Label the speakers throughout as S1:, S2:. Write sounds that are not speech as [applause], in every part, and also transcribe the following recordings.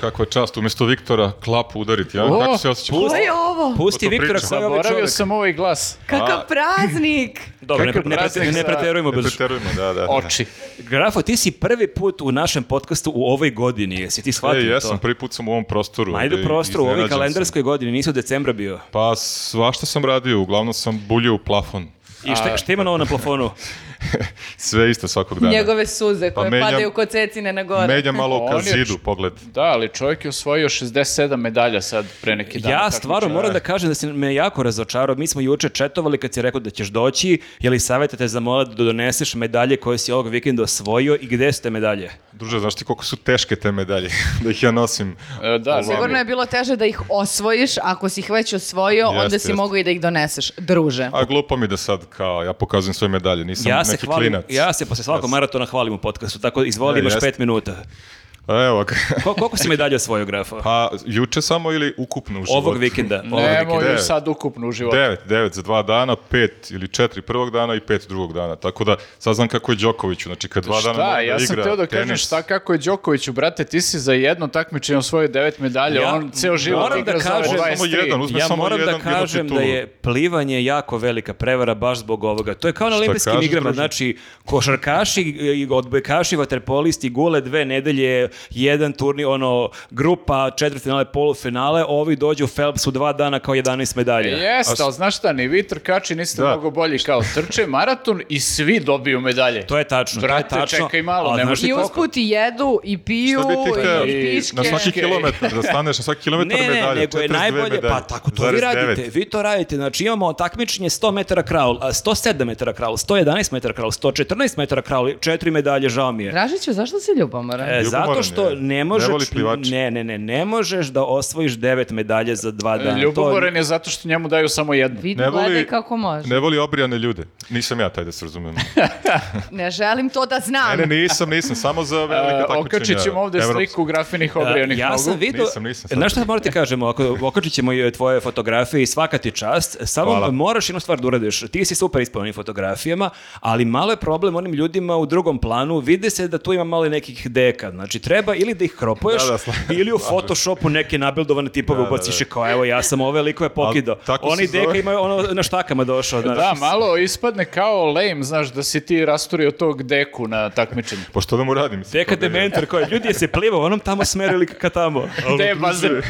S1: Kakva je čast, umjesto Viktora klapu udariti, ja? Kako se osjećaš?
S2: pusti.
S3: Ko je ovo?
S2: Pusti
S1: Ko to
S2: Viktora
S1: priča?
S2: koji je ovaj
S4: Zaboravio
S2: čovjek.
S4: sam ovaj
S1: [laughs]
S4: glas.
S1: A.
S3: Kakav
S1: [laughs]
S3: praznik!
S2: Dobro, ne,
S4: Kakav
S2: ne,
S4: praznik
S2: prete- ne
S4: za-
S2: preterujemo
S1: Ne
S2: bez...
S1: preterujemo, da, da.
S4: Oči.
S2: Grafo, ti si prvi put u našem podcastu u ovoj godini, jesi ti
S1: E,
S2: shvatio
S1: jesam,
S2: to?
S1: prvi put sam u ovom prostoru.
S2: Ma idu
S1: i
S2: prostor u ovoj
S1: iznenađen sam.
S2: kalendarskoj godini, nisi u decembra bio.
S1: Pa svašta sam radio, uglavnom sam buljio u plafon.
S2: I šta, šta ima novo na plafonu?
S1: Sve isto svakog dana.
S3: Njegove suze
S1: Pa
S3: koje
S1: menjam-
S3: padaju kod cecine na gore.
S1: Menja malo
S4: On
S1: ka
S4: je č-
S1: zidu pogled.
S4: Da, ali čovjek je osvojio 67 medalja sad pre neki dan.
S2: ja
S4: Tako
S2: stvarno
S4: da-
S2: moram da kažem da si me jako razočarao. Mi smo juče četovali kad si rekao da ćeš doći, je li savjeta te zamolila da doneseš medalje koje si ovog vikenda osvojio i gde su te medalje?
S1: Druže, znaš ti koliko su teške te medalje [laughs] da ih ja nosim?
S4: E, Da,
S3: Sigurno je bilo teže da ih osvojiš, ako si ih već osvojio,
S1: Jeste,
S3: onda si
S1: jeste.
S3: mogu i da ih doneseš, druže.
S1: A glupo mi da sad kao ja pokazujem svoje medalje, nisam
S2: ja se
S1: neki
S2: hvalim,
S1: klinac.
S2: ja se posle svakog
S1: Jes.
S2: maratona hvalim u podcastu, tako izvoli,
S1: E,
S2: imaš
S1: jeste.
S2: pet minuta.
S1: A Evo ga. [laughs]
S2: Ko- koliko si medalja osvojio, Grafo?
S1: Pa juče samo ili ukupno u životu?
S2: Znači, Ovog vikenda. Ovog vikenda.
S4: Nemoj
S1: Devet.
S4: sad ukupno u životu.
S1: Devet, devet za dva dana, pet ili četiri prvog dana i pet drugog dana. Tako da sad znam kako je Đokoviću, znači kad dva dana mora
S4: Šta, ja
S1: da
S4: sam
S1: igra
S4: teo da kažem
S1: tenis.
S4: šta kako je Đokoviću, brate, ti si za jedno takmičenje osvojio devet medalja,
S2: Ja
S4: on ceo život
S2: moram
S4: igra
S2: da
S4: za ove
S2: kažem-
S1: Ovo je samo
S4: 23.
S1: jedan, uzme
S2: ja
S1: samo
S2: moram
S1: jedan,
S2: da
S1: jednu
S2: kažem da
S1: titulu.
S2: je plivanje jako velika prevara baš zbog ovoga. To je kao na olimpijskim
S1: kažeš,
S2: igrama,
S1: druže?
S2: znači košarkaši, i odbojkaši, vaterpolisti gule dve nedelje, jedan turnir, ono, grupa, četvrtfinale, polufinale, ovi dođu u Phelpsu dva dana kao 11 medalja.
S4: Jeste, ali znaš šta, ni vi trkači niste
S1: Da.
S4: mnogo bolji kao trče maraton i svi dobiju medalje.
S2: To je tačno, to je
S4: Brate,
S2: tačno,
S4: čekaj malo,
S2: ali
S4: ne
S2: znaš
S4: možeš
S2: ti
S3: I
S2: koliko-
S3: usput i jedu, i piju,
S1: Šta bi ti hteo?
S3: i piške.
S1: Na svaki
S4: Piške.
S1: kilometar, da staneš na svaki kilometar
S2: Ne, ne,
S1: medalje,
S2: nego je
S1: 42
S2: najbolje,
S1: medalje.
S2: pa tako to vi
S1: Zarez
S2: radite,
S1: devet.
S2: vi to radite, znači imamo takmičenje 100 metara kraul, a 107 metara kraul, 111 metara kraul, 114 metara kraul, četiri medalje, žao mi je.
S3: Dražiću, zašto si ljubomoran?
S2: E,
S1: Ljubomoran
S2: zato što
S1: je.
S2: ne
S1: Ne
S2: možeš
S1: voli plivače.
S2: ne, ne, ne, ne možeš da osvojiš devet medalja za dva dana. To-
S4: E, Ljubomoran je zato što njemu daju samo jednu.
S3: Vidi,
S1: Ne
S3: gledaj
S1: voli,
S3: kako može. Ne...
S1: ne voli obrijane ljude. Nisam ja taj da
S2: [laughs]
S1: se razumemo.
S3: želim to da znam.
S1: Ne, ne, nisam, nisam, samo za velika
S4: E,
S1: takmičenja.
S4: Okačit ćemo ovde
S1: Evropska.
S4: sliku grafinih
S2: Da,
S4: obrijenih
S2: E, ja sam
S4: nogu.
S2: vidio,
S1: Nisam, nisam sad. E.
S2: znaš šta morate kažemo, ako okačit ćemo i tvoje fotografije i svaka ti čast, samo
S1: Hvala.
S2: moraš jednu stvar da uradiš, ti si super ispao na onim fotografijama, ali malo je problem onim ljudima u drugom planu, vide se da tu ima malo i nekih deka, znači treba ili da ih kropuješ,
S1: Da, da, slažem.
S2: ili u photoshopu neke nabildovane tipove ubaciš i kao evo ja sam ove likove pokidao,
S1: tako se
S2: oni
S1: zove-
S2: deka imaju ono na štakama došao, znaš.
S4: Da, malo ispadne kao lame, znaš, da si ti rasturio tog deku na takmičenju.
S1: Pošto da mu radim? mislim,
S2: Deka
S1: to da je-
S2: dementor koji ljudi je se plivao u onom tamo smeru ili ka tamo.
S4: Te
S1: [laughs]
S4: bazen.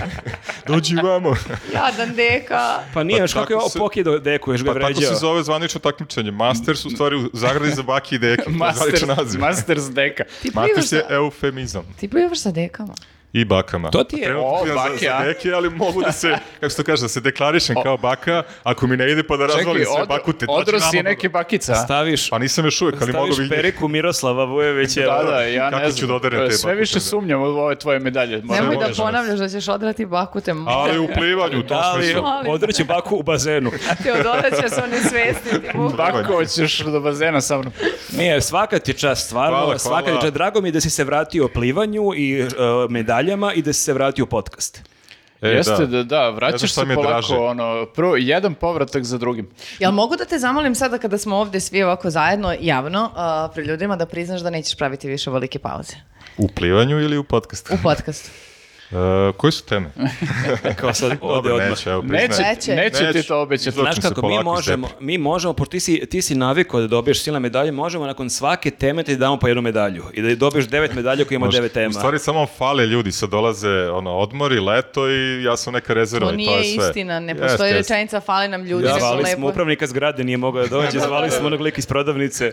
S1: Dođi vamo.
S3: Jadan deka.
S2: Pa nije,
S1: Pa
S2: još kako je
S1: tako
S2: ovo
S1: se-
S2: pokidao deku, još ga
S1: Pa tako se
S2: vređao.
S1: zove zvanično takmičenje. Masters u stvari u zagradi za baki i deke. To je
S4: Masters,
S1: zvaničan naziv.
S4: Masters deka.
S3: Ti plivaš
S1: Masters je
S3: sa,
S1: eufemizam.
S3: ti plivaš sa dekama.
S1: I bakama.
S2: To ti je-
S1: Trenutno
S4: O,
S1: pijem za-
S4: bake,
S1: za
S4: a?
S1: deke, ali mogu da
S4: [laughs]
S1: se, kako se to kaže, da se deklarišem kao baka, ako mi ne ide pa da
S4: Čekaj,
S1: razvalim sve
S4: od,
S1: bakute. dođi
S4: odro
S1: vamo,
S4: si
S1: dobro.
S4: neke bakica. a?
S2: Staviš,
S1: Pa nisam još uvijek, ali mogu
S2: staviš
S1: vidjeti.
S2: periku Miroslava Vujevića.
S4: Da, da, ja
S1: Kako
S4: ne
S1: ću
S4: znam.
S1: da oderem te
S4: Sve
S1: bakute,
S4: više
S1: da.
S4: sumnjam u ove tvoje medalje. Možda
S3: Nemoj da
S1: možeš.
S3: ponavljaš da ćeš odrati bakute.
S1: Ali
S3: [laughs]
S1: u plivanju, u tom
S2: Ali
S1: smislu.
S3: Molim.
S2: odreću baku u bazenu.
S3: Teodora će se
S1: [laughs]
S3: onesvestiti.
S4: Bako ćeš do bazena sa mnom.
S1: E,
S2: Nije, svaka ti čast, stvarno,
S1: Hvala,
S2: svaka ti
S1: hvala.
S2: čast. Drago mi je da si se vratio plivanju i e, medaljama i da si se vratio u podcast.
S1: E,
S4: Jeste, da, da,
S1: Ne
S4: vraćaš
S1: znam šta
S4: se
S1: mi je
S4: polako,
S1: draže.
S4: ono, prvo, jedan povratak za drugim.
S3: Jel mogu da te zamolim sada kada smo ovdje svi ovako zajedno, javno, a, pred ljudima da priznaš da nećeš praviti više velike pauze
S1: U plivanju ili u podcastu?
S3: u podcastu?
S1: E, koje su teme?
S2: Kao sad ovde
S1: E, Dobro,
S2: odmah.
S1: neće, evo, priznajem.
S4: Neće,
S3: Neće.
S4: neće, ti
S1: Neće.
S4: to obećati.
S1: Izvlači.
S2: Znaš
S1: Počne se
S2: kako, mi
S1: polako
S2: možemo, mi možemo, pošto ti si, ti si navikao da dobiješ silne medalje, možemo nakon svake teme ti damo po jednu medalju i da dobiješ devet medalja koji ima
S1: Možda-
S2: devet tema.
S1: U stvari samo fale ljudi, sad dolaze ono, odmori, leto i ja sam neka rezerva
S3: To
S1: i to je
S3: nije
S1: sve.
S3: istina, ne
S1: Jeste,
S3: postoji
S1: jeste.
S3: rečenica, fali nam ljudi,
S2: Ja,
S3: nego
S2: zvali
S3: lepo.
S2: smo upravnika zgrade, nije mogao da dođe, zvali smo onog lika iz prodavnice.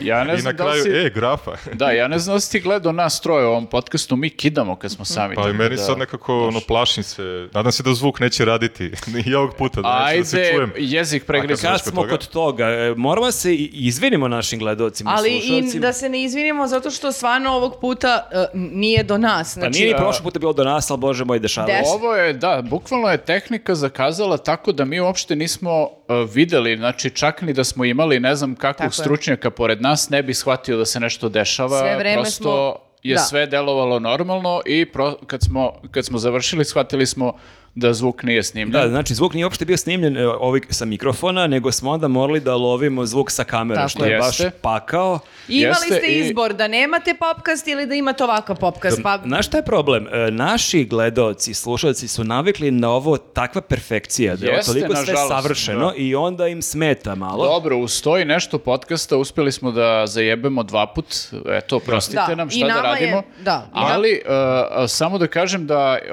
S4: Ja ne
S1: I na
S4: znam da li
S1: kraju,
S4: si...
S1: e, grafa.
S4: Da, ja ne znam da si ti gledao nas troje u ovom podcastu, mi kidamo kad smo sami.
S1: Pa i
S4: tako
S1: meni
S4: da-
S1: sad nekako ono, plašim se. Nadam se da zvuk neće raditi. [laughs] I ovog puta, da neću da se
S4: Ajde,
S1: čujem.
S4: jezik
S1: A
S4: pregriza.
S1: sam
S2: Kad
S1: već
S2: smo
S1: kod
S2: kod toga,
S1: toga.
S2: e, moramo se i izvinimo našim gledocima
S3: Ali
S2: i
S3: i
S2: slušalcima.
S3: da se ne izvinimo zato što stvarno ovog puta e, nije do nas.
S2: Pa
S3: Znači,
S2: nije ni prošli puta bilo do nas, ali bože moj, dešava.
S3: Deš-
S4: Ovo je, da, bukvalno je tehnika zakazala tako da mi uopšte nismo uh, videli, znači čak ni da smo imali ne znam
S3: Tako je.
S4: kakvog stručnjaka pored nas, ne bi shvatio da se nešto dešava.
S3: Sve vreme
S4: Prosto
S3: smo-
S4: je
S3: da.
S4: sve delovalo normalno i pro- kad, smo, kad smo završili shvatili smo da zvuk nije snimljen.
S2: Da, znači zvuk nije uopšte bio snimljen e, ovaj, sa mikrofona, nego smo onda morali da lovimo zvuk sa kamere,
S3: Tako
S2: što
S3: je.
S2: je baš
S4: Jeste.
S2: pakao.
S3: I Imali
S4: Jeste
S3: ste
S4: i-
S3: izbor da nemate popkast ili da imate ovakav popkast. Pa
S2: Znaš šta je problem? E, Naši gledaoci, slušalci su navikli na ovo takva perfekcija, da je ovo
S4: Jeste,
S2: toliko sve
S4: nažalost,
S2: savršeno
S4: da.
S2: i onda im smeta malo.
S4: Dobro, uz to i nešto podcasta uspjeli smo da zajebemo dva put, eto, prostite
S3: Da,
S4: nam
S3: i
S4: šta da
S3: nama je-
S4: radimo,
S3: da, i nam-
S4: ali e, a, samo da kažem da e,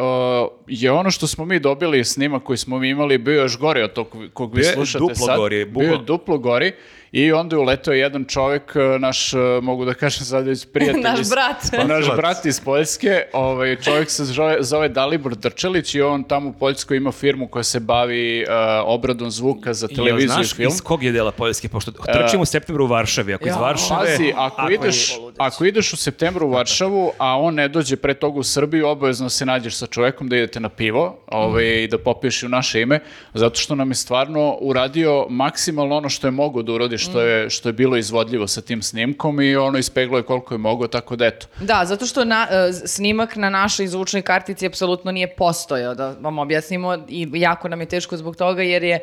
S4: je ono što smo mi dobili snimak koji smo mi imali bio još gori od tog kog vi
S2: Bio je
S4: slušate
S2: duplo
S4: sad,
S2: gori,
S4: bio je
S2: bukvalno.
S4: duplo gori i onda je uletao jedan čovjek, e, naš, e, mogu da kažem sad već prijatelj,
S3: Naš
S4: iz-
S3: brat.
S4: Pa, naš brat iz Poljske, ovaj, čovjek se zove, zove Dalibor Drčelić i on tamo u Poljskoj ima firmu koja se bavi e, obradom zvuka za
S2: Jel
S4: televiziju i
S2: znaš
S4: film. E.
S2: iz kog je dela Poljske, pošto trčimo u septembru u Varšavi, ako iz
S3: Ja.
S2: Varšave...
S4: Pazi, ako,
S2: je-
S4: ideš, ako ideš u septembru u Varšavu, a on ne dođe pre toga u Srbiju, obavezno se nađeš sa čovjekom da idete na pivo ovaj, i da popiješ i u naše ime, zato što nam je stvarno uradio maksimalno ono što je mogo da uradi, što je, što je bilo izvodljivo sa tim snimkom i ono ispeglo je koliko je mogo, tako da eto.
S3: Da, zato što na, e, z- snimak na našoj zvučnoj kartici apsolutno nije postojao, da vam objasnimo i jako nam je teško zbog toga jer je e,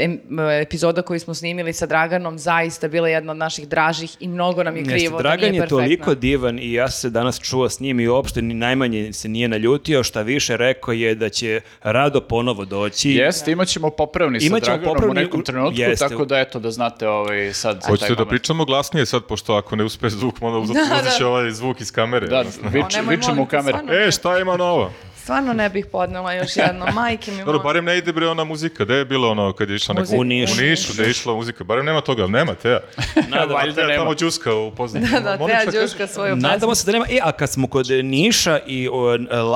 S3: em- e, epizoda koju smo snimili sa Draganom zaista bila jedna od naših dražih i mnogo nam je krivo
S2: Jeste,
S3: da
S2: Dragan
S3: nije
S2: je toliko
S3: perfektna.
S2: divan i ja sam se danas čuo s njim i uopšte ni najmanje se nije naljutio, šta više rekao je da će rado ponovo doći.
S4: Jeste, imat ćemo popravni sa
S2: Imaćemo
S4: Draganom
S2: popravni,
S4: u nekom trenutku,
S2: jeste.
S4: tako da eto, da znate ovaj, sad za taj
S1: Hoćete da
S4: moment.
S1: pričamo glasnije sad, pošto ako ne uspe zvuk, onda uzet,
S3: Da,
S1: uzet će
S3: da.
S1: ovaj zvuk iz kamere.
S4: Da,
S1: odnosno.
S4: vič,
S3: O, nemoj,
S4: vičemo
S3: molim
S4: u
S3: te,
S4: kameru.
S3: stvarno.
S1: E, šta ima novo?
S3: Stvarno ne bih podnela još
S2: [laughs]
S3: jedno, majke mi
S1: Dobro,
S3: molim.
S1: barem ne ide bre ona muzika. Gde je bila ono kad je išla neka...
S3: Muzika. U
S2: Nišu.
S1: U Nišu, gde je išla muzika. Barem nema toga, ali nema Teja.
S2: Nadam-
S4: Valjda
S1: Teja
S4: nema.
S1: tamo džuska u pozadini.
S3: [laughs]
S1: Ono,
S3: Da, da,
S1: Molim šta
S3: Teja
S1: kažeš?
S3: Đuška svoju
S2: Nadamo
S3: pesmu.
S2: se da nema. E, a kad smo kod Niša i o,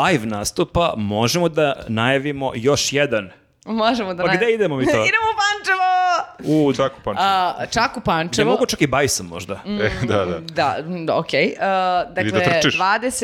S2: live nastupa, možemo da najavimo još jedan.
S3: Možemo da
S2: Pa
S3: naj-
S2: gde idemo mi to?
S3: [laughs] Idemo u Pančevo!
S1: U, čak u Pančevu.
S3: A, čak u
S2: Ne
S3: Pančevo.
S2: mogu čak i bajsom možda.
S1: E, da, da.
S3: Da, mm, da, okej. Uh,
S1: Ili
S3: dakle,
S1: da trčiš.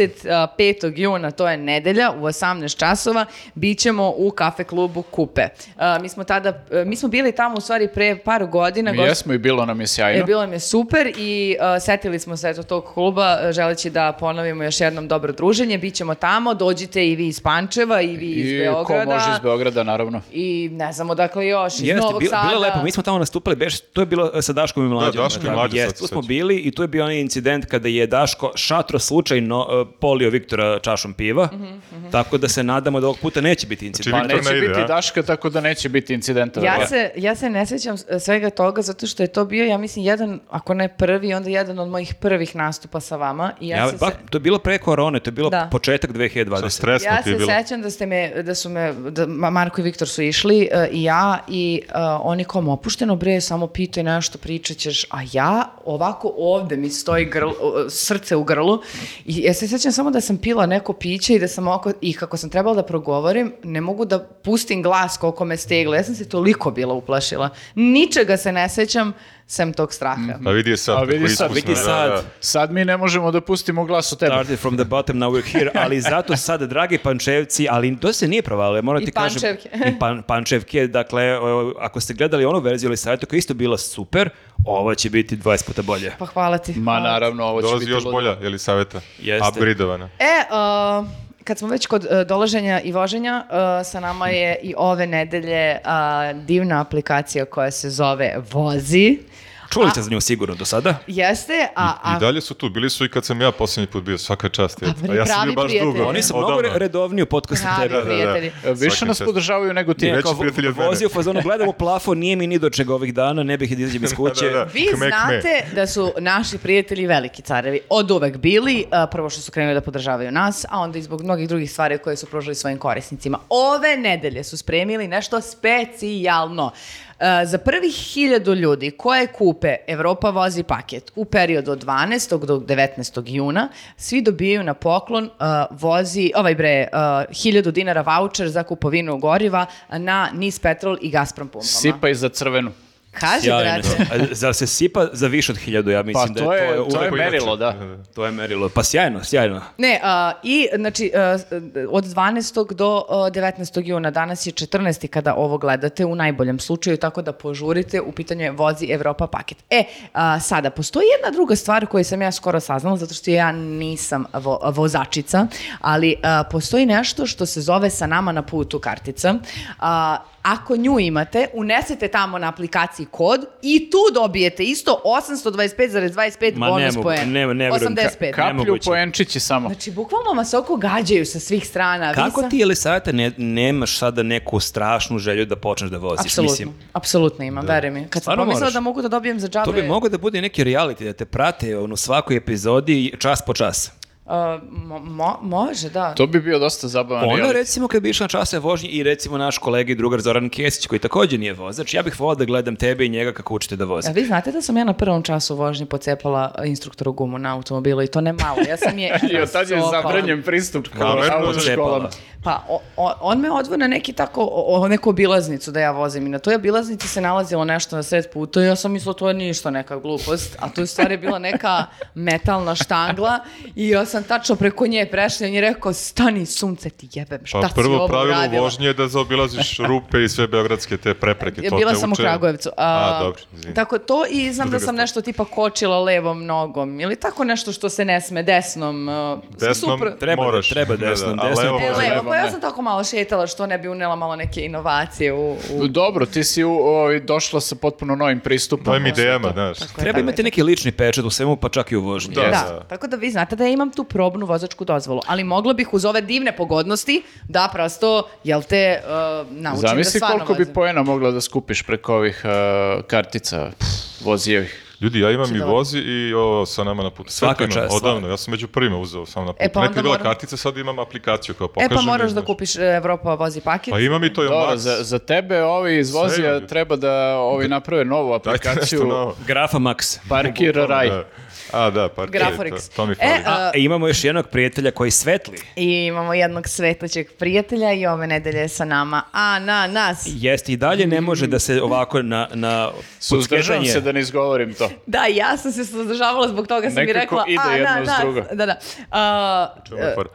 S3: 25. juna, to je nedelja, u 18 časova, bit ćemo u kafe klubu Kupe. Uh, mi smo tada, uh, mi smo bili tamo u stvari pre par godina.
S4: Mi
S3: gost-
S4: jesmo i bilo nam je sjajno.
S3: E, bilo nam je super i uh, setili smo se eto tog kluba uh, želeći da ponovimo još jednom dobro druženje. Bićemo tamo, dođite i vi iz Pančeva i vi iz
S4: I
S3: Beograda.
S4: ko može iz Beograda, naravno.
S3: I ne znamo dakle još, iz
S2: Jeste,
S3: Novog
S2: bilo,
S3: Sada.
S2: bilo je lepo. Mi smo tamo nastupali, beš, to je bilo e, sa Daškom i Mlađom.
S1: Daško i
S2: Tako,
S1: Mlađa,
S2: jest,
S1: sad se
S2: Tu smo
S1: sećam.
S2: bili i tu je bio onaj incident kada je Daško šatro slučajno e, polio Viktora čašom piva.
S3: Mhm,
S2: Tako da se nadamo da ovog puta neće biti incident.
S1: Znači,
S4: Pa
S1: Viktor ne
S4: neće
S1: ide,
S4: biti
S1: a?
S4: Daška, tako da neće biti incidenta.
S3: Ja
S4: verovatno.
S3: se, ja se ne sjećam s- svega toga zato što je to bio, ja mislim, jedan, ako ne prvi, onda jedan od mojih prvih nastupa sa vama. I ja,
S2: Ja,
S3: se,
S2: ba-
S3: se-
S2: to je bilo pre korone, to je bilo
S3: Da.
S2: početak
S1: Sa
S2: 2020.
S1: stresno
S3: ja
S1: ti je
S3: se
S1: bilo.
S3: sjećam da ste me, da su me, da Ma- Marko i Viktor su išli e, i ja i e, oni kao "Ma, opušteno bre, samo pitaj nešto, pričat ćeš, a ja ovako ovde mi stoji grl- o, srce u grlu i ja se sjećam samo da sam pila neko piće i da sam oko, i kako sam trebala da progovorim, ne mogu da pustim glas koliko me steglo, ja sam se toliko bila uplašila, ničega se ne sjećam sem tog straha.
S1: A vidi je sad.
S4: A vidi
S1: kako
S4: sad,
S1: iskusna,
S2: vidi
S1: da,
S2: sad.
S1: da.
S4: Sad mi ne možemo da pustimo glas u tebe.
S2: Started from the bottom, now we're here, ali zato sad, dragi pančevci, ali to se nije provalilo, moram
S3: I
S2: ti kažem.
S3: Pančevke.
S2: I pan, pančevke, dakle, o, ako ste gledali onu verziju ili sajtu koja je isto bila super, ovo će biti 20 puta bolje.
S3: Pa hvala ti.
S4: Ma
S3: hvala ti.
S4: naravno, ovo će
S1: Dolazi
S4: biti
S1: još
S4: ludo.
S1: bolja, je li saveta?
S2: Jeste.
S1: Upgradeovana.
S3: E, uh, kad smo već kod uh, dolaženja i voženja, uh, sa nama je i ove nedelje uh, divna aplikacija koja se zove Vozi.
S2: Čuli ste za nju sigurno do sada?
S3: Jeste, a... a
S1: I dalje su tu, bili su i kad sam ja posljednji put bio, svaka čast.
S3: Pa,
S1: je.
S3: bili
S1: A ja sam
S3: pravi
S1: bio baš
S3: prijatelji.
S1: dugo.
S2: Pa Oni su
S1: odavno.
S2: mnogo re- redovniji u podcastu od tebe.
S3: Pravi
S1: Da, da, da.
S3: prijatelji.
S4: E, Više
S1: Svaka
S4: nas
S1: čast.
S4: podržavaju nego ti.
S1: Ne.
S2: Nije,
S1: Veći
S2: kao
S1: prijatelj od mene.
S2: vozi u fazonu, gledam u plafon, nije mi ni do čega ovih dana, ne bih da izađem iz kuće.
S1: [laughs] Da, da.
S3: Vi
S1: Kme, kme.
S3: znate da su naši prijatelji veliki carevi od uvek bili, uh, prvo što su krenuli da podržavaju nas, a onda i zbog mnogih drugih stvari koje su pružili svojim korisnicima. Ove nedelje su spremili nešto specijalno. Uh, za prvih hiljadu ljudi koje kupe Evropa vozi paket u periodu od 12. do 19. juna, svi dobijaju na poklon uh, vozi, ovaj bre, uh, hiljadu dinara voucher za kupovinu goriva na NIS Petrol i Gazprom pumpama.
S4: Sipa i za crvenu.
S3: Kaži,
S2: Sjajno.
S3: brate.
S2: A Zar se sipa za više od hiljadu, ja
S4: Pa
S2: mislim da
S4: to je,
S2: to je,
S4: to je
S2: uvek-
S4: merilo, da.
S2: to je merilo. Pa sjajno, sjajno.
S3: Ne, a, i znači a, s- od 12. do a, 19. juna, danas je 14. kada ovo gledate u najboljem slučaju, tako da požurite, u pitanju je vozi Evropa paket. E, a, sada, postoji jedna druga stvar koju sam ja skoro saznala, zato što ja nisam vo- vozačica, ali a, postoji nešto što se zove sa nama na putu kartica. A, ako nju imate, unesete tamo na aplikaciji kod i tu dobijete isto 825,25
S2: Ma ne
S3: bonus
S2: mogu,
S3: poena.
S2: ne- ne verujem. Ka-
S3: 85.
S2: ka-
S4: Kaplju
S2: Nemoguće.
S4: poenčići samo.
S3: Znači, bukvalno vas oko gađaju sa svih strana. Vi
S2: Pa. Kako
S3: sa-
S2: ti, Elisaveta, ne, nemaš sada neku strašnu želju da počneš da voziš?
S3: Apsolutno,
S2: Mislim,
S3: apsolutno imam, veruj mi. Kad sam
S2: Stvarno
S3: pomislila
S2: moraš?
S3: da mogu da dobijem za džabe...
S2: to bi moglo da bude neki reality, da te prate ono, u svakoj epizodi čas po čas.
S3: a, mo- mo- može, da.
S4: To bi bio dosta zabavan.
S2: Ona
S4: reality.
S2: Ono, recimo kad bi išla na časove vožnje i recimo naš kolega i drugar Zoran Kesić koji takođe nije vozač, ja bih volao da gledam tebe i njega kako učite da vozi.
S3: A vi znate da sam ja na prvom času vožnje pocepala instruktoru gumu na automobilu i to ne malo. Ja
S2: [laughs]
S3: sam je
S4: [laughs] I od tad je
S3: rasopala.
S4: zabranjen pristup kao
S1: Namerno
S4: autoškolama.
S2: Pocepala.
S3: Pa, o- o- on me odveo na neki tako, o, o, neku obilaznicu da ja vozim i na toj obilaznici se nalazilo nešto na sred puta i ja sam mislila to je ništa, neka glupost, a tu je u stvari bila neka metalna štangla i ja sam tačno preko nje prešla i on je rekao, stani sunce ti jebem, šta
S1: Pa
S3: si
S1: prvo
S3: ovo
S1: pravilo
S3: uradila?"
S1: vožnje je da zaobilaziš rupe i sve beogradske te prepreke.
S3: Ja
S1: to
S3: bila
S1: te
S3: sam u
S1: uče.
S3: Kragujevcu.
S1: A, dobro, izvini.
S3: Tako to i znam da
S1: druga
S3: sam
S1: stvar.
S3: nešto tipa kočila levom nogom ili tako nešto što se ne sme desnom. a,
S1: Desnom
S3: supr-
S2: Treba da-
S1: moraš.
S2: treba desnom,
S1: a
S2: desnom
S1: levo
S3: E,
S1: može.
S3: levo,
S4: levom
S3: pa ja
S4: ne.
S3: sam tako malo šetala što ne bi unela malo neke inovacije u... u...
S4: Dobro, ti si u, ovaj, došla sa potpuno novim pristupom.
S1: Novim idejama, znaš.
S2: Treba imati neki lični pečat u svemu, pa čak i u vožnji.
S1: Da.
S3: Da,
S1: Yes.
S3: tako da vi znate da ja imam tu probnu vozačku dozvolu, ali mogla bih uz ove divne pogodnosti da prosto, jel te, uh, naučim
S4: Zamisli
S3: da stvarno
S4: koliko bi
S3: vozim.
S4: poena mogla da skupiš preko ovih eh, kartica vozijevih.
S1: Ljudi, ja imam i
S3: dobro.
S1: vozi i o, sa nama na putu. Sve
S2: Svaka
S1: to imam,
S2: čast, slava.
S1: Odavno, ja sam među prvima uzeo sam na putu.
S3: E, pa
S1: Nekad
S3: onda
S1: je bila
S3: moram-
S1: kartica, sad imam aplikaciju kao
S3: E
S1: pokažem.
S3: pa moraš
S1: i,
S3: da
S1: znaš.
S3: kupiš Evropa vozi paket.
S1: Pa imam i to je
S4: Dobro,
S1: Max.
S4: za, za tebe ovi iz vozija
S1: ljudi.
S4: treba da ovi naprave novu
S1: Dajte nešto
S4: aplikaciju
S1: novo.
S2: Grafa Max.
S4: Parkir Raj.
S1: Da. A, da, pa
S3: Graforix.
S1: To, to mi
S3: E,
S1: fali.
S3: a-
S2: A, imamo još jednog prijatelja koji svetli.
S3: I imamo jednog svetaćeg prijatelja i ove nedelje je sa nama Ananas.
S2: Jeste i dalje ne može da se ovako na, na
S4: Suzdržavam
S2: podsketanje-
S4: se da ne izgovorim to.
S3: Da, ja sam se suzdržavala zbog toga sam i
S4: Nekako
S3: rekla
S4: ide jedno uz
S3: Ananas.
S4: drugo.
S3: Da, Uh, da. A,
S1: Čemu je fora?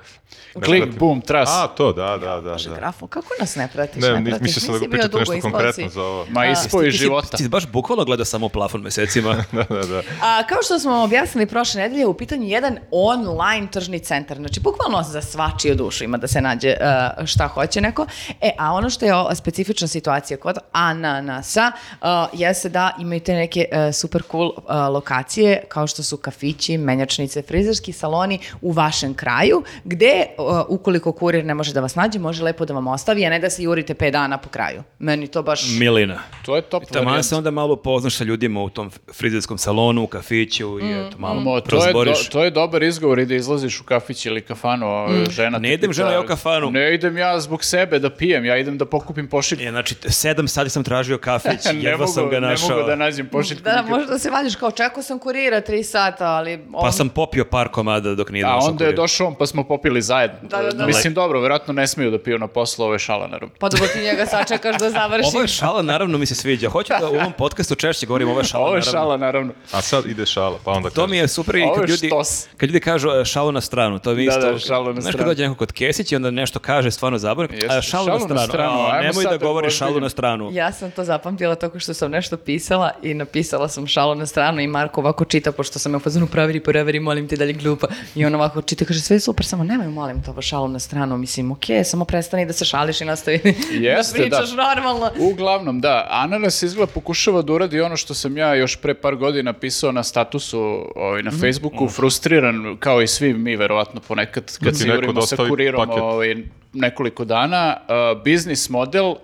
S1: Ne
S4: Klik,
S1: pratim.
S4: boom, tras.
S1: A, to, da, da, da.
S3: e, Bože,
S1: da.
S3: grafo, kako nas ne pratiš?
S1: Ne,
S3: pratiš?
S1: mislio sam da
S3: Nisi
S1: ga
S3: bio
S1: pitate
S3: dugo
S1: nešto
S3: ispod
S1: konkretno
S3: si.
S1: za ovo. [laughs]
S4: Ma ispo iz života.
S2: Ti si baš bukvalno gledao samo u plafon [laughs] mesecima.
S1: Da, da, da.
S3: A, kao što smo vam objasnili prošle nedelje, u pitanju je jedan online tržni centar. Znači, bukvalno za svačiju dušu ima da se nađe e, šta hoće neko. E, a ono što je o, specifična situacija kod Ananasa e, jeste da imaju te neke e, super cool e, lokacije kao što su kafići, menjačnice, frizerski saloni u vašem kraju, gde e, ukoliko kurir ne može da vas nađe, može lepo da vam ostavi, a ne da se jurite 5 dana po kraju. Meni to baš...
S2: Milina.
S4: To je top
S2: Taman
S4: varijant.
S2: se onda malo poznaš sa ljudima u tom frizerskom salonu, u kafiću i Mm. eto, malo
S4: Mo, to, je do,
S2: prozboriš.
S4: to je dobar izgovor i da izlaziš u kafić ili kafanu, a, žena.
S2: Mm. Ne
S4: te
S2: idem,
S4: pita,
S2: žena, ja u kafanu.
S4: Ne idem ja zbog sebe da pijem, ja idem da pokupim pošiljku. [laughs]
S2: E, znači, sedam sati sam tražio kafić,
S4: ne
S2: jedva
S4: mogu,
S2: sam ga našao.
S4: ne mogu da nađem pošiljku.
S3: [laughs] Da,
S4: nikad.
S3: možda se valjiš kao čekao sam kurira 3 sata, ali... ono
S2: Pa
S3: on-
S2: sam popio par komada dok nije
S4: A
S2: došao
S4: onda je
S2: kurir.
S4: došao on pa smo popili zajedno.
S3: Da, da, da.
S4: Mislim, dobro, vjerojatno ne smiju da piju na poslu, ovo je šala naravno.
S3: Pa dobro ti njega sačekaš da završi.
S2: Ovo je šala, naravno mi se sviđa. Hoću da u ovom podcastu češće govorim ovo je šala,
S4: Ovo je
S2: Pa, naravno.
S4: šala naravno.
S1: A sad ide šala, pa onda
S2: To mi je super i
S4: Ovo je
S2: kad ljudi,
S4: štos.
S2: kad ljudi kažu e, šalu na stranu, to mi
S4: Da,
S2: isto...
S4: da, šalu na
S2: Znaš kad
S4: stranu.
S2: dođe neko kod Kesić i onda nešto kaže stvarno zabavno,
S4: Jeste,
S2: a šalu, na stranu, a,
S4: ajmo
S2: nemoj
S4: sad
S2: da
S4: da
S2: govori
S4: ozbiljim.
S2: šalu na stranu.
S3: Ja sam to zapamtila tako što sam nešto pisala i napisala sam šalu na stranu i Marko ovako čita, pošto sam ja u fazonu proveri, proveri, molim te da li je glupa. I on ovako čita, kaže sve je super, samo nemoj molim to šalu na stranu. Mislim, okej, samo prestani da se šališ i nastavi [laughs]
S4: Jeste,
S3: da pričaš normalno.
S4: Uglavnom, da, Ananas izgleda pokušava da uradi ono što sam ja još pre par godina pisao na statusu ovaj, na Facebooku, frustriran, kao i svi mi, verovatno, ponekad, kad
S1: ti
S4: se
S1: neko
S4: jurimo sa
S1: dostavi
S4: kurirom
S1: paket.
S4: ovaj, nekoliko dana, uh, biznis model, uh,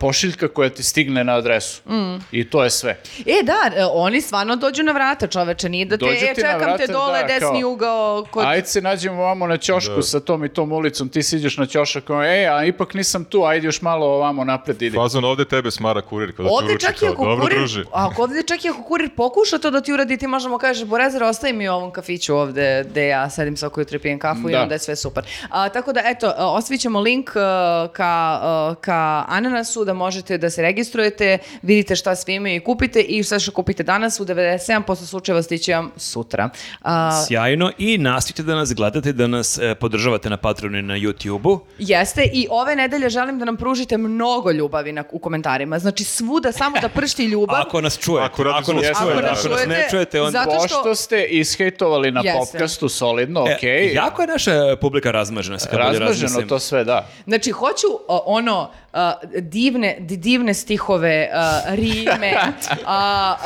S4: pošiljka koja ti stigne na adresu. I to je sve.
S3: E, da, e, oni stvarno dođu na vrata, čoveče, nije da te,
S4: Dođu
S3: e,
S4: ti na
S3: čekam
S4: vrata,
S3: te dole,
S4: da,
S3: desni
S4: kao,
S3: ugao, kod...
S4: Ajde se nađemo ovamo na ćošku sa tom i tom ulicom, ti siđeš na ćošak, on, e, a ipak nisam tu, ajde još malo ovamo napred idi.
S1: Fazon, ovde tebe smara kurir. pa Kada
S3: Ovdje
S1: te
S3: čak i ako
S1: Dobro,
S3: kurir,
S1: druže.
S3: a ako ovdje čak i ako kurir pokuša to da ti uradi, ti možemo kažeš, Borezer, ostavi mi u ovom kafiću ovdje gde ja sedim svako jutro i pijem kafu i
S4: Da.
S3: onda je sve super. A, tako da, eto, a, osvit ćemo link e, ka, e, ka Ananasu, da možete da se registrujete, vidite šta sve imaju i kupite i sve što kupite danas u 97% slučajeva stići vam sutra. A,
S2: Sjajno i nastavite da nas gledate, da nas e, podržavate na Patreonu i na YouTubeu.
S3: Jeste i ove nedelje želim da nam pružite mnogo ljubavi na, u komentarima. Znači svuda samo da pršti
S1: [laughs]
S3: ljubav.
S2: Ako nas čujete,
S1: Ako radite
S2: nas
S1: zvučnjak.
S2: čujete,
S1: Ako nas
S2: ako nas ne
S3: čujete,
S2: čujete, onda...
S3: zato što-
S4: Pošto ste ishejtovali na
S3: Jeste.
S4: podcastu solidno,
S2: E,
S4: okej.
S2: Jako je naša publika razmažena. sad kad bolje
S4: Razmaženo
S2: razmislim.
S4: to sve, da.
S3: Znači, hoću o, ono a, divne, di- divne stihove, a, rime,
S2: [laughs]
S3: a, a,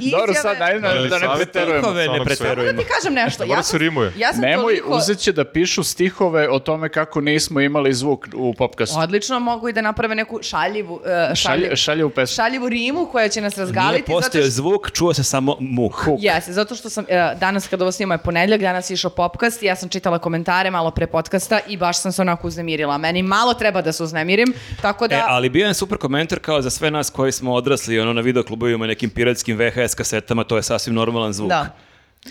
S3: izjave...
S4: Dobro, sad najedno
S1: Ali
S4: da ne
S1: savjet-
S4: preterujemo.
S2: Stihove ne
S1: Samo
S3: Moram
S2: preterujemo.
S3: da ti kažem nešto.
S1: Dobro
S3: ja
S1: se
S3: sam-
S1: rimuje.
S3: Ja sam
S4: Nemoj,
S3: toliko...
S4: uzet će da pišu stihove o tome kako nismo imali zvuk u popkastu.
S3: Odlično, mogu i da naprave neku šaljivu, e,
S4: Šalje,
S3: šaljivu,
S4: šalje u pesmu.
S3: šaljivu rimu koja će nas
S2: Nije
S3: razgaliti.
S2: postao
S3: zato što-
S2: zvuk, čuo se samo muk.
S3: Jeste, zato što sam e, danas kada ovo snima je ponedljak, danas je išao popkast i ja sam čitala komentare malo pre podcasta i baš sam se onako uznemirila. Meni malo treba da se uznemirim, tako da...
S2: E, ali bio je super komentar kao za sve nas koji smo odrasli ono, na videoklubovima i nekim piratskim VHS kasetama, to je sasvim normalan zvuk.
S3: Da.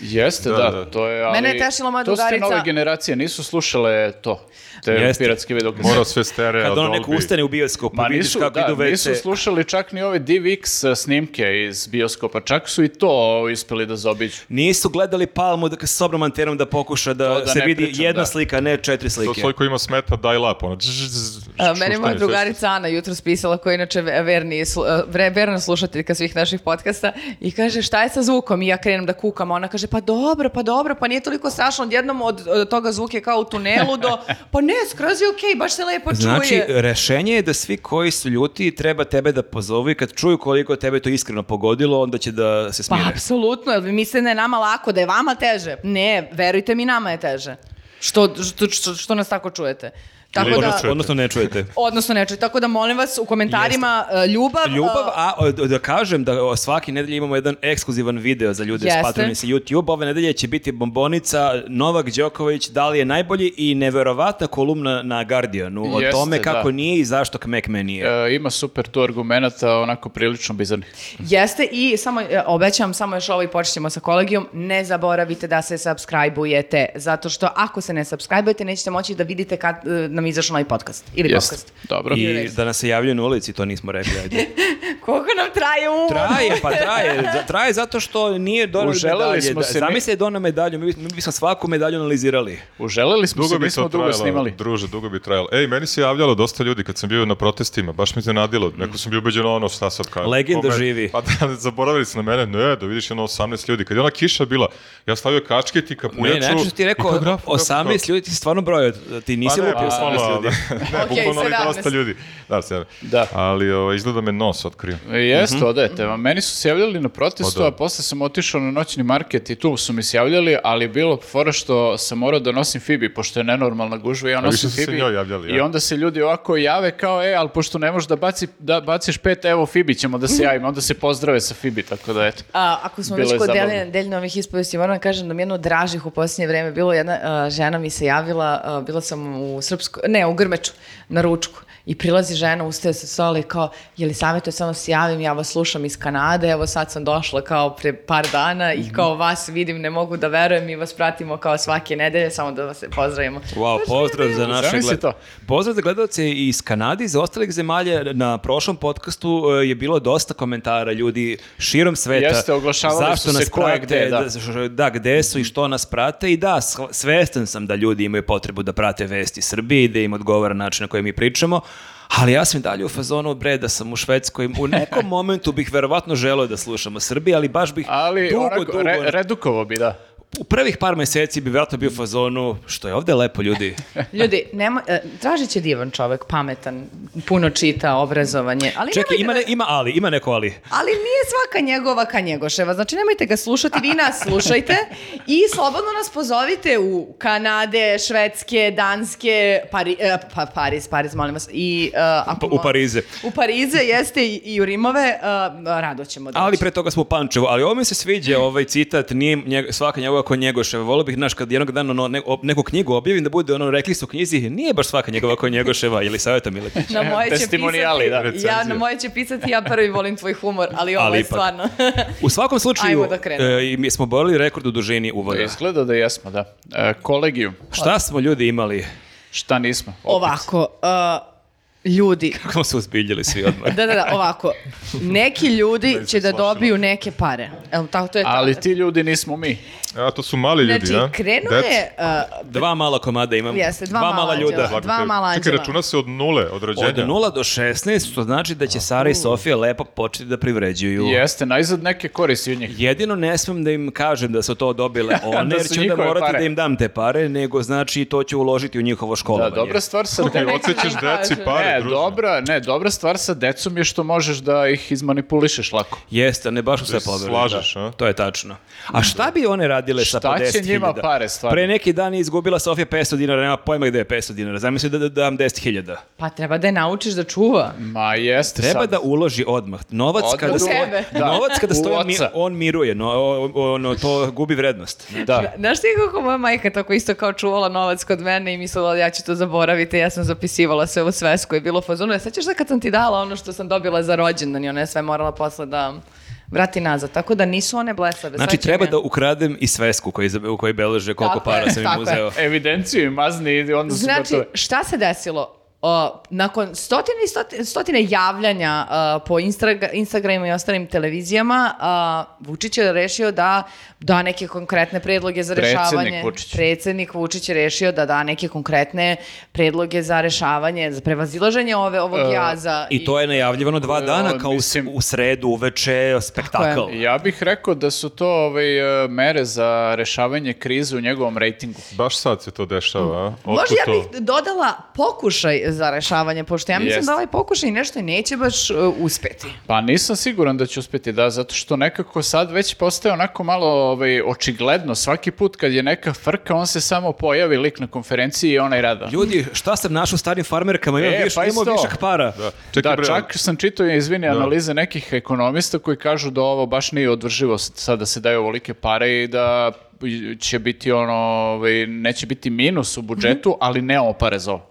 S4: Jeste, da,
S1: Da, da.
S4: to je, ali...
S3: Mene je tešila moja
S4: To
S3: drugarica-
S4: ste nove generacije, nisu slušale to, te
S2: Jeste.
S4: piratske videokasete.
S1: Mora sve stereo,
S2: Kad ono
S1: Dolby.
S2: neko ustane u bioskopu,
S4: E, Ma
S2: vidiš
S4: nisu,
S2: kako
S4: da,
S2: idu WC.
S4: nisu slušali čak ni ove DivX eh, snimke iz bioskopa, čak su i to uspeli da zobiđu.
S2: Nisu gledali palmu da, s obnom antenom da pokuša da,
S4: To da
S2: se
S4: ne
S2: vidi
S4: pričam,
S2: jedna
S4: da.
S2: slika, ne četiri slike.
S1: To svoj koji ima smeta, daj lap, ono. dž- dž- dž-
S3: E, Mene je moja
S1: šuštanje,
S3: drugarica Ana jutro spisala, koja je inače ve- verni, slu- e, vre- verna slušateljka svih naših podcasta i kaže šta je sa zvukom i ja krenem da kukam. a Ona kaže pa dobro, pa dobro, pa nije toliko strašno. Odjednom od, od toga zvuk je kao u tunelu do pa ne, skroz je okej, baš se lepo
S2: Znači,
S3: čuje.
S2: rešenje je da svi koji su ljuti treba tebe da pozovu i kad čuju koliko tebe to iskreno pogodilo, onda će da se
S3: Pa
S2: smire.
S3: apsolutno, jel vi mislite da je nama lako, da je vama teže? Ne, verujte mi, nama je teže. Što, što, što, što nas tako čujete? Tako
S1: Ili
S3: da,
S1: nas čujete.
S2: Odnosno ne čujete.
S3: odnosno ne čujete. Tako da molim vas u komentarima e, ljubav.
S2: Ljubav,
S3: e,
S2: a o, da kažem da o, svaki nedelje imamo jedan ekskluzivan video za ljude
S3: Jeste.
S2: s Patreon i sa YouTube. Ove nedelje će biti bombonica Novak Đoković, da li je najbolji i neverovatna kolumna na Guardianu o
S4: Jeste,
S2: tome
S4: da.
S2: kako nije i zašto Kmekme nije.
S4: E, ima super tu argumenata, onako prilično bizarnih.
S3: Jeste i samo e, obećam samo još ovo i počinjemo sa kolegijom. Ne zaboravite da se subscribe-ujete zato što ako se ne subscribe-ujete nećete moći da vidite kad e, nam izašao novi podcast ili
S4: Jeste,
S3: podcast.
S4: dobro.
S2: I da nas se javljaju na ulici, to nismo rekli. Ajde.
S3: Koliko nam traje uvod?
S2: Traje, pa traje. za- Traje zato što nije donao
S4: Uželeli
S2: medalje.
S4: smo
S2: Da-
S4: se mi-
S2: Zamisli je donao medalju, mi, bi- mi bismo svaku medalju analizirali.
S4: Uželeli smo
S1: Dugo
S4: se,
S1: bi
S4: nismo
S1: to
S4: dugo
S1: trajalo,
S4: snimali.
S1: druže, dugo bi trajalo. Ej, meni se javljalo dosta ljudi kad sam bio na protestima, baš mi se nadilo. Neko sam bio ubeđen ono šta sad kao.
S2: Legenda
S1: Kome-
S2: živi.
S1: Pa da, [laughs] zaboravili su na mene, ne, da vidiš ono 18 ljudi. Kad je ona kiša bila, ja stavio kačket i kapuljaču.
S2: Ne, znači ti
S1: i kao
S2: rekao
S1: graf, graf,
S2: 18 ljudi, ti si stvarno brojao, ti
S1: Pa
S2: nisi
S1: ne,
S2: lupio 18
S1: bukvalno,
S2: ljudi. [laughs]
S1: ne,
S3: Ok,
S1: bukvalno ali
S3: 17.
S1: dosta ljudi. Da, se,
S4: Da.
S1: Ali ovo, izgleda me nos otkrio.
S4: Jeste,
S1: Mhm.
S4: odajete. vam. Meni su se javljali na protestu,
S1: O, da.
S4: a posle sam otišao na noćni market i tu su mi se javljali, ali je bilo fora što sam morao da nosim Fibi, pošto je nenormalna gužva i ja nosim
S1: više su se
S4: Fibi.
S1: njoj javljali,
S4: I
S1: ja.
S4: onda se ljudi ovako jave kao, e, ali pošto ne možeš da, baci, da baciš pet, evo Fibi ćemo da se javimo, onda se pozdrave sa Fibi, tako da eto.
S3: A, ako smo
S4: Bilo je
S3: već kod
S4: zabavno.
S3: deljenja deljno ovih ispovesti, moram da kažem da mi je jedno od dražih u posljednje vreme bilo jedna a, žena mi se javila, a, bila sam u Srpsku, ne, u Grmeču, na ručku. I prilazi žena, ustaje sa stola i kao, je li savjetuje, samo se javim, ja vas slušam iz Kanade, evo sad sam došla kao pre par dana i kao vas vidim, ne mogu da verujem, mi vas pratimo kao svake nedelje, samo da vas se pozdravimo.
S2: Wow, pozdrav za naše
S4: Zamisli
S2: gledalce.
S4: to.
S2: Pozdrav za gledalce iz Kanade i za ostalih zemalja. Na prošlom podcastu e, je bilo dosta komentara ljudi širom sveta.
S4: Jeste, oglašavali su
S2: zašto
S4: se
S2: nas
S4: ko je
S2: prate,
S4: gde, da.
S2: da. š- da, gde su i što nas prate. I da, sv- svestan sam da ljudi imaju potrebu da prate vesti Srbije i da im odgovara način na koji mi pričamo. Ali ja sam i dalje u fazonu, bre, da sam u Švedskoj. U
S4: [laughs]
S2: nekom momentu bih verovatno želeo da slušam o Srbiji, ali baš bih
S4: Ali
S2: dugo,
S4: onako,
S2: dugo...
S4: re- redukovo bi, da.
S2: u prvih par meseci bi verovatno bio u fazonu, što je ovde lepo, ljudi.
S3: Ljudi, nema, e, Dražić je divan čovek, pametan, puno čita, obrazovanje, ali
S2: Čekaj,
S3: nemojte
S2: ima,
S3: Pa da-
S2: ne- ima ali, ima neko ali.
S3: Ali nije svaka njegova ka njegoševa. Znači nemojte ga slušati, vi nas slušajte i slobodno nas pozovite u Kanade, Švedske, Danske, Pari, e, pa, Pariz, Pariz, molim vas. I, e, ako
S2: Pa, u
S3: mo-
S2: Parize.
S3: U Parize jeste i, i u Rimove, e, rado ćemo doći.
S2: Ali pre toga smo u Pančevu, ali ovo mi se sviđa
S3: Mm.
S2: ovaj citat, nije njeg, svaka njegova ko njegoševa. Volio bih, znaš, kad jednog dana ono, ne- ob- neku knjigu objavim da bude ono, rekli su u knjizi, nije baš svaka njegova ko njegoševa, ili savjeta Miletić.
S3: Na moje će
S4: Testimonijali,
S3: pisati,
S4: da,
S3: ja,
S1: recenzije.
S3: na moje će pisati, ja prvi volim tvoj humor, ali ovo
S2: Ali
S3: je
S2: ipak. [laughs]
S3: stvarno.
S2: U svakom slučaju,
S3: Ajmo da krenemo.
S2: e, i mi smo borili rekord u dužini uvoda.
S4: Izgleda da jesmo, da. E, kolegijum,
S2: Šta smo ljudi imali?
S4: šta nismo? Opet.
S3: Ovako, uh,
S2: [laughs]
S3: ljudi
S2: Kako su uzbiljili svi
S3: [laughs]
S2: odmah.
S3: Da, da, da, ovako. Neki ljudi
S1: Da,
S3: će da
S1: isplašeno.
S3: dobiju neke pare. Evo, tako to je ta-
S4: Ali ti ljudi nismo mi.
S1: A to su mali ljudi,
S3: Znači,
S1: ja?
S3: krenuo
S1: Deca.
S3: je... uh,
S2: Dva mala komada imam.
S3: Jeste, dva
S2: dva mala
S3: mala
S2: ljuda.
S3: anđela. dva mala
S1: Čekaj,
S3: anđela.
S1: računa se od nule, od rođenja.
S2: Od 0 do 16, što znači da će Sara i Sofija lepo početi da privređuju.
S4: Jeste, najzad neke koristi od njih.
S2: Jedino ne smem da im kažem da su to dobile one,
S4: [laughs] Da
S2: jer
S4: su
S2: ću da
S4: njihove
S2: morati
S4: pare.
S2: da im dam te pare, nego znači to ću uložiti u njihovo
S4: Da,
S2: školovanje.
S4: dobra stvar sa
S1: Ti
S4: decom.
S1: odsećaš deci
S3: [laughs] Ne,
S1: pare,
S2: E,
S4: Ne,
S1: druže.
S4: dobra, E, ne, dobra stvar sa decom je što možeš da ih izmanipulišeš lako.
S2: Jeste, ne baš u sve poverujem.
S1: slažeš,
S2: da.
S1: a?
S2: To je tačno. A šta bi one radile sa
S4: Šta
S2: po 10.000?
S4: će njima pare, stvarno?
S2: Pre neki dan je izgubila Sofija 500 dinara, nema pojma gde je 500 dinara. Zamisli da, da dam 10.000.
S3: Pa treba da je naučiš da čuva.
S4: Ma jeste
S2: Treba
S4: sad.
S2: da uloži odmah. Novac
S4: Odmah
S2: kada
S4: u
S2: stoji,
S3: sebe.
S4: Da.
S2: [laughs] novac kada
S4: U
S2: stoji, on, mi-
S4: oca.
S2: on miruje, no, o- o- ono, to gubi vrednost.
S4: Da.
S3: Znaš ti kako moja majka tako isto kao čuvala novac kod mene i mislila ja ću to zaboraviti, ja sam zapisivala sve u svesku i bilo u fazonu. Ja sećaš da kad sam ti dala ono što sam dobila za rođendan i ona je sve morala posle da vrati nazad. Tako da nisu one blesave.
S2: Znači,
S3: sad će
S2: treba
S3: mi-
S2: da ukradem i svesku koji, za- u kojoj beleže koliko
S3: Tako je,
S2: para sam im
S3: tako je.
S2: uzeo.
S4: Evidenciju i mazni i onda su
S3: Znači,
S4: gotove.
S3: šta se desilo? O, nakon stotine i stotine, stotine javljanja a, po Instagra- Instagramu i ostalim televizijama, a, Vučić je rešio da da neke konkretne predloge za
S4: Predsednik
S3: rešavanje.
S4: Vučić.
S3: Predsednik Vučić je rešio da da neke konkretne predloge za rešavanje, za prevazilaženje ove, ovog
S4: E,
S3: jaza.
S2: I to je najavljivano dva
S4: E,
S2: dana, kao u, s-
S4: mislim-
S2: u sredu, uveče, spektakl.
S3: Tako
S4: Ja bih rekao da su to ovaj, e, mere za rešavanje krize u njegovom rejtingu.
S1: Baš sad se to dešava, a? Otkud
S3: Možda ja
S1: to?
S3: bih dodala pokušaj za rešavanje, pošto ja mislim
S4: Jest.
S3: da ovaj pokušaj nešto neće baš e, uspeti.
S4: Pa nisam siguran da će uspjeti da, zato što nekako sad već postaje onako malo ovaj, očigledno. Svaki put kad je neka frka, on se samo pojavi lik na konferenciji i onaj rada.
S2: Ljudi, šta sam našao u starim farmerkama? Imam,
S4: E,
S2: viš,
S4: pa
S2: imam
S4: isto.
S2: višak para.
S1: Da, čekaj
S4: da,
S1: bre,
S4: čak sam čitao, izvini,
S1: Da.
S4: analize nekih ekonomista koji kažu da ovo baš nije održivo s- sad da se daju ovolike pare i da će biti ono, ovaj, neće biti minus
S1: Mhm.
S4: u budžetu, ali ne opare za ovo.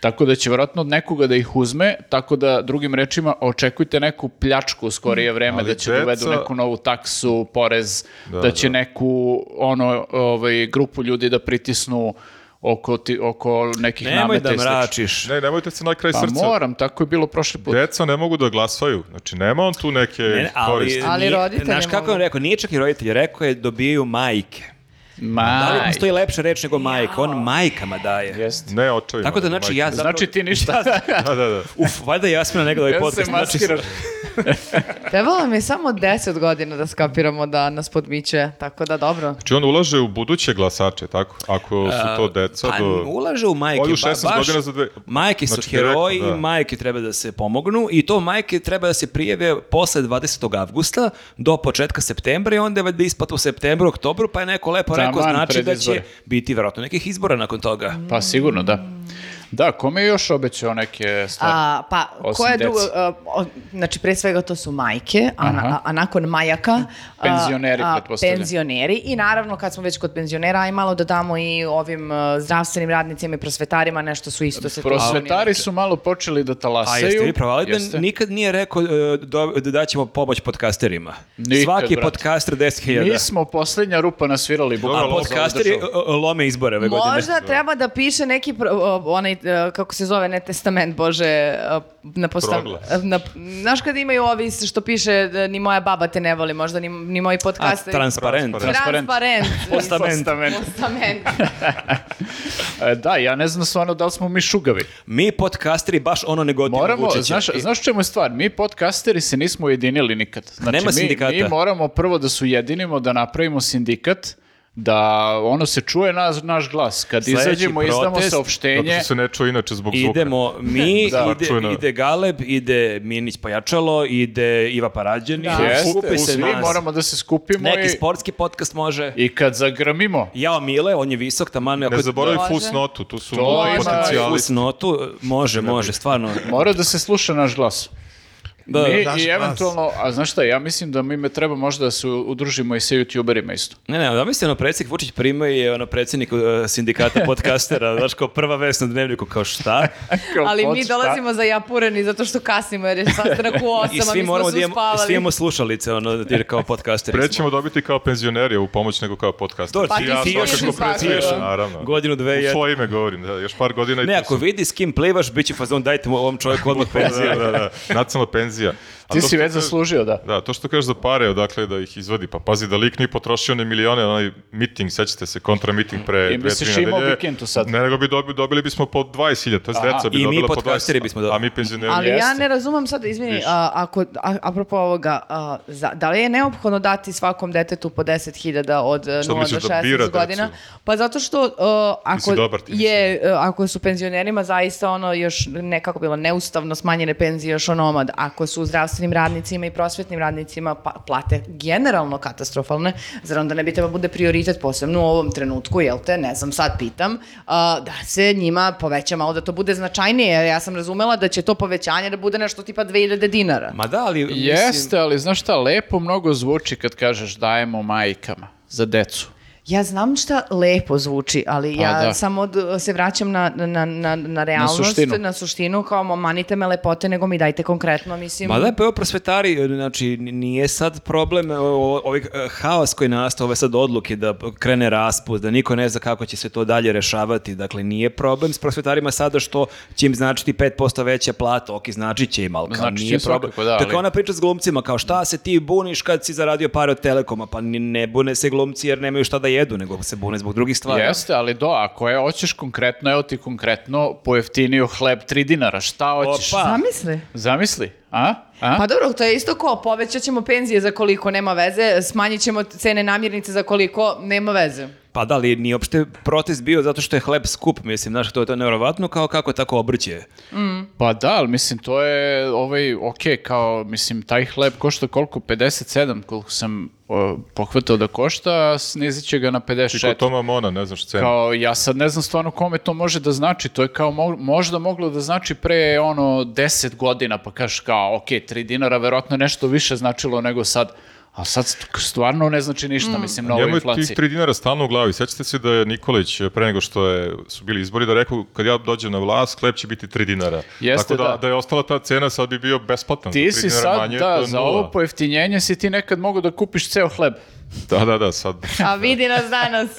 S4: Tako da će vjerojatno od nekoga da ih uzme, tako da drugim rečima očekujte neku pljačku u skorije vreme,
S1: Ali
S4: da će
S1: deca-
S4: dovedu neku novu taksu, porez, da,
S1: Da,
S4: će
S1: da.
S4: neku ono, ovaj, grupu ljudi da pritisnu oko, ti, oko nekih
S2: Nemoj
S4: nameta
S2: da
S4: i slično.
S2: mračiš.
S1: Ne, nemojte se na kraj
S4: Pa
S1: srca.
S4: moram, tako je bilo prošli put.
S1: Deca ne mogu da glasaju. Znači, nema on tu neke
S2: Ne, ne, ali,
S1: koristi.
S3: Ali
S2: nije-
S3: roditelji
S2: Znaš kako je on
S3: mogu.
S2: rekao? Nije čak i roditelji. Rekao je dobijaju majke. Da li
S4: Ma,
S2: postoji lepša reč nego majka? On majkama daje.
S4: jeste.
S1: Ne, očevima.
S2: Tako da znači ja zapravo...
S4: Znači ti ništa.
S1: [laughs] Da, da, da.
S2: Uf, valjda je Jasmina negdje ovaj
S4: Ja se
S2: podcast. Znači,
S4: maskiraš.
S3: Trebalo mi je samo 10 godina da skapiramo da nas podmiće, tako da dobro.
S1: Znači, on ulaže u buduće glasače, tako? Ako su to deca
S2: pa
S1: do...
S2: ulaže u majke.
S1: Ovi u
S2: ba-
S1: 16
S2: baš-
S1: godina za dve-
S2: Majke su
S1: Znači, direktno,
S2: heroji
S1: da.
S2: i majke treba da se pomognu i to majke treba da se prijeve posle 20. avgusta do početka septembra i onda je valjda isplata u septembru, oktobru, pa je neko lepo rekao
S4: Taman
S2: znači
S4: pred
S2: da će
S4: izbore.
S2: biti vjerojatno nekih izbora nakon toga.
S4: [laughs] Pa sigurno, da. Da, kome je još obećao neke stvari?
S3: A, pa,
S4: Osim
S3: ko je
S4: dece.
S3: drugo, a, o- znači pre svega to su majke, a, na-
S4: Aha.
S3: a- a nakon majaka... a-
S4: Penzioneri,
S3: a,
S4: pretpostavljam.
S3: Penzioneri i naravno kad smo već kod penzionera, aj malo da damo i ovim a, zdravstvenim radnicima i prosvetarima, nešto su isto se tu
S4: Prosvetari
S3: bunili.
S4: su malo počeli da
S2: A
S4: talasaju.
S2: jeste vi provali da
S4: Jeste.
S2: nikad nije rekao e, do- da daćemo pomoć podcasterima?
S4: Nikad,
S2: Svaki
S4: brate.
S2: podcaster 10.000.
S4: Mi smo posljednja rupa nasvirali. bukvalno
S2: A
S4: za ovu
S2: podcasteri
S4: državu.
S2: e, e, lome izbore ove godine.
S3: Možda treba da piše neki, pro- o, onaj, e, kako se zove, ne testament, bože, e, na postav...
S1: Proglas.
S3: e, Na, znaš kad imaju ovi što piše e, ni moja baba te ne voli, možda ni, ni moji
S2: A,
S3: podcasteri.
S2: transparent.
S1: Transparent.
S3: Transparent.
S2: Postament.
S4: Postament.
S3: Postament.
S4: E, Da, ja ne znam stvarno da li smo mi šugavi.
S2: Mi podcasteri baš ono ne godimo
S4: Moramo,
S2: Vučića.
S4: znaš,
S2: I-
S4: znaš u čemu je stvar? Mi podcasteri se nismo ujedinili nikad. Znači,
S2: Nema
S4: mi-
S2: sindikata.
S4: Mi, moramo prvo da se ujedinimo, da napravimo sindikat, da ono se čuje nas, naš glas. Kad
S2: Sledeći
S4: izađemo, izdamo
S2: protest,
S1: Zato
S4: saopštenje.
S1: što se ne čuje inače zbog zvuka.
S2: Idemo mi,
S4: [laughs] Da.
S2: ide,
S1: Čujno.
S2: ide Galeb, ide Minić Pojačalo, ide Iva Parađeni.
S3: Da.
S4: Jeste,
S2: Skupi se
S4: svi
S2: nas.
S4: moramo da se skupimo
S2: Neki
S4: i,
S2: sportski podcast može.
S4: i kad zagrmimo,
S2: Jao Mile, on je visok, taman. ako-
S1: Ne zaboravi
S3: Može.
S1: fusnotu, tu su
S4: To ima-
S1: potencijali.
S2: Fusnotu, može, može, stvarno.
S4: mora da se sluša naš glas.
S2: Da,
S4: mi
S5: daš
S4: i
S5: glas.
S4: eventualno, a znaš šta, ja mislim da mi me treba možda da se udružimo i sa youtuberima isto.
S2: Ne, ne, da misli, ono, predsjednik Vučić prima i ono, predsjednik e, sindikata podcastera, [laughs] znaš, kao prva vest na dnevniku, kao šta?
S4: [laughs] Kao,
S3: Ali
S4: pod
S3: mi
S4: šta?
S3: dolazimo za Japureni zato što kasnimo jer je sastanak u
S2: I
S3: osam, a
S2: svi
S3: mi smo
S2: moramo
S3: se
S2: da imamo, i svi
S3: uspavali.
S2: imamo slušalice, ono, jer kao podcasteri
S1: Pre
S2: smo.
S1: ćemo dobiti kao penzioneri ovu pomoć nego kao podcast.
S2: Dobro,
S3: Pa ti ti još i svakako.
S1: naravno.
S2: Godinu, dve,
S1: U
S2: jedan.
S1: svoje ime govorim, da, još par godina i
S2: Ne,
S1: tu
S2: ako
S1: sam.
S2: vidi s kim plivaš, bit će fazon, dajte mu ovom čovjeku odmah penziju.
S1: [laughs] Da, da, da, nacionalna penzija. A
S4: Ti
S1: to
S4: si
S1: što
S4: već
S1: kažeš-
S4: zaslužio, da.
S1: Da, to što kažeš za pare, odakle da ih izvadi, pa pazi da lik nije potrošio ni milione, na onaj miting, sećate se, kontra miting pre
S4: I
S1: dve,
S4: misliš
S1: tri
S4: imao
S1: nedelje.
S4: bi kintu sad?
S1: Ne, nego bi dobili, dobili bismo po 20.000, to jest deca bi
S2: i mi
S1: dobila po 20.
S2: podcasteri bismo dobili.
S1: A mi penzioneri.
S3: Ali ja
S4: Jeste.
S3: ne razumem sad, izvini, a, ako, a, apropo ovoga, a, za, da li je neophodno dati svakom detetu po 10.000 od e,
S1: Što
S3: 0 do
S1: misliš da bira
S3: 16
S1: decu?
S3: godina? Pa zato što e, ako,
S1: Nisi dobar ti, nisi.
S3: je, e, ako su penzionerima zaista ono još nekako bilo neustavno smanjene penzije još onomad, ako su zdravstvenim radnicima i prosvetnim radnicima pa, plate generalno katastrofalne, zar onda ne bi treba bude prioritet posebno u ovom trenutku, jel te, ne znam, sad pitam, a, da se njima poveća malo, da to bude značajnije, jer ja sam razumela da će to povećanje da bude nešto tipa 2000 dinara.
S2: Ma da, ali... mislim-
S4: Jeste, ali znaš šta, lepo mnogo zvuči kad kažeš dajemo majkama za decu.
S3: Ja znam šta lepo zvuči, ali
S4: Pa
S3: ja
S4: da.
S3: samo d- se vraćam na, na, na, na realnost, na suštinu.
S4: suštinu.
S3: kao ma, manite me lepote, nego mi dajte konkretno, mislim.
S2: Ma da, pa evo prosvetari, znači nije sad problem o- o- ovaj e, haos koji nastao, ove sad odluke da krene raspust, da niko ne zna kako će se to dalje rešavati, dakle nije problem s prosvetarima sada što će im značiti 5% veća plata, ok, znači će im, ali kao
S4: Znači će
S2: nije
S4: im
S2: problem.
S4: svakako, da, ali-
S2: Tako ona priča s glumcima, kao šta se ti buniš kad si zaradio pare od Telekoma, pa ni- ne bune se glumci jer nemaju šta da jedu, nego se bune zbog drugih stvari.
S4: Jeste, ali do, ako je, hoćeš konkretno, evo ti konkretno pojeftinio hleb 3 dinara, šta hoćeš?
S2: Opa.
S3: Zamisli.
S4: Zamisli, a? a?
S3: Pa dobro, to je isto ko, povećat ćemo penzije za koliko, nema veze, smanjit ćemo cene namirnice za koliko, nema veze.
S2: Pa da, ali nije uopšte protest bio zato što je hleb skup, mislim, znaš, to je to nevjerovatno, kao kako tako obrće.
S4: Pa da, ali mislim, to je, ovaj, ok, kao, mislim, taj hleb košta koliko? 57, koliko sam o, pohvatao da košta, a snizit će ga na
S1: Ti kod
S4: 54.
S1: Toma Mona, ne znaš cenu.
S4: Kao, ja sad ne znam stvarno kome to može da znači, to je kao mo- možda moglo da znači pre, ono, 10 godina, pa kažeš kao, ok, 3 dinara, verovatno je nešto više značilo nego sad, a sad st- stvarno ne znači ništa, mislim, na ovoj
S1: Njemu je
S4: inflaciji.
S1: tih 3 dinara stalno u glavi. Sjećate se da je Nikolić, eh, pre nego što je, su bili izbori, da je rekao kad ja dođem na vlast, hleb će biti 3 dinara.
S4: Jeste,
S1: Tako da,
S4: da.
S1: da je ostala ta cena, sad bi bio besplatan.
S4: Ti
S1: Za
S4: si
S1: tri dinara
S4: sad,
S1: manje, to
S4: da,
S1: je
S4: za
S1: nula.
S4: ovo pojeftinjenje si ti nekad mogao da kupiš ceo hleb.
S1: Da, da, da, sad.
S3: [laughs] A vidi nas danas.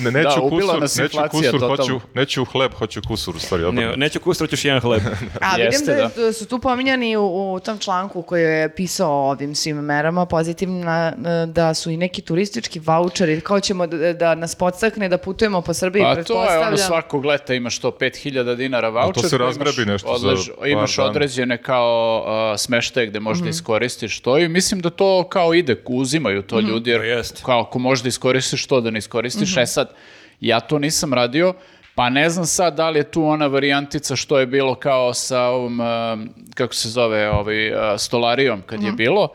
S1: Ne, neću
S4: Da, ubila
S1: kusur,
S4: nas
S1: neću
S4: inflacija
S1: kusur,
S4: totalno.
S1: hoću, neću hleb, hoću kusur, u stvari. obrnuto.
S2: Ne, neću kustra, hoćeš jedan
S4: [laughs]
S2: hleb.
S3: A vidim
S4: Jeste,
S3: da, je- su tu pominjani u, u tom članku koji je pisao o ovim svim merama pozitivna e, da su i neki turistički voucheri, kao ćemo da, da nas podstakne da putujemo po Srbiji,
S4: Pa to je
S3: pretpostavljam.
S4: ono svakog leta imaš to 5000 dinara voucher.
S1: to se
S4: pa imaš
S1: razgrabi nešto za par
S4: Imaš
S1: dana.
S4: određene kao a, smeštaje gde možda iskoristiš to i mislim da to kao ide, uzimaju to ljudi jer
S2: Pa jest.
S4: kao ako možda iskoristiš to da ne iskoristiš. E sad, ja to nisam radio, pa ne znam sad da li je tu ona varijantica što je bilo kao sa ovom, a, kako se zove, ovaj, a, stolarijom kad je bilo,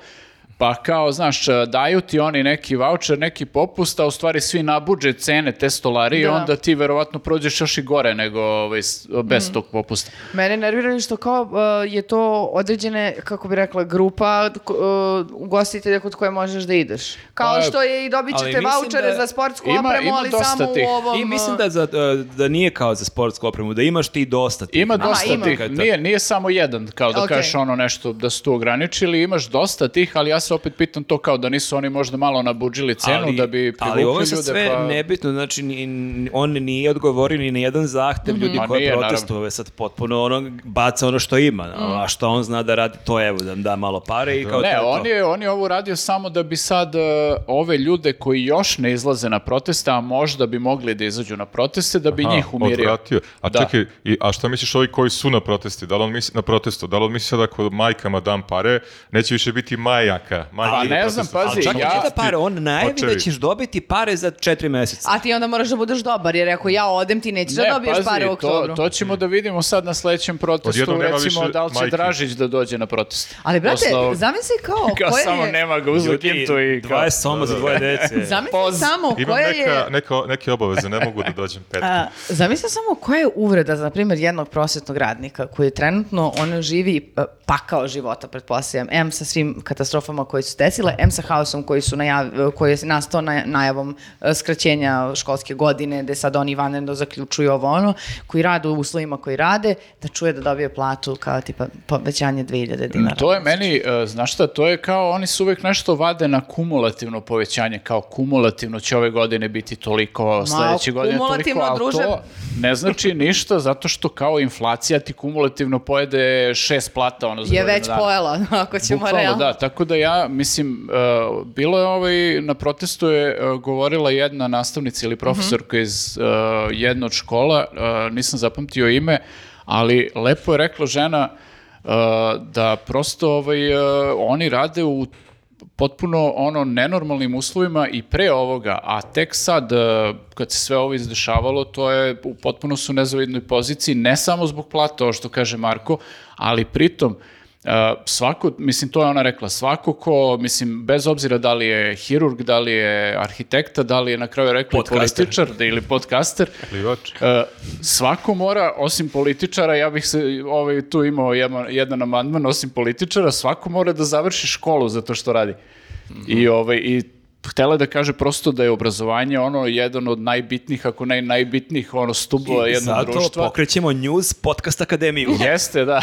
S4: Pa kao, znaš, daju ti oni neki voucher, neki popust, a u stvari svi nabuđe cene te stolarije,
S3: Da.
S4: onda ti verovatno prođeš još i gore nego ovaj, s- bez tog popusta.
S3: Mene nerviraju što kao uh, je to određene, kako bi rekla, grupa k- uh, ugostitelja kod koje možeš da ideš. Kao
S4: Pa,
S3: što je i dobit
S2: ali
S3: ćete
S2: mislim
S3: vouchere
S2: da-
S3: za sportsku
S4: Ima-
S3: opremu,
S4: ima
S3: ali
S4: dosta
S3: samo
S4: tih.
S3: u ovom...
S2: I mislim
S3: uh,
S2: da, za, e, da nije kao za sportsku opremu, da imaš ti dosta tih.
S4: Ima
S2: Aha,
S4: dosta
S3: ima.
S4: tih, nije, nije samo jedan, kao da
S3: Okej.
S4: kažeš ono nešto, da su tu ograničili, imaš dosta tih, ali ja se opet pitam to kao da nisu oni možda malo nabuđili cenu da bi privukli
S2: ali ovo je sad
S4: ljude,
S2: sve
S4: pa...
S2: nebitno, znači ni- ni- on nije odgovorio ni na jedan zahtev
S3: Mhm.
S2: ljudi
S4: Ma
S2: koji
S4: nije, naravno.
S2: protestuju, je sad potpuno ono, baca ono što ima,
S3: Mm.
S2: a što on zna da radi, to evo, da da malo pare i kao to
S4: Ne,
S2: je to.
S4: on je, on je ovo radio samo da bi sad e, ove ljude koji još ne izlaze na proteste, a možda bi mogli da izađu na proteste, da bi
S1: Aha,
S4: njih umirio.
S1: Odvratio. A
S4: Da.
S1: čekaj, i, a šta misliš ovi koji su na protesti? Da li on misli, na protestu, da li on misli sad ako majkama dam pare, neće više biti majaka? Maja. Maja
S4: Pa
S1: ide
S4: ne
S1: protestna
S4: znam,
S1: stranka.
S4: pazi,
S2: Čak
S1: Čekaj,
S4: ja-
S1: čekaj,
S2: ja,
S1: čekaj,
S2: da pare, on najavi
S1: Očevi.
S2: da ćeš dobiti pare za četiri meseca.
S3: A ti onda moraš da budeš dobar, jer ako ja odem, ti nećeš da dobiješ pare u
S4: to,
S3: oktobru.
S4: to ćemo da vidimo sad na sledećem protestu,
S1: Odjednom nema
S4: recimo
S1: više
S4: da li će
S1: majki.
S4: Dražić da dođe na protest.
S3: Ali, brate,
S4: Posle ovog-
S3: zamisli
S4: [laughs]
S3: kao,
S4: Kao
S3: koje
S4: samo
S3: je...
S4: nema ga, uzeo kintu i kao...
S2: 20 soma za dvoje dece.
S3: Zamisli
S4: Poz.
S3: samo
S1: Imam
S3: koje
S1: neka,
S3: je...
S1: neka- neke obaveze, ne mogu da dođem petka.
S3: A, zamisli samo koja je uvreda za na primjer jednog prosvetnog radnika koji je trenutno on živi e, pakao života pretpostavljam em sa svim katastrofama koje su se desile em sa haosom koji su najav, koji je nastao na, najavom e, skraćenja školske godine gde sad oni vanredno zaključuju ovo ono koji rade u uslovima koji rade da čuje da dobije platu kao tipa povećanje 2000 dinara
S4: To je meni, e, znaš šta, to je kao, oni su uvek nešto vade na kumulativno povećanje, kao kumulativno će ove godine biti toliko, sledeće godine toliko,
S3: kumulativno,
S4: ali
S3: druže.
S4: to ne znači ništa, zato što kao inflacija ti kumulativno pojede šest plata, ono, za
S3: je
S4: godinu
S3: već
S4: dana.
S3: pojela ako ćemo
S4: Bukvalno
S3: realno
S4: da, tako da ja, mislim, uh, bilo je ovaj, na protestu je uh, govorila jedna nastavnica ili profesorka
S3: Mhm.
S4: iz uh, jedne od škola, uh, nisam zapamtio ime, ali lepo je rekla žena uh, da prosto ovaj, uh, oni rade u potpuno ono nenormalnim uslovima i pre ovoga, a tek sad e, kad se sve ovo izdešavalo, to je u potpuno su nezavidnoj poziciji, ne samo zbog plata, ovo što kaže Marko, ali pritom e, svako, mislim to je ona rekla, svako ko, mislim bez obzira da li je hirurg, da li je arhitekta, da li je na kraju rekla i
S2: Podcaster.
S4: političar da, ili podcaster,
S1: Plivač.
S4: E, svako mora, osim političara, ja bih se ovaj, tu imao jedan, jedan amandman, osim političara, svako mora da završi školu za to što radi. I,
S2: Mhm.
S4: ovaj, i htela je da kaže prosto da je obrazovanje ono jedan od najbitnijih, ako ne i najbitnijih ono stubova
S2: I
S4: jednog
S2: zato
S4: društva.
S2: pokrećemo News Podcast
S4: [laughs]
S2: Akademiju.
S4: Jeste, da.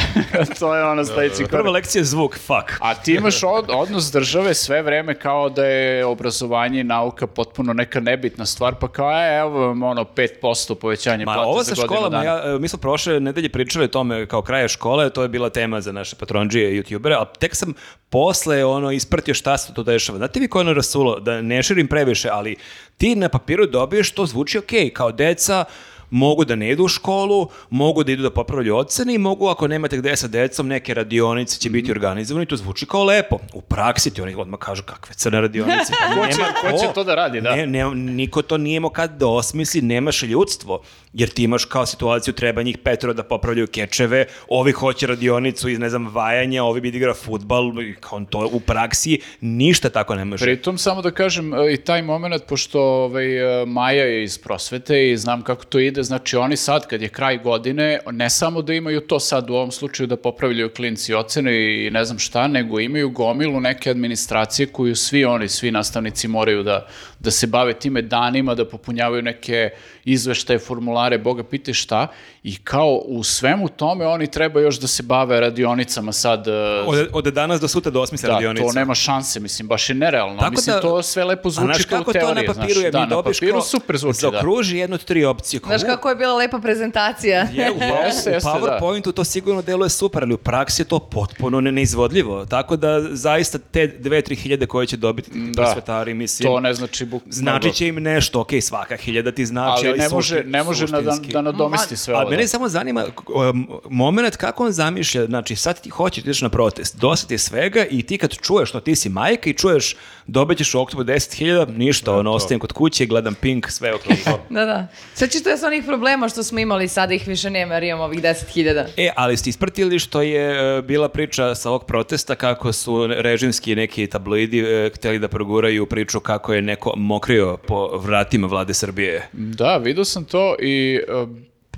S4: to je ono sledeći
S2: Prva
S4: korak.
S2: lekcija je zvuk, fuck.
S4: A ti imaš od- odnos države sve vreme kao da je obrazovanje i nauka potpuno neka nebitna stvar, pa kao e, evo vam ono 5% povećanje
S2: Ma
S4: plate
S2: ovo
S4: za
S2: sa
S4: godinu
S2: školama,
S4: dana.
S2: ja, e, mi smo prošle nedelje pričali o tome kao kraja škole, to je bila tema za naše patronđije i youtubere, ali tek sam posle ono ispratio šta se to dešava. Znate vi ko je ono rasulo, da ne širim previše, ali ti na papiru dobiješ to zvuči ok, kao deca, mogu da ne idu u školu, mogu da idu da popravljaju ocene i mogu ako nemate gde sa decom, neke radionice će
S4: Mhm.
S2: biti organizovane i to zvuči kao lepo. U praksi ti oni odmah kažu kakve crne radionice. pa
S4: Ko će-
S2: nema
S4: ko će to da radi, da.
S2: Ne, ne, niko to nije imao kad da osmisli, nemaš ljudstvo, jer ti imaš kao situaciju treba njih petro da popravljaju kečeve, ovi hoće radionicu iz, ne znam, vajanja, ovi bi da igra futbal, i kao to u praksi ništa tako ne može.
S4: Pritom, samo da kažem, e, i taj moment, pošto ovaj, e, Maja je iz prosvete i znam kako to ide, znači oni sad, kad je kraj godine, ne samo da imaju to sad u ovom slučaju da popravljaju klinci ocene i ne znam šta, nego imaju gomilu neke administracije koju svi oni, svi nastavnici moraju da, da se bave time danima, da popunjavaju neke izveštaje, formulare, boga pite šta, i kao u svemu tome oni treba još da se bave radionicama sad, e,
S2: Od, od danas do sutra da osmisle
S4: da,
S2: radionicu.
S4: to nema šanse, mislim, baš je nerealno.
S2: Tako
S4: mislim,
S2: da-
S4: to sve lepo
S2: A znaš
S4: zvuči kao
S2: kako
S4: u teoriji.
S2: to na papiru je,
S4: da,
S2: mi dobiješ
S4: na papiru
S2: kao
S4: super zvuči, da.
S2: zaokruži jednu od tri opcije. kao,
S3: Znaš
S2: u,
S3: kako je bila lepa prezentacija?
S2: Je, [laughs] u, power-
S4: Jeste,
S2: u
S4: jeste, da.
S2: PowerPointu to sigurno deluje super, ali u praksi je to potpuno ne, neizvodljivo. Tako da zaista te dve, tri hiljade koje će dobiti ti
S4: Mm, Da.
S2: prosvetari, mislim,
S4: To ne znači buk...
S2: znači
S4: mnogo.
S2: će im nešto. Ok, svaka hiljada ti znači,
S4: Ali ne
S2: sušti-
S4: može, ne može na, da,
S2: suštinski.
S4: da nadomesti sve ovo.
S2: Ali mene
S4: da.
S2: samo zanima um, moment kako on zamišlja, znači sad ti hoćeš, ideš na protest, dosta ti je svega i ti kad čuješ što ti si majka i čuješ dobit ćeš u oktobru 10.000, ništa, ono, ostajem kod kuće, gledam Pink, sve ok.
S4: [laughs]
S3: Da, da. Sećaš to je sa onih problema što smo imali, sada ih više nema jer imamo ovih 10.000.
S2: E, ali ste ispratili što je e, bila priča sa ovog protesta kako su režimski neki tabloidi e, hteli da proguraju priču kako je neko mokrio po vratima vlade Srbije.
S4: Da, vidio sam to i e,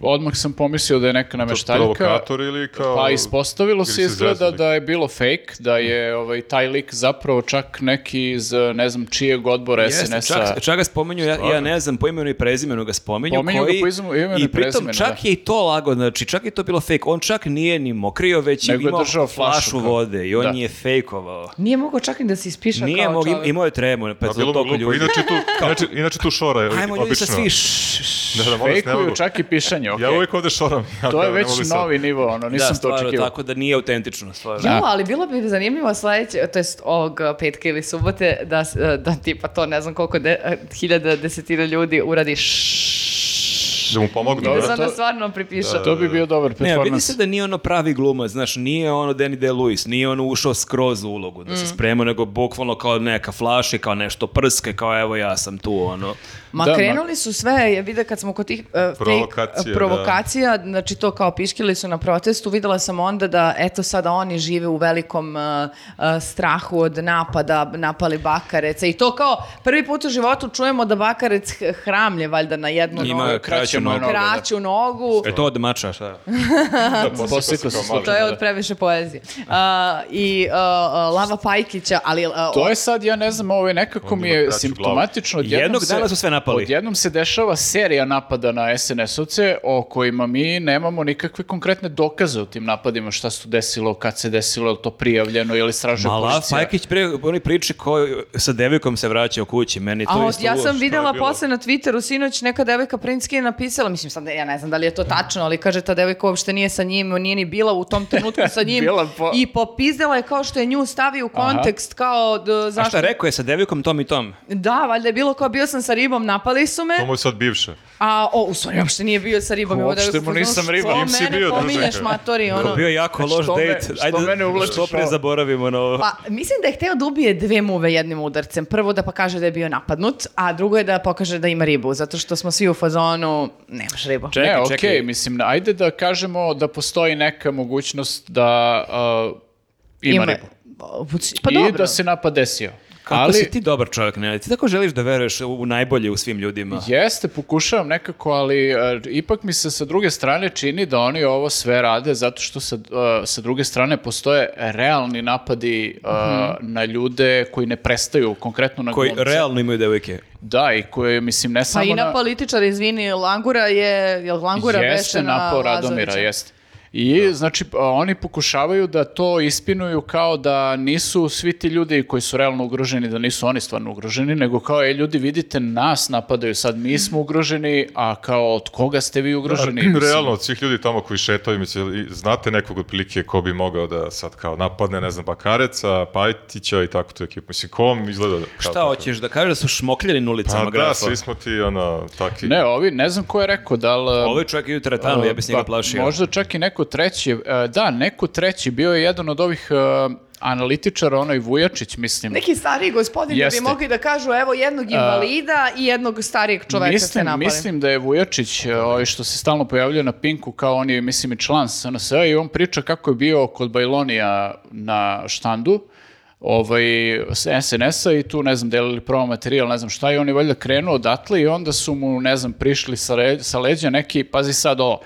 S4: odmah sam pomislio da je neka nameštaljka.
S1: Provokator ili kao...
S4: Pa ispostavilo
S1: ili
S4: se
S1: se
S4: izgleda
S1: zeznuli.
S4: da je bilo fake, da je ovaj, taj lik zapravo čak neki iz e, ne znam čijeg odbora
S2: Jeste,
S4: SNS-a.
S2: čak, čak ga spominju, ja, ja ne znam, po imenu i prezimenu ga spominju.
S4: Pominju ga
S2: koji-
S4: po izmu- imenu i prezimenu,
S2: pritom čak je i to lago, znači čak je to bilo fake. On čak nije ni mokrio, već je
S4: Nego je
S2: imao
S4: držao flašu
S2: flašu
S4: kao-
S2: vode i on
S4: Da.
S2: je fejkovao.
S3: Nije mogao čak ni da se ispiša
S2: Nije
S3: kao
S2: mog,
S3: čovjek.
S2: imao je tremu, pa
S1: Pa
S2: je
S1: bilo mu
S2: toliko
S1: glupo.
S2: ljudi.
S1: Inače tu,
S4: [laughs]
S1: inače, inače tu šora je
S2: Ajmo ljudi sa
S1: obično.
S2: svi. š- š-
S1: Da, da, molim vas, ne
S4: Fejkuju
S1: mogu.
S4: čak i pišanje, okej.
S1: Ja uvijek ovde šoram. [laughs] Ja
S4: To
S1: kao,
S4: je
S1: ne
S4: već
S1: mogu sad.
S4: novi nivo, ono,
S2: da,
S4: nisam to
S2: stvarno,
S4: očekivao.
S2: tako da nije autentično. Stvarno.
S4: Da.
S3: Jo, ali bilo bi zanimljivo sledeće, to jest ovog uh, petka ili subote, da, eh, s- uh, da tipa to ne znam koliko de, uh, hiljada, desetina ljudi uradi šš,
S4: baš...
S1: Da mu pomognu,
S4: Dobro,
S1: da?
S3: Sad nas
S4: to,
S3: stvarno pripišete.
S4: Pa to bi bio dobar
S2: Ne, vidi
S4: performans.
S2: se da nije ono pravi glumac, znaš, nije ono Danny DeLuis, nije ono ušao skroz u ulogu da se
S3: Mm.
S2: sprema, nego bukvalno kao neka flaša i kao nešto prska i kao evo ja sam tu, ono.
S3: Ma
S4: Da, ma-
S3: krenuli su sve, ja vide kad smo kod tih e, fake,
S1: Provokacija,
S3: e, provokacija znači to kao piškili su na protestu, videla sam onda da eto sada oni žive u velikom e, e, strahu od napada, napali Bakareca i to kao prvi put u životu čujemo da Bakarec h- hramlje valjda na jednu
S2: Ima
S3: nogu,
S2: kraću
S4: kraću
S2: nogu.
S4: nogu.
S3: kraću nogu.
S2: E to od mača, šta?
S1: Da,
S4: Posekao
S1: posekao
S4: se
S1: se kao mali.
S3: To je
S4: da, da.
S3: od previše poezije. E, I e, e, Lava Pajkića, ali... e,
S4: To je sad, ja ne znam, ovo je nekako
S1: On
S4: mi
S1: ima
S4: je
S1: kraću
S4: simptomatično. odjednom
S2: Jednog
S4: se-
S2: dana su sve napali.
S4: Odjednom se dešava serija napada na SNS-ovce o kojima mi nemamo nikakve konkretne dokaze o tim napadima, šta se tu desilo, kad se desilo, je li to prijavljeno ili stražuje
S2: Mala
S4: policija.
S2: Fajkić pre oni priči kao sa devojkom se vraćao kući, meni to
S3: A od,
S2: isto.
S3: ja sam
S2: uopšte-
S3: videla
S1: bilo?
S3: posle na Twitteru sinoć neka devojka Prinski je napisala, mislim sad ja ne znam da li je to tačno, ali kaže ta devojka uopšte nije sa njim, nije ni bila u tom trenutku sa njim
S4: Bila po-
S3: i popizdela je kao što je nju stavio u kontekst kao d,
S2: A
S3: zašto...
S2: šta rekao je sa devojkom tom i tom?
S3: Da, valjda je bilo kao bio sam sa ribom, napali su me,
S1: To mu je sad bivša.
S3: a o, u stvari uopšte nije bio sa ribom. evo
S4: Uopšte
S3: devojka
S4: mu
S3: u fazonu,
S4: nisam
S3: što
S4: riba,
S1: nisi
S3: mene
S1: bio,
S3: pominješ
S1: druže.
S3: matori, ono.
S2: Kao bio jako loš
S4: što me-
S2: date.
S4: što mene uvlačiš
S2: što pre
S4: ovo?
S2: zaboravimo na ovo.
S3: Pa, mislim da je hteo da ubije dve muve jednim udarcem. Prvo da pokaže da je bio napadnut, a drugo je da pokaže da ima ribu, zato što smo svi u fazonu, nemaš ribu.
S2: Čekaj,
S4: ne, okej,
S2: čekaj.
S4: mislim, ajde da kažemo da postoji neka mogućnost da uh, ima, ribu.
S3: Pa
S4: I
S3: dobro.
S4: da se napad desio.
S2: Kako
S4: ali,
S2: si ti dobar čovjek, ne? Ti tako želiš da veruješ u najbolje u svim ljudima.
S4: Jeste, pokušavam nekako, ali e, ipak mi se sa druge strane čini da oni ovo sve rade zato što sa, e, sa druge strane postoje realni napadi e, na ljude koji ne prestaju, konkretno na
S2: koji
S4: glumce.
S2: realno imaju devojke.
S4: Da, i koji, mislim, ne
S3: Pa
S4: samo
S3: i
S4: na...
S3: na političara, izvini, Langura je, jel Langura
S4: jeste
S3: beše na
S4: napao Radomira,
S3: Lazovića?
S4: jeste. I znači a, oni pokušavaju da to ispinuju kao da nisu svi ti ljudi koji su realno ugroženi, da nisu oni stvarno ugroženi, nego kao e ljudi vidite nas napadaju sad, mi smo ugroženi, a kao od koga ste vi ugroženi?
S1: [clears throat]
S4: Mislim,
S1: Realno, od svih ljudi tamo koji šetaju, mislim, i znate nekog otprilike ko bi mogao da sad kao napadne, ne znam, Bakareca, Pajtića i tako tu ekipu. Mislim, kom izgleda da... kao
S2: Šta
S1: tako?
S2: hoćeš da kažeš da su šmokljeni na ulicama
S1: Pa da,
S2: grafa?
S1: svi smo ti, ono, taki...
S4: Ne, ovi, ne znam ko je rekao, da li...
S2: Ovo je čovjek i u teretanu, ja bi se njega
S4: Pa,
S2: plašio.
S4: Možda čak i neko treći, e, da, neko treći, bio je jedan od ovih e, analitičara, onaj Vujačić, mislim.
S3: Neki stariji gospodin
S4: Jeste.
S3: bi mogli da kažu, evo jednog invalida i jednog starijeg čoveka ste
S4: mislim,
S3: napali.
S4: mislim da je Vujačić, e, ovaj što se stalno pojavljuje na Pinku, kao on je, mislim, i član SNS i on priča kako je bio kod Bajlonija na štandu, ovaj, s SNS-a i tu, ne znam, delili promo materijal, ne znam šta, i on je valjda krenuo odatle i onda su mu, ne znam, prišli sa, le- sa leđa neki, pazi sad ovo,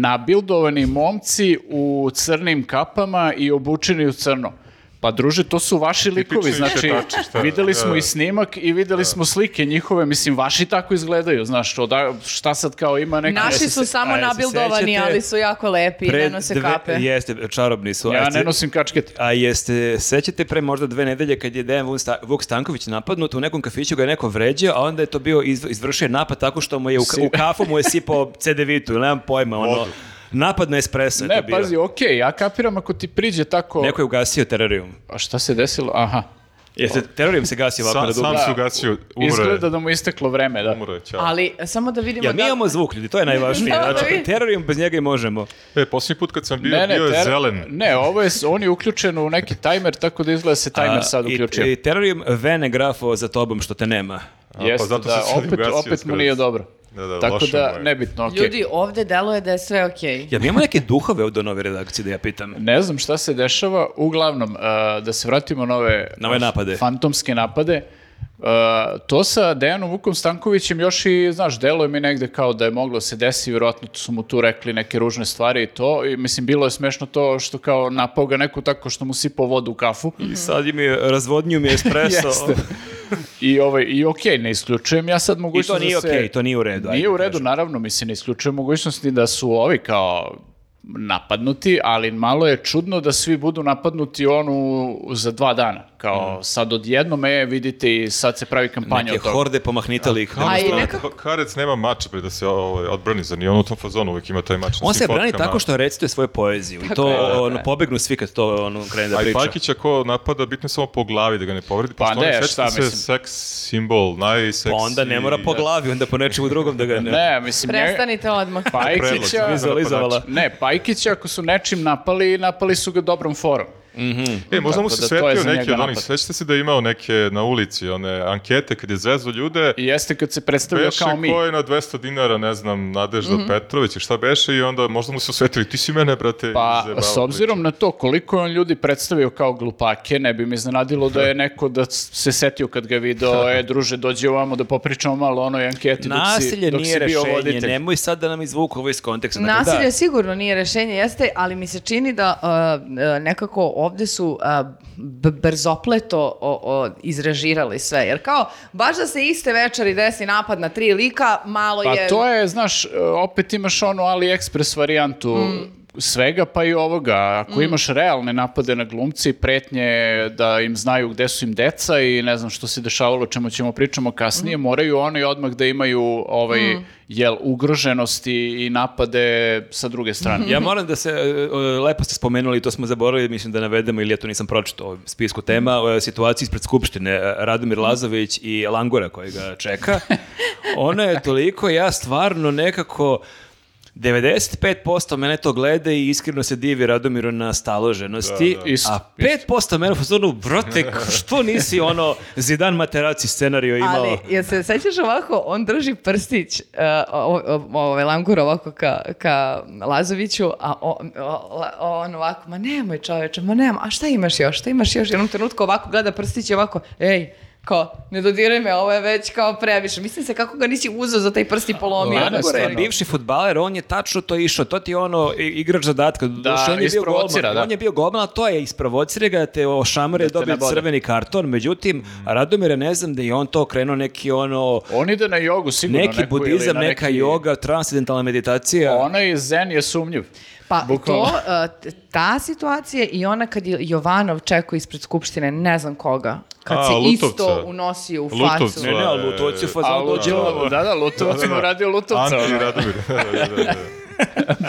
S4: nabildovani momci u crnim kapama i obučeni u crno. Pa druže, to su vaši likovi,
S1: Tipični
S4: znači,
S1: šetači, šta?
S4: videli smo
S1: Da.
S4: i snimak i videli smo slike njihove, mislim, vaši tako izgledaju, znaš, što da, šta sad kao ima neki...
S3: Naši
S2: se-
S3: su samo
S2: a, jel se
S3: nabildovani,
S2: sećate
S3: ali su jako lepi i ne
S2: Pre
S3: nose
S2: dve-
S3: kape.
S2: Jeste, čarobni su. A
S4: Ja
S2: jeste-
S4: ne nosim kačkete.
S2: A jeste, sećate pre možda dve nedelje kad je Dejan Vuk Sta- Vuk Stanković napadnut, u nekom kafiću ga je neko vređao, a onda je to bio iz, izvršio je napad tako što mu je u, ka- u kafu mu je sipao [laughs] CD-vitu, ili nemam pojma, ono,
S1: Vodu.
S2: napad na espresso je to
S4: Ne,
S2: bio.
S4: pazi, okej, ja kapiram ako ti priđe tako...
S2: Neko je ugasio terarijum.
S4: A šta se desilo? Aha.
S2: Jeste, terarijum se gasio ovako
S1: Sam,
S2: na dugo.
S1: sam se ugasio, umro je.
S4: Izgleda da mu je isteklo vreme, da.
S1: Umro je, ćao.
S3: Ali samo da vidimo
S2: Ja, mi
S3: da...
S2: imamo zvuk, ljudi, to je najvažnije.
S3: [laughs] Da, da
S2: Znači,
S3: vi-
S2: terarijum bez njega i možemo.
S1: E, posljednji put kad sam bio,
S4: Ne, ne,
S1: bio je
S4: ter-
S1: zelen.
S4: Ne, ovo je, s- on je uključen u neki tajmer, tako da izgleda se tajmer
S2: A,
S4: sad
S2: i-
S4: uključio.
S2: I, terarijum vene grafo za tobom što te nema.
S1: A, pa
S4: Jeste,
S1: zato
S4: da,
S1: se sad
S4: opet,
S1: ugasio
S4: opet mu
S1: skroz.
S4: nije dobro.
S1: Da, da,
S4: tako
S1: loše
S4: da,
S1: mu je.
S4: nebitno, okej.
S3: Ljudi, ovde deluje da je sve okej.
S2: Ja mi imamo neke duhove ovdje u nove redakciji da ja pitam.
S4: Ne znam šta se dešava, uglavnom, e, da se vratimo na ove,
S2: Na ove napade.
S4: fantomske napade, E, to sa Dejanom Vukom Stankovićem još i, znaš, deluje mi negde kao da je moglo da se desi, vjerojatno su mu tu rekli neke ružne stvari i to, i mislim, bilo je smešno to što kao napao ga neko tako što mu sipao vodu u kafu.
S2: I sad im je razvodnju mi je espresso.
S4: [laughs] Jeste. I, ovaj, i okej, ne isključujem ja sad
S2: I
S4: mogućnost
S2: to nije
S4: da
S2: okej,
S4: se...
S2: to nije u redu.
S4: Nije
S2: ajde
S4: u
S2: da
S4: redu, naravno, mislim, ne isključujem mogućnosti da su ovi kao napadnuti, ali malo je čudno da svi budu napadnuti onu za dva dana. Kao sad odjednom je, vidite, i sad se pravi kampanja
S2: Mhm. Neke
S4: od toga.
S2: horde pomahnitali.
S3: A i
S1: Ono,
S3: nekako-
S1: Bakarec nema mača pre da se ovaj, odbrani, zar nije on u tom fazonu uvijek ima taj mač na svim
S2: On se brani
S1: fotkama?
S2: tako što recituje svoju poeziju i to ono, pobegnu svi kad to ono, krene da
S1: A i
S2: priča.
S1: Pajkića ko napada, bitno je samo po glavi da ga ne povredi,
S4: Pa
S1: pa pošto on
S4: ne,
S1: je
S4: šta
S1: sećam se
S4: mislim?
S1: seks simbol, najseksi...
S2: Pa onda ne mora po glavi, onda po nečemu drugom da ga ne...
S4: Ne, mislim, njega-
S3: Prestanite odmah.
S4: Pa
S1: Predlog,
S4: Pajkića...
S2: Vizualizovala.
S4: Ne, Pajkića ako su nečim napali, napali su ga dobrom forom.
S1: E, možda mu
S4: Tako
S1: se
S4: da to je
S1: svetio
S4: za
S1: neki
S4: njega
S1: od onih,
S4: napad.
S1: sećate se da je imao neke na ulici, one ankete kad je zezo ljude,
S4: I jeste kad se predstavio
S1: Beše
S4: kao mi. Mhm.
S1: ko je na 200 dinara, ne znam, Nadežda Petrović i šta beše i onda možda mu se osvetili, ti si mene, brate,
S4: Pa,
S1: zajebavao,
S4: s obzirom na to koliko je on ljudi predstavio kao glupake, ne bi mi iznenadilo da je neko da se setio kad ga je video, e, druže, dođi ovamo da popričamo malo o onoj anketi dok si,
S2: Nasilje
S4: dok
S2: nije
S4: si bio
S2: rešenje,
S4: voditelj.
S2: nemoj sad da nam izvuku ovo iz konteksta. Dakle,
S3: Nasilje
S2: da,
S3: sigurno nije rešenje, jeste, ali mi se čini da uh, uh, nekako ovde su uh, b- brzopleto o, o, izrežirali sve. Jer kao, baš da se iste večeri desi napad na tri lika, malo
S4: Pa
S3: je...
S4: to je, znaš, e, opet imaš onu AliExpress varijantu
S3: Mm.
S4: svega, pa i ovoga. Ako imaš realne napade na glumci, pretnje da im znaju gde su im deca i ne znam što se dešavalo, o čemu ćemo pričamo kasnije,
S3: Mhm.
S4: moraju oni odmah da imaju ovaj,
S3: Mm.
S4: jel, ugroženosti i napade sa druge strane.
S3: Mhm.
S2: Ja moram da se, e, e, lepo ste spomenuli, to smo zaboravili, mislim da navedemo, ili ja to nisam pročitao u spisku tema,
S1: Mm.
S2: o situaciji ispred Skupštine, e, Radomir Lazović i Langura koji ga
S1: [laughs]
S2: čeka. Ono je toliko, ja stvarno nekako... 95% mene to gleda i iskreno se divi Radomiru na staloženosti,
S1: Da,
S4: da. Isto,
S2: a 5% mene u fazonu, brate, što nisi ono Zidan Materaci scenario imao?
S3: Ali, jel se sećaš ovako, on drži prstić, uh, o- o- ovaj langur ovako ka, ka Lazoviću, a o- o- la- on ovako, ma nemoj čoveče, ma nemoj, a šta imaš još, šta imaš još? I u jednom trenutku ovako gleda prstić i ovako, ej, kao, ne dodiraj me, ovo je već kao previše. Mislim se kako ga nisi uzeo za taj prst i polomio.
S4: Lana,
S3: Tako
S4: stvarno.
S3: rekao.
S2: bivši futbaler, on je tačno to išao. To ti je ono i- igrač zadatka. Da, on je bio golman,
S4: isprovocira, da.
S2: on je bio golman, ali to je isprovocira ga da te ošamare i
S4: te
S2: dobije
S4: nabode.
S2: crveni karton. Međutim, Radomire ne znam da je on to krenuo neki ono
S4: On ide na jogu, sigurno.
S2: neki
S4: neku, ili
S2: budizam,
S4: na
S2: neka
S4: neki-
S2: joga, transcendentalna meditacija.
S4: Onaj zen je sumnjiv.
S3: Pa
S4: Bukvalno.
S3: to, uh, t- ta situacija i ona kad je Jovanov čekao ispred skupštine, ne znam koga, kad
S1: A,
S3: se
S1: Lutovca.
S3: isto unosio u facu.
S1: Lutovca.
S2: Ne, ne, ali u to će fazon
S4: A
S2: Pa, dođe ovo.
S4: Lutovac, da, da, Lutovac mu radio Lutovca.
S1: Anti
S4: ono.
S1: Radomir. da, da,
S4: [laughs]
S1: da.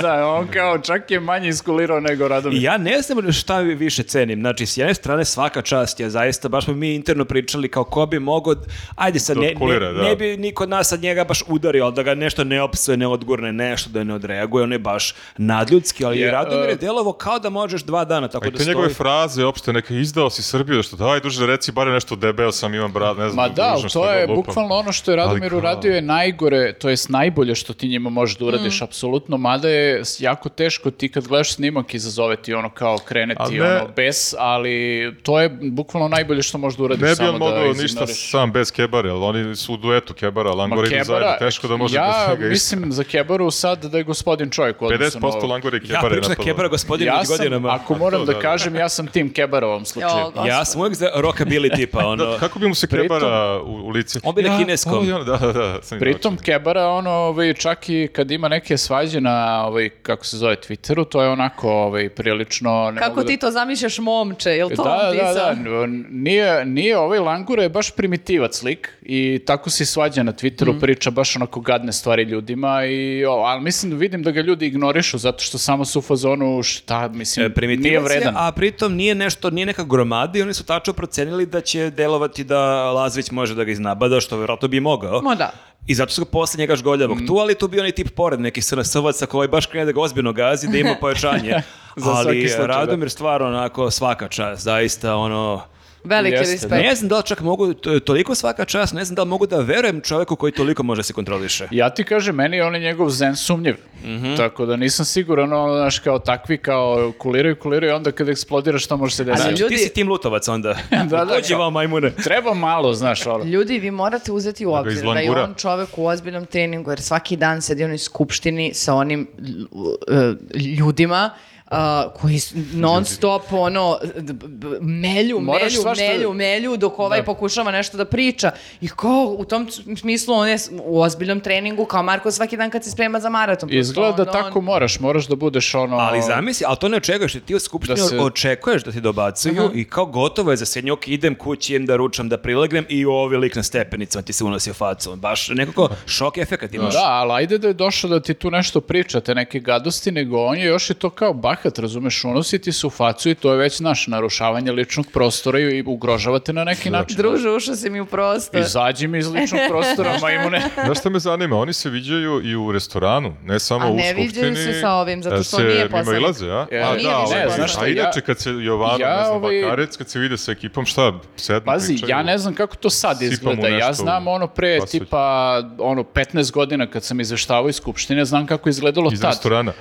S4: Da, on kao čak je manje iskulirao nego Radomir.
S2: I Ja ne znam šta vi više cenim. Znači, s jedne strane svaka čast je zaista, baš smo mi interno pričali kao ko bi mogao, ajde sad,
S1: Da
S2: ne,
S1: otkulira,
S2: ne-
S1: da.
S2: ne bi niko od nas sad njega baš udario, ali da ga nešto ne opsuje, ne odgurne, nešto da ne odreaguje, on je baš nadljudski, ali
S4: Je,
S2: i Radomir je
S4: e,
S2: delovo kao da možeš dva dana,
S1: A
S2: tako
S1: i
S2: da
S1: te
S2: stoji.
S1: njegove fraze, opšte, neka izdao si Srbiju, da što daj duže reci, barem nešto debeo sam, imam brat, ne znam.
S4: Ma da,
S1: ružno
S4: ali
S1: što
S4: to je
S1: lupam.
S4: bukvalno ono što je Radomir
S1: kao-
S4: uradio je najgore, to jest najbolje što ti njima možeš da uradiš, apsolutno, mada je s- jako teško ti kad gledaš snimak izazove ti ono kao
S1: A
S4: kreneti
S1: ne-
S4: ono bes, ali to je bukvalno najbolje što možeš da uradiš
S1: Ne bi
S4: samo
S1: on
S4: da
S1: mogao ništa
S4: izinoriš.
S1: sam bez Kebare, ali oni su u duetu Kebara, Langor ide zajedno, teško da može bez
S4: ja
S1: njega isto.
S4: mislim za Kebaru sad da je gospodin čovjek u odnosu na ovo.
S1: 50% Langor i
S2: Ja
S1: Kebare
S2: pričam da Kebara gospodin
S4: Ja
S2: već
S4: sam,
S2: godinama.
S4: ako
S1: [laughs]
S4: moram
S1: to
S4: da,
S1: da, da.
S4: kažem, ja sam tim Kebara u ovom slučaju.
S3: Jo,
S2: Ja sam uvijek za rockabilly
S1: [laughs]
S2: tipa, ono.
S1: Da, kako bi mu se
S4: Pritom-
S1: Kebara u, u lici?
S2: On bi na
S1: Ja,
S2: kineskom.
S1: ovo i ono, Da, da, da. sam
S4: Pritom Kebara, ono, ovaj, čak i kad ima neke svađe na, ovaj, kako se zove, Twitteru, to je onako ovaj, prilično... Ne
S3: Kako
S4: mogu
S3: ti to zamišljaš momče, jel
S4: Da,
S3: to on
S4: da,
S3: pisao?
S4: da, da, n- nije, nije ovaj Langura je baš primitivac lik i tako se i svađa na Twitteru,
S3: Mhm.
S4: priča baš onako gadne stvari ljudima, i, o, ali mislim, vidim da ga ljudi ignorišu zato što samo su u fazonu šta,
S2: E,
S4: mislim,
S2: primitivac
S4: nije
S2: je,
S4: vredan.
S2: a pritom nije nešto, nije neka gromada i oni su tačno procenili da će delovati da Lazović može da ga iznabada, što vjerojatno bi i mogao.
S3: Ma da.
S2: I zato su ga posle njega žgoljavog
S4: Mm.
S2: tu, ali tu bio onaj tip pored neki SNS-ovaca koji baš krene da ga ozbiljno gazi, da
S4: [laughs]
S2: ima pojačanje.
S4: Za
S2: ali eh,
S4: svaki slučaj, da.
S2: Radomir stvarno onako svaka čast, zaista ono...
S3: Veliki
S4: Jeste,
S3: respekt.
S2: Ne znam da li čak mogu, to- toliko svaka čast, ne znam da li mogu da verujem čoveku koji toliko može da se kontroliše.
S4: Ja ti kažem, meni je on i njegov zen sumnjiv.
S2: Mhm.
S4: Tako da nisam siguran, ono, znaš, kao takvi, kao kuliraju, kuliraju, onda kad eksplodira šta može se desiti. Znači,
S2: Ali
S3: ljudi-
S2: Ti si tim lutovac onda.
S4: [laughs] Da, da,
S2: Dođi
S4: kao-
S2: vam, majmune.
S4: Treba malo, znaš, ono.
S3: Ljudi, vi morate uzeti u
S1: ga
S3: obzir da je
S1: izlangura.
S3: on čovek u ozbiljnom treningu, jer svaki dan sedi u onoj skupštini sa onim l- e, eh, ljudima a, koji su non stop ono d- b- b- melju,
S4: Moraš
S3: melju,
S4: svašta-
S3: melju, melju dok ovaj
S4: Da.
S3: pokušava nešto da priča. I kao u tom c- smislu on je s- u ozbiljnom treningu kao Marko svaki dan kad se sprema za maraton. pošto
S4: Izgleda da
S3: onda on-
S4: tako moraš, moraš da budeš ono...
S2: Ali zamisli, ali to ne očekuješ, jer ti u skupštini
S4: Da se-
S2: očekuješ da ti dobacuju i kao gotovo je za sednjok, idem kući, idem da ručam, da prilegnem i ovi lik na stepenicama ti se unosio facom. Baš nekako šok efekat imaš.
S4: Da, ali ajde da je došao da ti tu nešto pričate, neke gadosti, nego on je još i to kao bahat, razumeš, unosi ti se u facu i to je već, naš narušavanje ličnog prostora i ugrožavate na neki
S1: Znači,
S4: način.
S3: Druže, ušao si mi u prostor.
S4: Izađi mi iz ličnog prostora, majmune.
S1: Znaš šta me zanima? Oni se viđaju i u restoranu, ne samo
S3: A
S1: u
S3: ne
S1: skupštini.
S3: viđaju se sa ovim, zato što on nije poslanik.
S1: Mimo ilaze, a?
S4: E,
S1: a,
S4: nije
S1: da,
S4: više
S1: ovaj,
S4: poslanik. Znaš šta,
S1: a
S4: ja-
S1: inače kad se Jovanov,
S4: ja
S1: ne znam,
S4: ovaj-
S1: Bakarec, kad se vide sa ekipom, šta, sednu,
S4: Pazi,
S1: pričaju?
S4: ja ne znam kako to sad
S1: Sipam mu
S4: izgleda. Ja
S1: nešto u
S4: znam ono pre
S1: pasulj.
S4: tipa ono 15 godina kad sam izveštavao iz skupštine, znam kako je izgledalo
S1: Iz
S4: tad. Znači,
S1: restorana.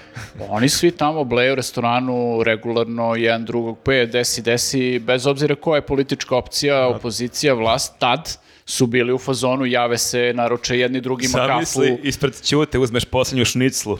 S4: Oni svi tamo bleju u restoranu regularno, jedan drugog, pa je desi, desi, bez obzira koja je politička opcija, opozicija, vlast, tad su bili u fazonu, jave se, naruče jedni drugima kafu.
S2: Zamisli, ispred ćute uzmeš posljednju
S4: [laughs]
S2: šniclu.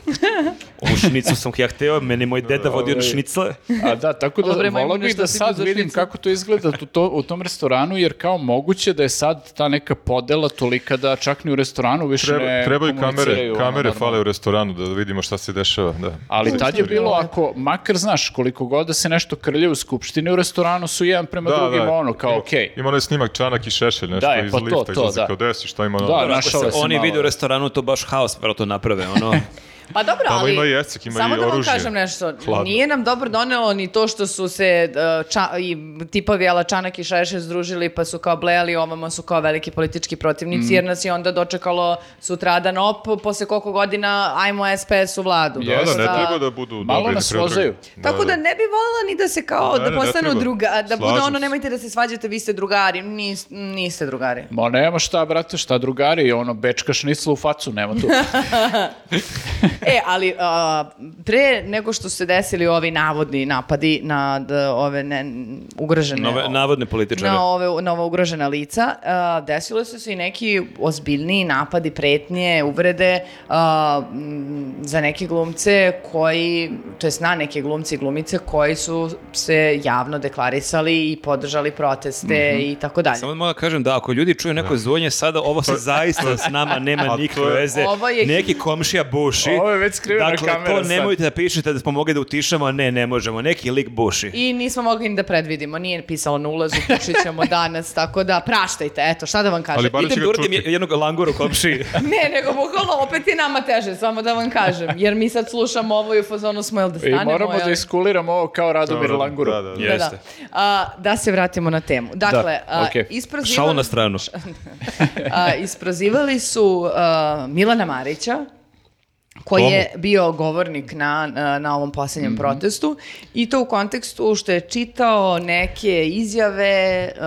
S2: U šnicu sam ja hteo, meni moj deda vodio
S4: Ovaj.
S2: na šnicle.
S4: A da, tako da
S3: Dobro, imamo
S4: volao bih
S3: nešto
S4: da
S3: sigurno
S4: sad
S3: za
S4: vidim
S3: šnicu.
S4: kako to izgleda u, to, u tom restoranu, jer kao moguće da je sad ta neka podela tolika da čak ni u restoranu više
S1: Treba,
S4: ne
S1: trebaju kamere,
S4: komuniciraju, ono,
S1: kamere
S4: normalno.
S1: fale u restoranu da vidimo šta se dešava. Da.
S4: Ali tad je bilo,
S3: Lepo.
S4: ako, makar znaš, koliko god da se nešto krlje u skupštini, u restoranu su jedan prema
S1: Da,
S4: drugim,
S1: da.
S4: ono, kao,
S1: Ima-
S4: okej.
S1: Ima onaj snimak Čanak i Šešelj, nešto
S4: Da, e,
S1: iz
S4: pa to,
S1: lifta,
S4: to,
S1: izlazi
S4: da.
S1: kao desi, šta ima
S4: Da,
S1: ono?
S4: da.
S2: Ako se
S4: Našale se
S2: oni
S4: malo,
S2: vide u
S4: da.
S2: restoranu, to baš haos, to naprave, ono.
S3: Pa dobro,
S1: Tamo
S3: ali...
S1: ima i jecek, ima
S3: samo
S1: i
S3: da vam
S1: oružje.
S3: kažem nešto.
S1: Hladno.
S3: Nije nam dobro donelo ni to što su se uh, ča, i tipovi Ala Čanak i Šešelj združili pa su kao blejali ovamo su kao veliki politički
S1: Mm.
S3: protivnici jer nas je onda dočekalo sutradan op posle koliko godina ajmo SPS u vladu.
S1: Da, da,
S4: Jeste.
S1: ne
S3: Dosta-
S1: treba da budu
S4: Malo
S1: dobri,
S4: nas
S1: ne treba
S4: vozaju.
S1: drugi.
S3: Tako da ne bi voljela ni da se kao,
S1: Ne,
S3: da
S1: ne, ne
S3: postanu
S1: treba.
S3: druga, da bude
S1: Slažem
S3: ono
S1: se.
S3: nemojte da se svađate, vi ste drugari, Nis- niste drugari.
S4: Ma nema šta, brate, šta drugari, ono, bečka šnicla u facu, nema
S3: [laughs]
S4: tu.
S3: E, ali a, pre nego što su se desili ovi navodni napadi na d- ove ne, ugrožene...
S2: Nove, navodne političare.
S3: na ove na ova ugrožena lica a, desilo su se i neki ozbiljniji napadi pretnje uvrede a, m, za neke glumce koji to jest na neke glumce i glumice koji su se javno deklarisali i podržali proteste
S4: Mhm.
S3: i tako dalje
S2: Samo moram da kažem da ako ljudi čuju neko zvonje sada, ovo se zaista s nama nema
S1: A to
S2: nikakve
S1: je-
S2: veze.
S3: Ovo je-
S2: Neki komšija buši.
S4: Ovo je već skrivena
S2: dakle,
S4: kamera
S2: to
S4: sad.
S2: nemojte da pišete da smo mogli da utišamo, a ne, ne možemo. Neki lik buši.
S3: I nismo mogli ni da predvidimo, nije pisalo na ulazu, pušit
S4: [laughs]
S3: ćemo danas, tako da praštajte, eto, šta da vam
S1: Ali
S3: kažem.
S1: bar će
S2: Idem
S1: ga
S2: da uradim
S1: čuti.
S2: jednog langura u komšiji.
S3: [laughs] Ne, nego bukvalno opet je nama teže, samo da vam kažem, jer mi sad slušamo ovo i u fazonu smo, jel da
S4: I
S3: stanemo?
S4: moramo
S3: jel?
S4: da iskuliramo ovo kao Radomir Languru.
S1: Da, da, da.
S3: Da,
S2: Jeste.
S3: da. A, da se vratimo na temu. Dakle, a,
S4: okej.
S3: isprozivali-
S2: Šalu na stranu.
S3: a, isprozivali su a, Milana Marića, koji
S1: Komu?
S3: je bio govornik na, na- na ovom posljednjem protestu i to u kontekstu što je čitao neke izjave uh,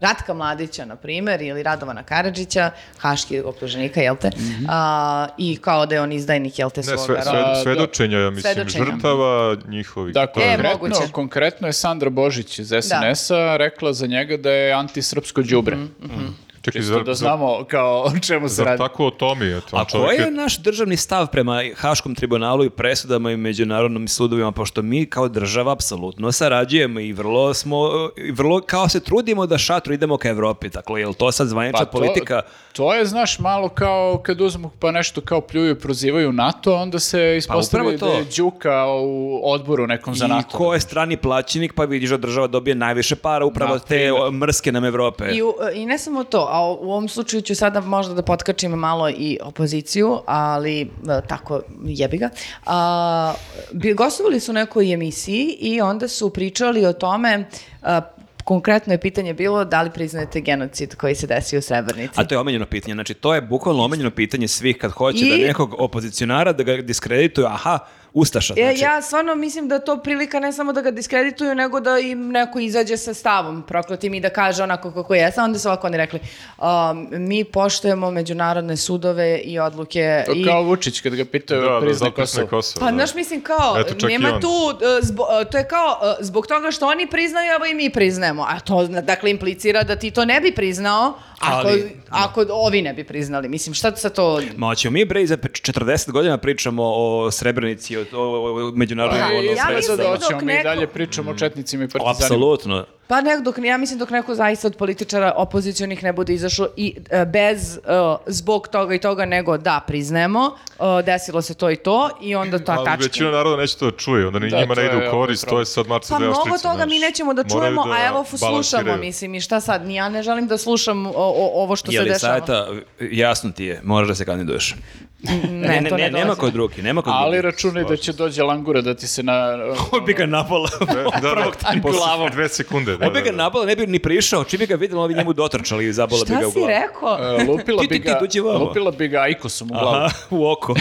S3: Ratka Mladića, na primjer, ili Radovana Karadžića, haški optuženika, jel te? A, I kao da je on izdajnik, jel te,
S1: Ne,
S3: svoga
S1: sve,
S3: roda.
S4: A, da.
S1: sve, svedočenja, ja mislim,
S3: Svedočenja.
S1: žrtava njihovih.
S4: Dakle,
S3: E,
S4: konkretno,
S3: moguće.
S4: konkretno je Sandra Božić iz SNS-a rekla za njega da je antisrpsko đubre.
S3: Mhm,
S1: Čekaj,
S4: Čisto da znamo kao o čemu se
S1: zar
S4: radi.
S1: tako o Tomi, eto,
S2: A
S1: on čovjek
S2: koji je
S1: je-
S2: naš državni stav prema Haškom tribunalu i presudama i međunarodnim sudovima, pošto mi kao država apsolutno sarađujemo i vrlo smo, i vrlo kao se trudimo da šatru idemo ka Evropi, dakle, je li to sad zvanična
S4: Pa to-
S2: politika?
S4: To je, znaš, malo kao kad uzmu pa nešto kao pljuju i prozivaju NATO, onda se ispostavi da
S2: Pa to.
S4: je Đuka u odboru nekom za
S2: I
S4: NATO.
S2: ko je strani plaćenik, pa vidiš da država dobije najviše para upravo od te o, mrske nam Evrope.
S3: I, u- I ne samo to, a u ovom slučaju ću sada možda da potkačim malo i opoziciju, ali e, tako jebi ga. A, bi- gostovali su u nekoj emisiji i onda su pričali o tome, a, konkretno je pitanje bilo da li priznajete genocid koji se desio u Srebrnici.
S2: A to je omenjeno pitanje. Znači, to je bukvalno omenjeno pitanje svih kad hoće
S3: I-
S2: da nekog opozicionara da ga diskredituju. Aha, Ustaša.
S3: E,
S2: Znači,
S3: ja stvarno mislim da je to prilika ne samo da ga diskredituju, nego da im neko izađe sa stavom prokletim i da kaže onako kako je. Onda su ovako oni rekli, um, mi poštujemo međunarodne sudove i odluke.
S4: To
S3: i...
S4: kao Vučić kad ga pitaju
S1: Da, da,
S4: priznaj
S1: zapisne
S4: Kosovo.
S1: Kosovo,
S3: Pa
S1: da.
S3: znaš, mislim kao,
S1: Eto, čak i
S3: nema
S1: on.
S3: tu, e, zbo- e, to je kao, e, zbog toga što oni priznaju, evo i mi priznajemo. A to, zna- dakle, implicira da ti to ne bi priznao, ako,
S2: Ali,
S3: ako ovi ne bi priznali. Mislim, šta sa to...
S2: Ma hoćemo mi bre i za 40 godina pričamo o Srebrenici i o je to o- ono, o- međunarodni
S3: Pa,
S2: odnos.
S3: ja
S4: sve
S3: mislim
S4: sad
S3: dok
S4: hoćemo mi i
S3: neko-
S4: dalje pričamo o četnicima i partizanima.
S2: Apsolutno.
S3: Pa nek, dok, ja mislim dok neko zaista od političara opozicionih ne bude izašao i e, bez, e, zbog toga i toga, nego da, priznajemo, e, desilo se to i to i onda ta
S1: Ali
S3: tačka.
S1: većina naroda neće to da čuje, onda ni
S4: Da,
S1: njima
S4: to
S1: ne ide
S4: je
S1: u korist,
S4: problem.
S1: to je sad Marcel
S3: Pa
S1: Deo
S3: mnogo
S1: Štrica,
S3: toga mi
S1: znaš.
S3: nećemo da
S1: Moraju
S3: čujemo, a evo fu- slušamo,
S1: balansiraju.
S3: mislim, i šta sad, ni ja ne želim da slušam o, o- ovo što
S2: Je
S3: se
S2: li
S3: dešava.
S2: sajta, jasno ti je, moraš da se kandiduješ.
S3: Ne, to ne,
S2: nema
S3: dolazi.
S2: kod drugi, nema kod drugi.
S4: Ali računaj da će dođe langura da ti
S2: [laughs]
S4: se na...
S2: Ko bi ga napala? [laughs]
S1: Da, da,
S2: Prvog
S1: da, posle dve sekunde. Da,
S2: On bi
S1: da,
S2: ga
S1: da.
S2: napala, ne bi ni prišao, čim bi ga vidjela, on bi njemu dotrčali i zabala bi
S3: Šta
S2: ga u
S3: si
S2: glavu.
S3: rekao?
S4: e, Lupila
S2: Ti, ti,
S4: bi
S2: ti,
S4: ga,
S2: dođi vamo.
S4: lupila bi ga Aikosom u glavu.
S2: Aha, u
S4: [laughs]
S2: oko.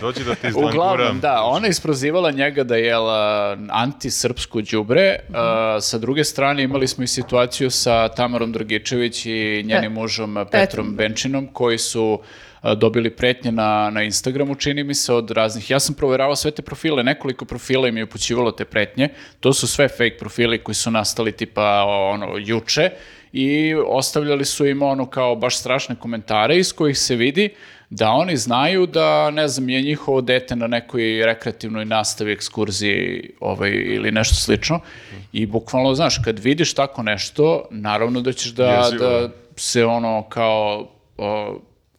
S1: Dođi da ti izlanguram.
S4: Uglavnom, da, ona je isprozivala njega da je jela antisrpsko đubre.
S2: Mhm.
S4: a, sa druge strane, imali smo i situaciju sa Tamarom Dragičević i njenim
S2: E.
S3: Pe-
S4: mužom Petrom,
S3: Petrom.
S4: Benčinom, koji su a, dobili pretnje na, na Instagramu, čini mi se, od raznih. Ja sam proveravao sve te profile, nekoliko profila im je upućivalo te pretnje. To su sve fake profili koji su nastali tipa o, ono, juče i ostavljali su im ono kao baš strašne komentare iz kojih se vidi da oni znaju da, ne znam, je njihovo dete na nekoj rekreativnoj nastavi, ekskurziji ovaj, ili nešto slično. I bukvalno, znaš, kad vidiš tako nešto, naravno da ćeš da,
S1: Jezivo,
S4: da
S1: da.
S4: se ono kao o,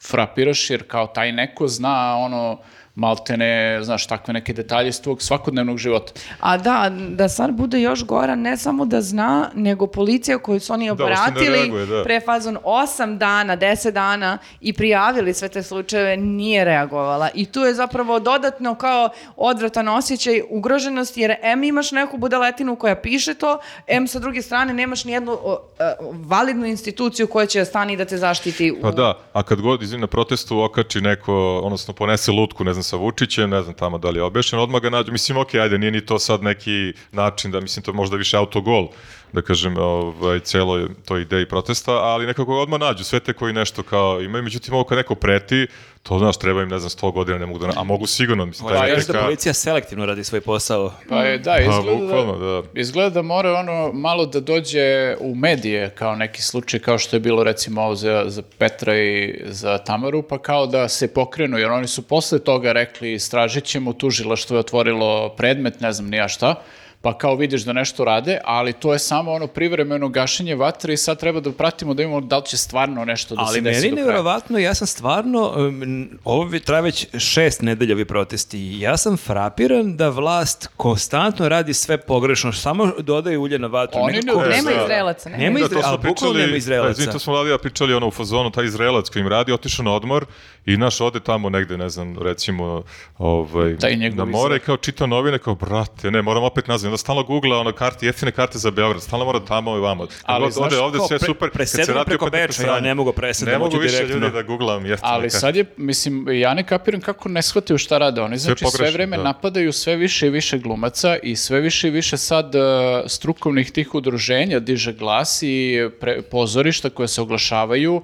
S4: frapiraš jer kao taj neko zna ono maltene, znaš, takve neke detalje iz tvog svakodnevnog života.
S3: A da, da stvar bude još gora, ne samo da zna, nego policija koju su oni
S1: uopšte ne
S3: obratili
S1: reaguje, da.
S3: pre fazon 8 dana, 10 dana i prijavili sve te slučajeve, nije reagovala. I tu je zapravo dodatno kao odvratan osjećaj ugroženosti, jer em imaš neku budaletinu koja piše to, em sa druge strane nemaš nijednu o, e, validnu instituciju koja će stani da te zaštiti. u-
S1: Pa da, a kad god, izvim, na protestu okači neko, odnosno ponese lutku, ne znam, sa Vučićem, ne znam tamo da li je obešen, odmah ga nađu. Mislim, okej, ajde, nije ni to sad neki način da, mislim, to je možda više autogol, da kažem, ovaj, celoj toj ideji protesta, ali nekako ga odmah nađu, sve te koji nešto kao imaju. Međutim, ovo kad neko preti, to, znaš, treba im, ne znam, 100 godina, ne mogu da... na- A mogu sigurno, mislim,
S2: Pa,
S1: taj
S2: još da
S1: neka-
S2: policija selektivno radi svoj posao.
S4: Pa je, da,
S1: Pa,
S4: izgleda
S1: bukvalno,
S4: da,
S1: da.
S4: izgleda da mora ono malo da dođe u medije kao neki slučaj kao što je bilo recimo ovo za, za Petra i za Tamaru pa kao da se pokrenu jer oni su posle toga rekli istražit ćemo tužilaštvo je otvorilo predmet ne znam ni ja šta pa kao vidiš da nešto rade, ali to je samo ono privremeno gašenje vatre i sad treba da pratimo da imamo da li će stvarno nešto da se
S2: Ali
S4: Pa desi
S2: meni
S4: do kraja.
S2: nevjerovatno, ja sam stvarno, um, ovo vi- traje već šest nedelja ovi protesti, i ja sam frapiran da vlast konstantno radi sve pogrešno, samo dodaje ulje na vatru.
S4: Oni
S2: Nekako-
S4: ne-
S3: Nema
S1: Da.
S3: Izraelaca, nema.
S2: Nema
S1: Da,
S2: Izra-
S1: Pa to smo
S2: ali bukvalno
S1: pričali-
S2: nema Izraelaca.
S1: Pa, izvini, to smo Lalija pričali ono u fazonu, taj Izraelac koji im radi, otišao na odmor i naš ode tamo negde, ne znam, recimo ovaj,
S4: Taj njegov
S1: na more i
S4: Izrael.
S1: kao čitao novine, kao brate, ne, moram opet nazvati. Onda stalno googla ono karte, jeftine karte za Beograd, stalno mora tamo i vamo. Kad
S4: Ali,
S1: god
S4: znaš,
S1: ode ovde
S4: kao
S1: sve
S4: pre-
S1: super. kad se
S2: presedam
S1: vrati
S2: preko
S1: opet neko
S2: Beča, ja
S1: sranje.
S2: ne mogu presedam,
S1: Ne
S2: hoću
S1: mogu više
S2: direktno.
S1: ljudi da googlam jeftine
S4: Ali
S1: karte.
S4: sad je, mislim, ja ne kapiram kako ne shvataju šta rade oni. Znači, sve,
S1: pogrešno,
S4: vreme
S1: da.
S4: napadaju sve više i više glumaca i sve više i više sad e, strukovnih tih udruženja diže glas i pre- pozorišta koje se oglašavaju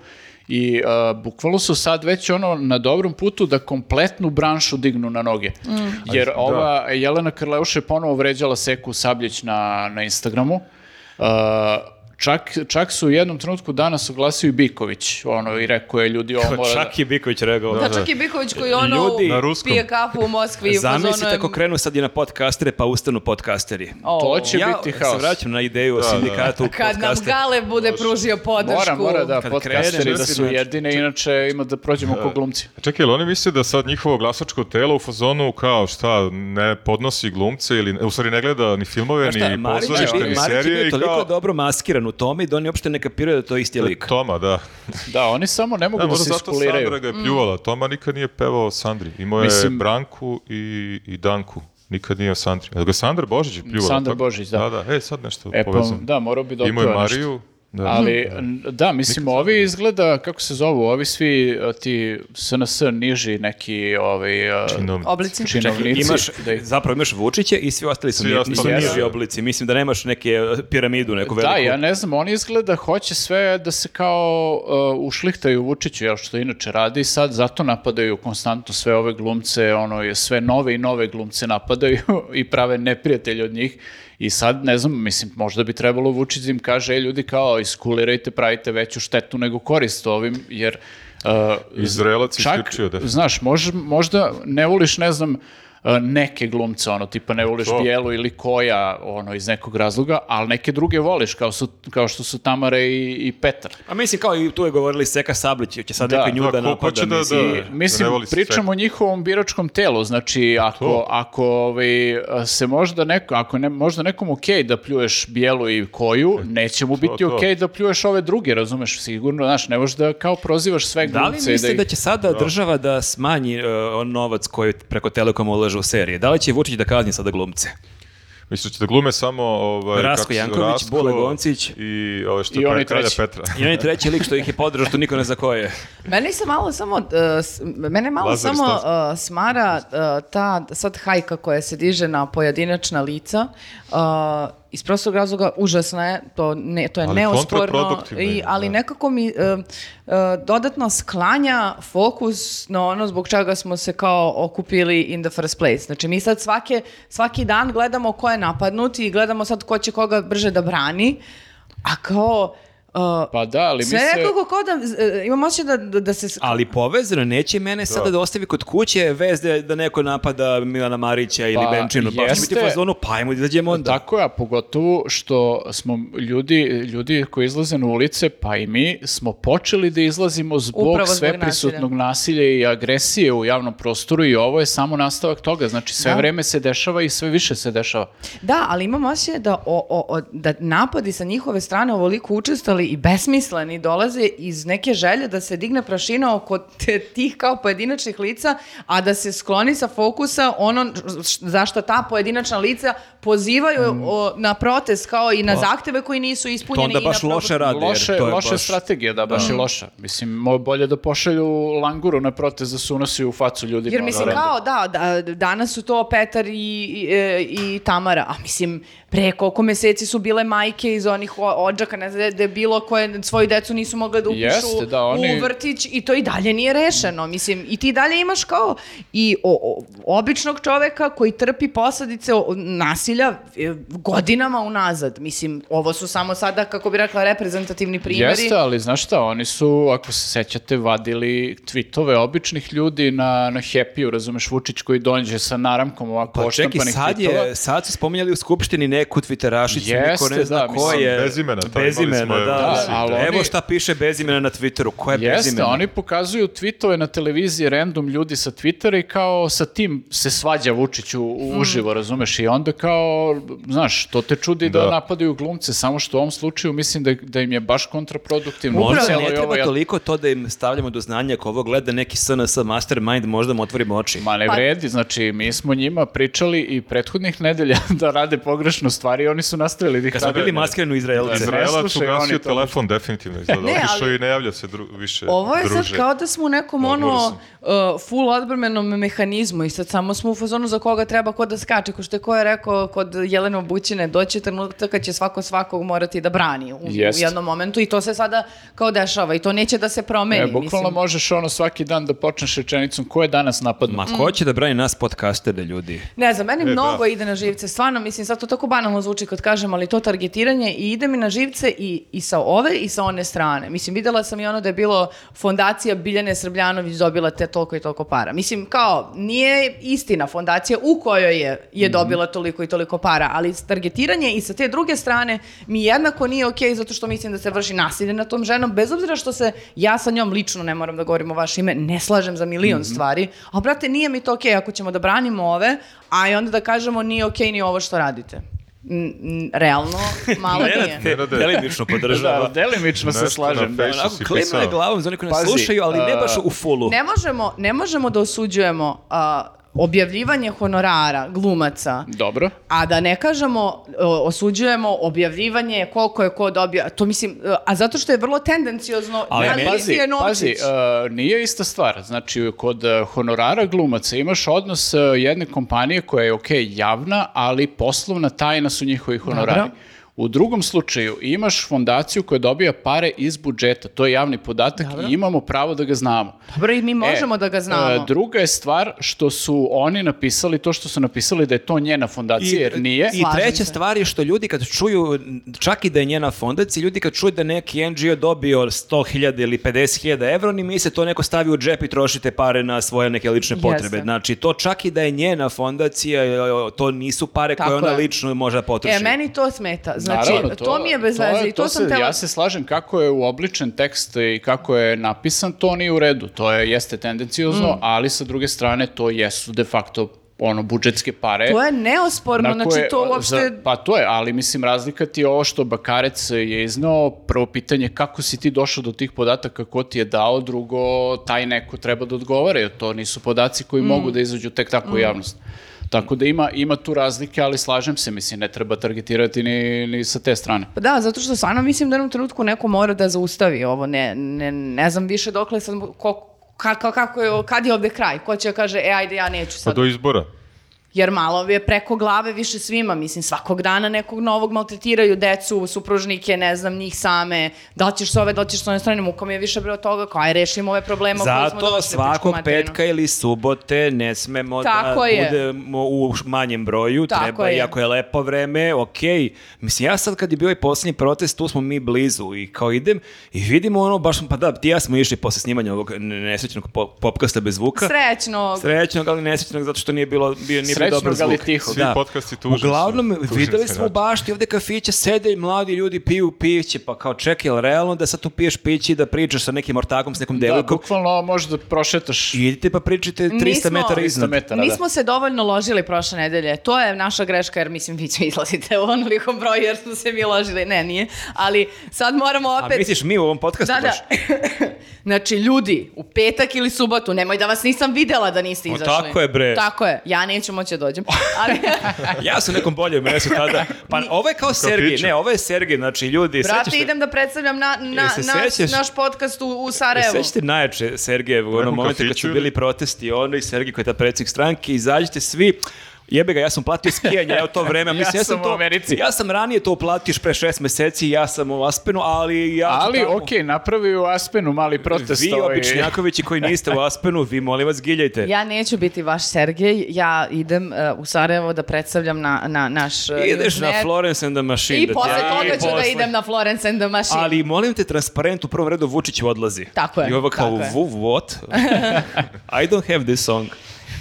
S4: i e, bukvalno su sad već ono na dobrom putu da kompletnu branšu dignu na noge. Jer
S1: Ali, da.
S4: ova Jelena Krleuša je ponovo vređala Seku Sabljić na, na Instagramu. Uh, čak, čak su u jednom trenutku danas oglasio i Biković, ono, i rekao je ljudi ovo mora... da-
S2: Pa Čak je Biković rekao.
S3: Da, čak i Biković koji ono
S2: Ljudi-
S1: Na ruskom.
S3: pije kafu u Moskvi. i u fazonu
S2: Zamislite
S3: je-
S2: ako krenu sad i na podcastere, pa ustanu podcasteri.
S3: O.
S4: To će
S2: ja
S4: biti
S2: se
S4: haos.
S2: vraćam na ideju o
S1: Da, da.
S2: sindikatu
S3: Kad nam
S2: podcastera.
S3: Gale bude pružio podršku.
S4: Mora, mora, da,
S2: Kad krene,
S4: podcasteri da
S2: znači,
S4: su
S2: znači,
S4: jedine, inače ima da prođemo ko glumci.
S1: Čekaj, jel oni misle da sad njihovo glasačko telo u fazonu kao šta, ne podnosi glumce ili, u stvari ne gleda ni filmove,
S2: Pa Šta,
S1: ni
S2: Marić,
S1: pozorište,
S2: je
S1: ni
S2: bio- Marić je
S1: serije
S2: bio
S1: i
S2: toliko
S1: kao...
S2: dobro maskiran u tome i da oni uopšte ne kapiraju da to je isti lik.
S1: Toma, da.
S4: Da, oni samo ne mogu
S1: Da,
S4: da,
S1: možda
S4: se
S1: zato Sandra
S4: iskuliraju.
S1: ga je
S3: Mm.
S1: pljuvala. Toma nikad nije pevao o Sandri. Imao je
S4: Mislim-
S1: Branku i, i Danku. Nikad nije o Sandri. Jel ga Sandra Božić je pljuvala?
S4: Sandra
S1: tako?
S4: Božić, da.
S1: Da, da. E, sad nešto
S4: E pa,
S1: povezano.
S4: da, morao bi da
S1: Imao je
S4: otpeva nešto.
S1: Mariju. Da.
S4: Ali, n- da, mislim, ovi izgleda, kako se zovu, ovi svi a, ti SNS niži neki ovi... a,
S1: Činovnici.
S3: Oblici.
S4: Činovnici.
S2: Imaš,
S4: da, ih-
S2: zapravo imaš Vučića i svi ostali su,
S1: Svi
S2: ni-
S1: ostali
S2: su
S4: jesu.
S2: niži oblici. Mislim da nemaš neke eh, piramidu, neku veliku.
S4: da, ja ne znam, oni izgleda hoće sve da se kao uh, ušlihtaju Vučiću, jel što inače radi i sad zato napadaju konstantno sve ove glumce, ono, je sve nove i nove glumce napadaju [laughs] i prave neprijatelje od njih i sad, ne znam, mislim, možda bi trebalo Vučić da im kaže, e, ljudi, kao, iskulirajte, pravite veću štetu nego korist ovim, jer... uh,
S1: Izraelac
S4: Čak,
S1: isključio, da.
S4: znaš, mož, možda ne voliš, ne znam, e, neke glumce, ono, tipa ne voliš
S1: To.
S4: Bijelu ili Koja, ono, iz nekog razloga, ali neke druge voliš, kao, su, kao što su Tamara i, i Petar.
S2: A mislim, kao i tu je govorili Seka Sablić, će sad
S4: Da.
S2: neko i nju da
S1: Da, ko- ko
S2: napada.
S1: će da-
S2: mislim.
S1: da-
S4: Mislim,
S1: ne voli se
S4: pričamo
S1: sve.
S4: o njihovom biračkom telu, znači ako,
S1: To.
S4: ako ovaj, se možda neko, ako ne, možda nekom ok da pljuješ bijelu i koju, neće mu biti
S1: E, to.
S4: ok da pljuješ ove druge, razumeš, sigurno, znaš, ne možeš da kao prozivaš sve
S2: Da li
S4: glumce. i
S2: mislite
S4: ih-
S2: da će sada država da smanji e, on novac koji preko Telekoma ulaže u serije? Da li će Vučić da kazni sada glumce?
S1: Mislim, će da glume samo... Ovaj,
S2: Rasko
S1: kako se-
S2: Janković,
S1: Rasko
S2: Bole Goncić.
S1: I ovaj što
S4: I
S1: je
S4: onaj
S1: pre- kralja
S4: treći. [laughs]
S1: Petra.
S2: I onaj treći lik što ih je podržao, što niko ne zna ko je.
S3: Meni se malo samo, uh, s- mene malo
S1: Lazar i
S3: samo
S1: Staza.
S3: uh, smara uh, ta sad hajka koja se diže na pojedinačna lica. uh, iz prostog razloga užasna je, to, ne, to je
S1: Ali
S3: neosporno,
S1: kontraproduktivna
S3: i,
S1: je,
S3: ali
S1: da.
S3: nekako mi uh, uh, dodatno sklanja fokus na ono zbog čega smo se kao okupili in the first place. Znači mi sad svake, svaki dan gledamo ko je napadnut i gledamo sad ko će koga brže da brani, a kao... uh,
S4: Pa da, ali mi
S3: sve
S4: se...
S3: nekako kao da, e, imam osjećaj da, da, da se... s-
S2: Ali povezano, neće mene sada da ostavi kod kuće vezde da neko napada Milana Marića ili
S4: Pa,
S2: Benčinu. Pa jeste...
S4: jeste.
S2: biti u fazonu, pa ajmo da izađemo onda.
S4: Tako je, a pogotovo što smo ljudi, ljudi koji izlaze na ulice, pa i mi, smo počeli da izlazimo zbog,
S3: Upravo zbog
S4: sve prisutnog nasilja i agresije u javnom prostoru i ovo je samo nastavak toga. Znači sve
S3: Da.
S4: vreme se dešava i sve više se dešava.
S3: Da, ali imam osjećaj da, o, o, o- da napadi sa njihove strane ovoliko učestali i besmisleni dolaze iz neke želje da se digne prašina oko te, tih kao pojedinačnih lica, a da se skloni sa fokusa ono š- zašto ta pojedinačna lica pozivaju o, na protest kao i na zahteve koji nisu
S2: Mm. Pa- To
S3: ispunjeni.
S2: onda
S3: i
S2: baš
S3: na probu-
S2: loše radi. jer
S4: loše
S2: to je
S4: loša
S2: baš-
S4: strategija, da, baš je loša. Mislim, mo- bolje da pošalju languru na protest da se unosi u facu ljudi.
S3: Jer mislim kao da, da, danas su to Petar i, i, e, i Tamara, a mislim pre koliko meseci su bile majke iz onih o- odžaka, ne znam, da je bilo koje svoju decu nisu mogle da upišu
S4: Jeste, da, oni-
S3: u vrtić i to i dalje nije rešeno. Mislim, i ti dalje imaš kao i o- o- običnog čoveka koji trpi posadice o- nasilja e, godinama unazad. Mislim, ovo su samo sada, kako bi rekla, reprezentativni primjeri.
S4: Jeste, ali znaš šta, oni su, ako se sećate, vadili tweetove običnih ljudi na, na Happy-u, razumeš, Vučić koji dođe sa naramkom ovako
S2: Pa čekaj,
S4: oštampanih
S2: sad, je,
S4: tweetova.
S2: sad su spominjali u skupštini neku twitterašicu, niko
S4: Jeste,
S2: ne zna
S4: da,
S2: ko
S4: mislim,
S2: je.
S1: bez imena, tamo
S2: Bez
S1: imali
S2: imena,
S1: smo je,
S2: da.
S1: da,
S2: da.
S4: ali
S2: Evo
S4: oni-
S2: šta piše bez imena na Twitteru, ko je bez
S4: Jeste,
S2: imena?
S4: oni pokazuju tweetove na televiziji random ljudi sa Twittera i kao sa tim se svađa Vučić u, u uživo, razumeš? I onda kao, znaš, to te čudi da,
S1: Da.
S4: napadaju glumce, samo što u ovom slučaju mislim da, da im je baš kontraproduktivno.
S2: Možda
S4: Upravo
S2: ne
S4: je
S2: treba
S4: ovo ja-
S2: toliko to da im stavljamo do znanja ako ovo gleda neki SNS mastermind, možda mu otvorimo oči.
S4: Ma ne
S3: Pa-
S4: vredi, znači mi smo njima pričali i prethodnih nedelja [laughs] da rade pogrešno stvari i oni su nastavili da ih
S2: Kad smo
S4: rade.
S2: bili maskarni u Izraelce.
S4: Izra- Ne
S1: Izraelac
S4: slušaju
S1: ugasio
S4: oni to.
S1: telefon, definitivno izgleda.
S3: [laughs] Ne,
S1: Otišao
S3: ali-
S1: i ne javlja se dru- više
S3: Ovo je
S1: druže.
S3: sad kao da smo u nekom
S1: Odmoran
S3: ono
S1: sam.
S3: uh, full odbrmenom mehanizmu i sad samo smo u fazonu za koga treba ko da skače, ko što je ko je rekao kod Jelena Bućine, doći trenutak kad će svako svakog morati da brani u, u
S4: Jest.
S3: jednom momentu i to se sada kao dešava i to neće da se promeni.
S4: E, bukvalno
S3: mislim.
S4: možeš ono svaki dan da počneš rečenicom ko je danas napadnut.
S2: Ma ko će da brani nas podcastere, ljudi?
S3: Ne znam, meni
S1: E,
S3: mnogo
S1: da.
S3: ide na živce, stvarno, mislim, sad to tako banalno zvuči kad kažem, ali to targetiranje i ide mi na živce i, i sa ove i sa one strane. Mislim, videla sam i ono da je bilo fondacija Biljane Srbljanović dobila te toliko i toliko para. Mislim, kao, nije istina fondacija u kojoj je, je
S1: Mhm.
S3: dobila toliko i toliko para, ali targetiranje i sa te druge strane mi jednako nije okej zato što mislim da se vrši nasilje na tom ženom, bez obzira što se ja sa njom lično, ne moram da govorim o vaše ime, ne slažem za milion
S1: Mhm.
S3: stvari, a brate, nije mi to okej ako ćemo da branimo ove, a i onda da kažemo nije okej ni ovo što radite. N- n- realno, malo nije.
S2: te
S1: Nenade.
S2: delimično
S4: [laughs] Da,
S2: podržava.
S4: delimično se
S1: Nešto
S4: slažem.
S1: na
S4: da.
S1: Facebooku.
S2: Onako
S1: si
S2: klima
S1: pisao.
S2: je glavom za oni koji nas
S4: Pazi,
S2: slušaju, ali ne
S4: a-
S2: baš u fulu.
S3: e, Ne možemo, ne možemo da osuđujemo a, objavljivanje honorara glumaca
S4: Dobro.
S3: A da ne kažemo, e, osuđujemo objavljivanje koliko je ko dobio, to mislim, e, a zato što je vrlo tendenciozno,
S2: Ali
S3: da li
S2: meni-
S3: ti
S4: Pazi,
S3: je novčić?
S4: pazi, e, nije ista stvar. Znači, kod e, honorara glumaca imaš odnos e, jedne kompanije koja je, ok, javna, ali poslovna tajna su njihovi honorari.
S3: Dobro.
S4: U drugom slučaju imaš fondaciju koja dobija pare iz budžeta, to je javni podatak i imamo pravo da ga znamo.
S3: Dobro, Pa i mi možemo
S4: E,
S3: da ga znamo.
S4: e, druga je stvar što su oni napisali to što su napisali da je to njena fondacija, jer nije.
S2: I
S3: Slažem
S2: treća
S3: se.
S2: stvar je što ljudi kad čuju, čak i da je njena fondacija, ljudi kad čuju da neki NGO dobio 100.000 ili 50.000 evra, oni misle to neko stavi u džep i trošite pare na svoje neke lične
S3: Jeste.
S2: potrebe. Znači, to čak i da je njena fondacija, e, to nisu pare
S3: Tako
S2: koje ona
S3: je.
S2: lično može da potroši.
S3: E, meni to smeta. Znači,
S4: Naravno,
S3: to, mi je bez
S4: to
S3: veze i to,
S4: to
S3: sam
S4: se-
S3: tela...
S4: Ja se slažem kako je uobličen tekst i kako je napisan, to nije u redu. To je, jeste
S3: Mm.
S4: tendencijozno, ali sa druge strane to jesu de facto ono budžetske pare.
S3: To je neosporno,
S4: na
S3: znači
S4: koje-
S3: to uopšte...
S4: za- pa to je, ali mislim razlika ti je ovo što Bakarec je iznao, prvo pitanje kako si ti došao do tih podataka, ko ti je dao, drugo taj neko treba da odgovara, jer to nisu podaci
S3: Mm.
S4: koji mogu da izađu tek tako u javnost. Tako da ima, ima tu razlike, ali slažem se, mislim, ne treba targetirati ni, ni sa te strane.
S3: Pa da, zato što stvarno mislim da u jednom trenutku neko mora da zaustavi ovo. Ne, ne, ne znam više dokle sam... Ko, ka- ka- kako je, ovo- kad je ovde kraj? Ko će da kaže, e, ajde, ja neću
S1: Pa
S3: sad.
S1: do izbora.
S3: Jer malo je preko glave više svima, mislim, svakog dana nekog novog maltretiraju decu, supružnike, ne znam, njih same, da li ćeš s ove, da li ćeš s one strane, muka mi je više bre od toga, kao aj, rešimo ove probleme. o kojima smo
S2: Zato
S3: došli, pičku
S2: svakog
S3: materinu.
S2: petka ili subote ne smemo
S3: Tako
S2: da
S3: je.
S2: budemo u manjem broju,
S3: Tako
S2: treba,
S3: je.
S2: iako je lepo vreme, okej. Mislim, ja sad kad je bio i posljednji protest, tu smo mi blizu i kao idem i vidimo ono, baš, pa da, ti i ja smo išli posle snimanja ovog nesrećenog pop- popkasta bez zvuka.
S3: Srećno.
S2: Srećnog, ali nesrećnog, zato što nije bilo, bio, nije bio
S4: Srećnog,
S2: dobar zvuk.
S4: ali tiho.
S1: Svi podcasti tužni su.
S2: Uglavnom,
S1: Tužni
S2: videli
S1: su
S2: smo u
S1: inače.
S2: bašti ovde kafiće, sede i mladi ljudi piju piće, pa kao čekaj, jel realno da sad tu piješ piće i da pričaš sa nekim ortakom, s nekom
S4: Da,
S2: devojkom,
S4: bukvalno možda prošetaš
S2: I idite pa pričajte 300
S3: Nismo-
S2: metara
S4: 300
S2: iznad.
S4: metara. da.
S3: Nismo se dovoljno ložili prošle nedelje. To je naša greška jer mislim vi će izlazite u onolikom broju jer smo se mi ložili. Ne, nije. Ali sad moramo opet...
S2: A misliš mi u ovom podcastu
S3: Da, da.
S2: baš?
S3: [laughs] znači, ljudi, u petak ili subotu, nemoj da vas nisam videla da niste
S2: Pa
S3: izašli.
S2: tako je, bre. E,
S3: Tako je. Ja neću moći da
S2: [laughs]
S3: dođem. Ali,
S2: Ja sam u nekom boljem mesu tada. Pa ovo je kao Sergij, ne, ovo je Sergij, znači ljudi,
S3: brate,
S2: sećaš se-
S3: idem da predstavljam na, na,
S2: Jel E, se E,
S3: naš,
S2: sećaš?
S3: naš podcast u, u
S2: jel
S3: Sarajevu.
S2: Sećate najjače Sergeje u onom
S1: Nekom
S2: momentu kad
S1: kafiću
S2: su
S1: ili-
S2: bili protesti, ono i Sergij koji je ta predsjednik stranke, izađite svi, jebe ga, ja sam platio skijanje, evo
S4: [laughs]
S2: to vreme.
S4: Ja
S2: Mislim,
S4: sam u
S2: to,
S4: Americi.
S2: Ja sam ranije to platiš pre šest meseci, ja sam u Aspenu, ali ja ću
S4: Ali,
S2: tamo.
S4: okej, napravi u Aspenu mali protest.
S2: Vi
S4: ovaj.
S2: običnjakovići koji niste u Aspenu, vi molim vas giljajte.
S3: Ja neću biti vaš Sergej, ja idem e, u Sarajevo da predstavljam na, na naš... e,
S2: Ideš na
S3: newsnet.
S2: Florence and the Machine.
S3: I
S2: da ti-
S3: posle
S2: Ja,
S3: toga
S2: i
S3: ću da
S2: posle.
S3: idem na Florence and the Machine.
S2: Ali molim te, transparent u prvom redu Vučić odlazi.
S3: Znači- Tako je,
S2: I ovo kao,
S3: tako je.
S2: "Vu,
S3: [laughs]
S2: what? I don't have this song.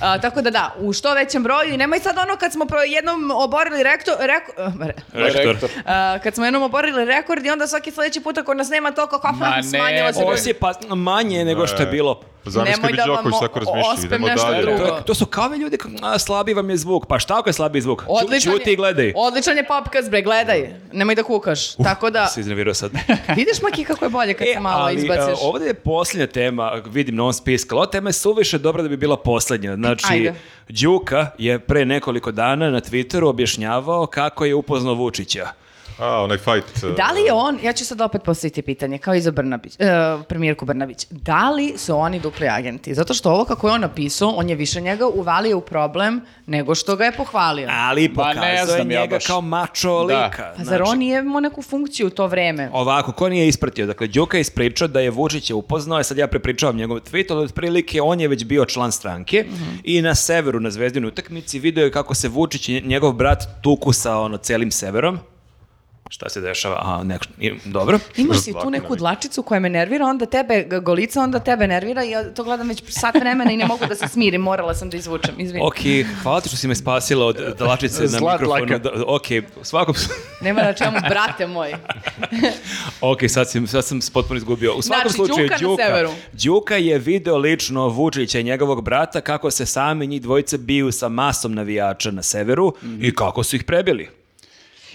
S3: A, tako da da, u što većem broju i nemoj sad ono kad smo pro- jednom oborili rekto, reko- [laughs] eh, re-
S2: Rektor.
S4: [laughs] Rektor.
S3: a, kad smo jednom oborili rekord i onda svaki sljedeći puta ako nas nema toliko kao
S4: Ma ne,
S3: smanjilo se
S2: Ovo
S3: broj.
S2: si je pa manje nego što je bilo.
S1: Pa Zamisli
S3: Nemoj
S1: bi
S3: da vam
S1: Đoković
S3: o-
S1: tako razmišljao,
S3: ospem
S1: idemo
S3: nešto
S1: dalje.
S3: drugo.
S2: To, je- to su kao ovi ljudi, kao, "A, slabi vam je zvuk. Pa šta ako je slabi zvuk? Ću-
S3: Odličan
S2: Ćuti i gledaj.
S3: Odličan je popkaz, bre, gledaj. Nemoj da kukaš.
S2: [laughs]
S3: Tako da,
S2: Se iznervirao sad.
S3: vidiš Maki kako je bolje [laughs] kad
S2: E,
S3: se malo
S2: ali,
S3: izbaciš.
S2: a, ovdje je posljednja tema, vidim na ovom spisku, ali ova tema je suviše dobra da bi bila posljednja. Znači,
S3: Ajde.
S2: Đuka je pre nekoliko dana na Twitteru objašnjavao kako je upoznao Vučića.
S1: A, onaj fight. e,
S3: Da li je on, ja ću sad opet postaviti pitanje, kao i za Brnabić, e, premijerku Brnabić, da li su oni dupli agenti? Zato što ovo kako je on napisao, on je više njega uvalio u problem nego što ga je pohvalio.
S2: Ali
S4: Ba, ne
S2: pokazuje
S4: znam ja
S2: njega
S4: baš.
S2: kao mačo
S4: Da.
S2: lika. znači.
S3: Pa zar on nije imao neku funkciju u to vreme?
S2: Ovako, ko nije ispratio? Dakle, Đuka je ispričao da je Vučića upoznao, i sad ja prepričavam njegov tweet, ali otprilike on je već bio član stranke i na severu, na zvezdinoj utakmici, video je kako se Vučić i njegov brat tuku sa ono, celim severom. Šta se dešava? Aha, nek... i- dobro.
S3: Imaš si tu
S1: Zlatna
S3: neku
S1: vika.
S3: dlačicu koja me nervira, onda tebe g- golica, onda tebe nervira i ja to gledam već sat vremena i ne mogu da se smirim, morala sam da izvučem, izvini.
S2: Ok, hvala ti što si me spasila od dlačice na
S4: Zlat
S2: mikrofonu.
S4: laka.
S2: Da, Ok, u svakom... slu-
S3: Nema na čemu, brate moj.
S2: Ok, sad, si, sad sam se potpuno izgubio. U svakom
S3: Znači,
S2: slučaju,
S3: Đuka na severu.
S2: Đuka je video lično Vučića i njegovog brata kako se sami njih dvojice biju sa masom navijača na severu i kako su ih prebili.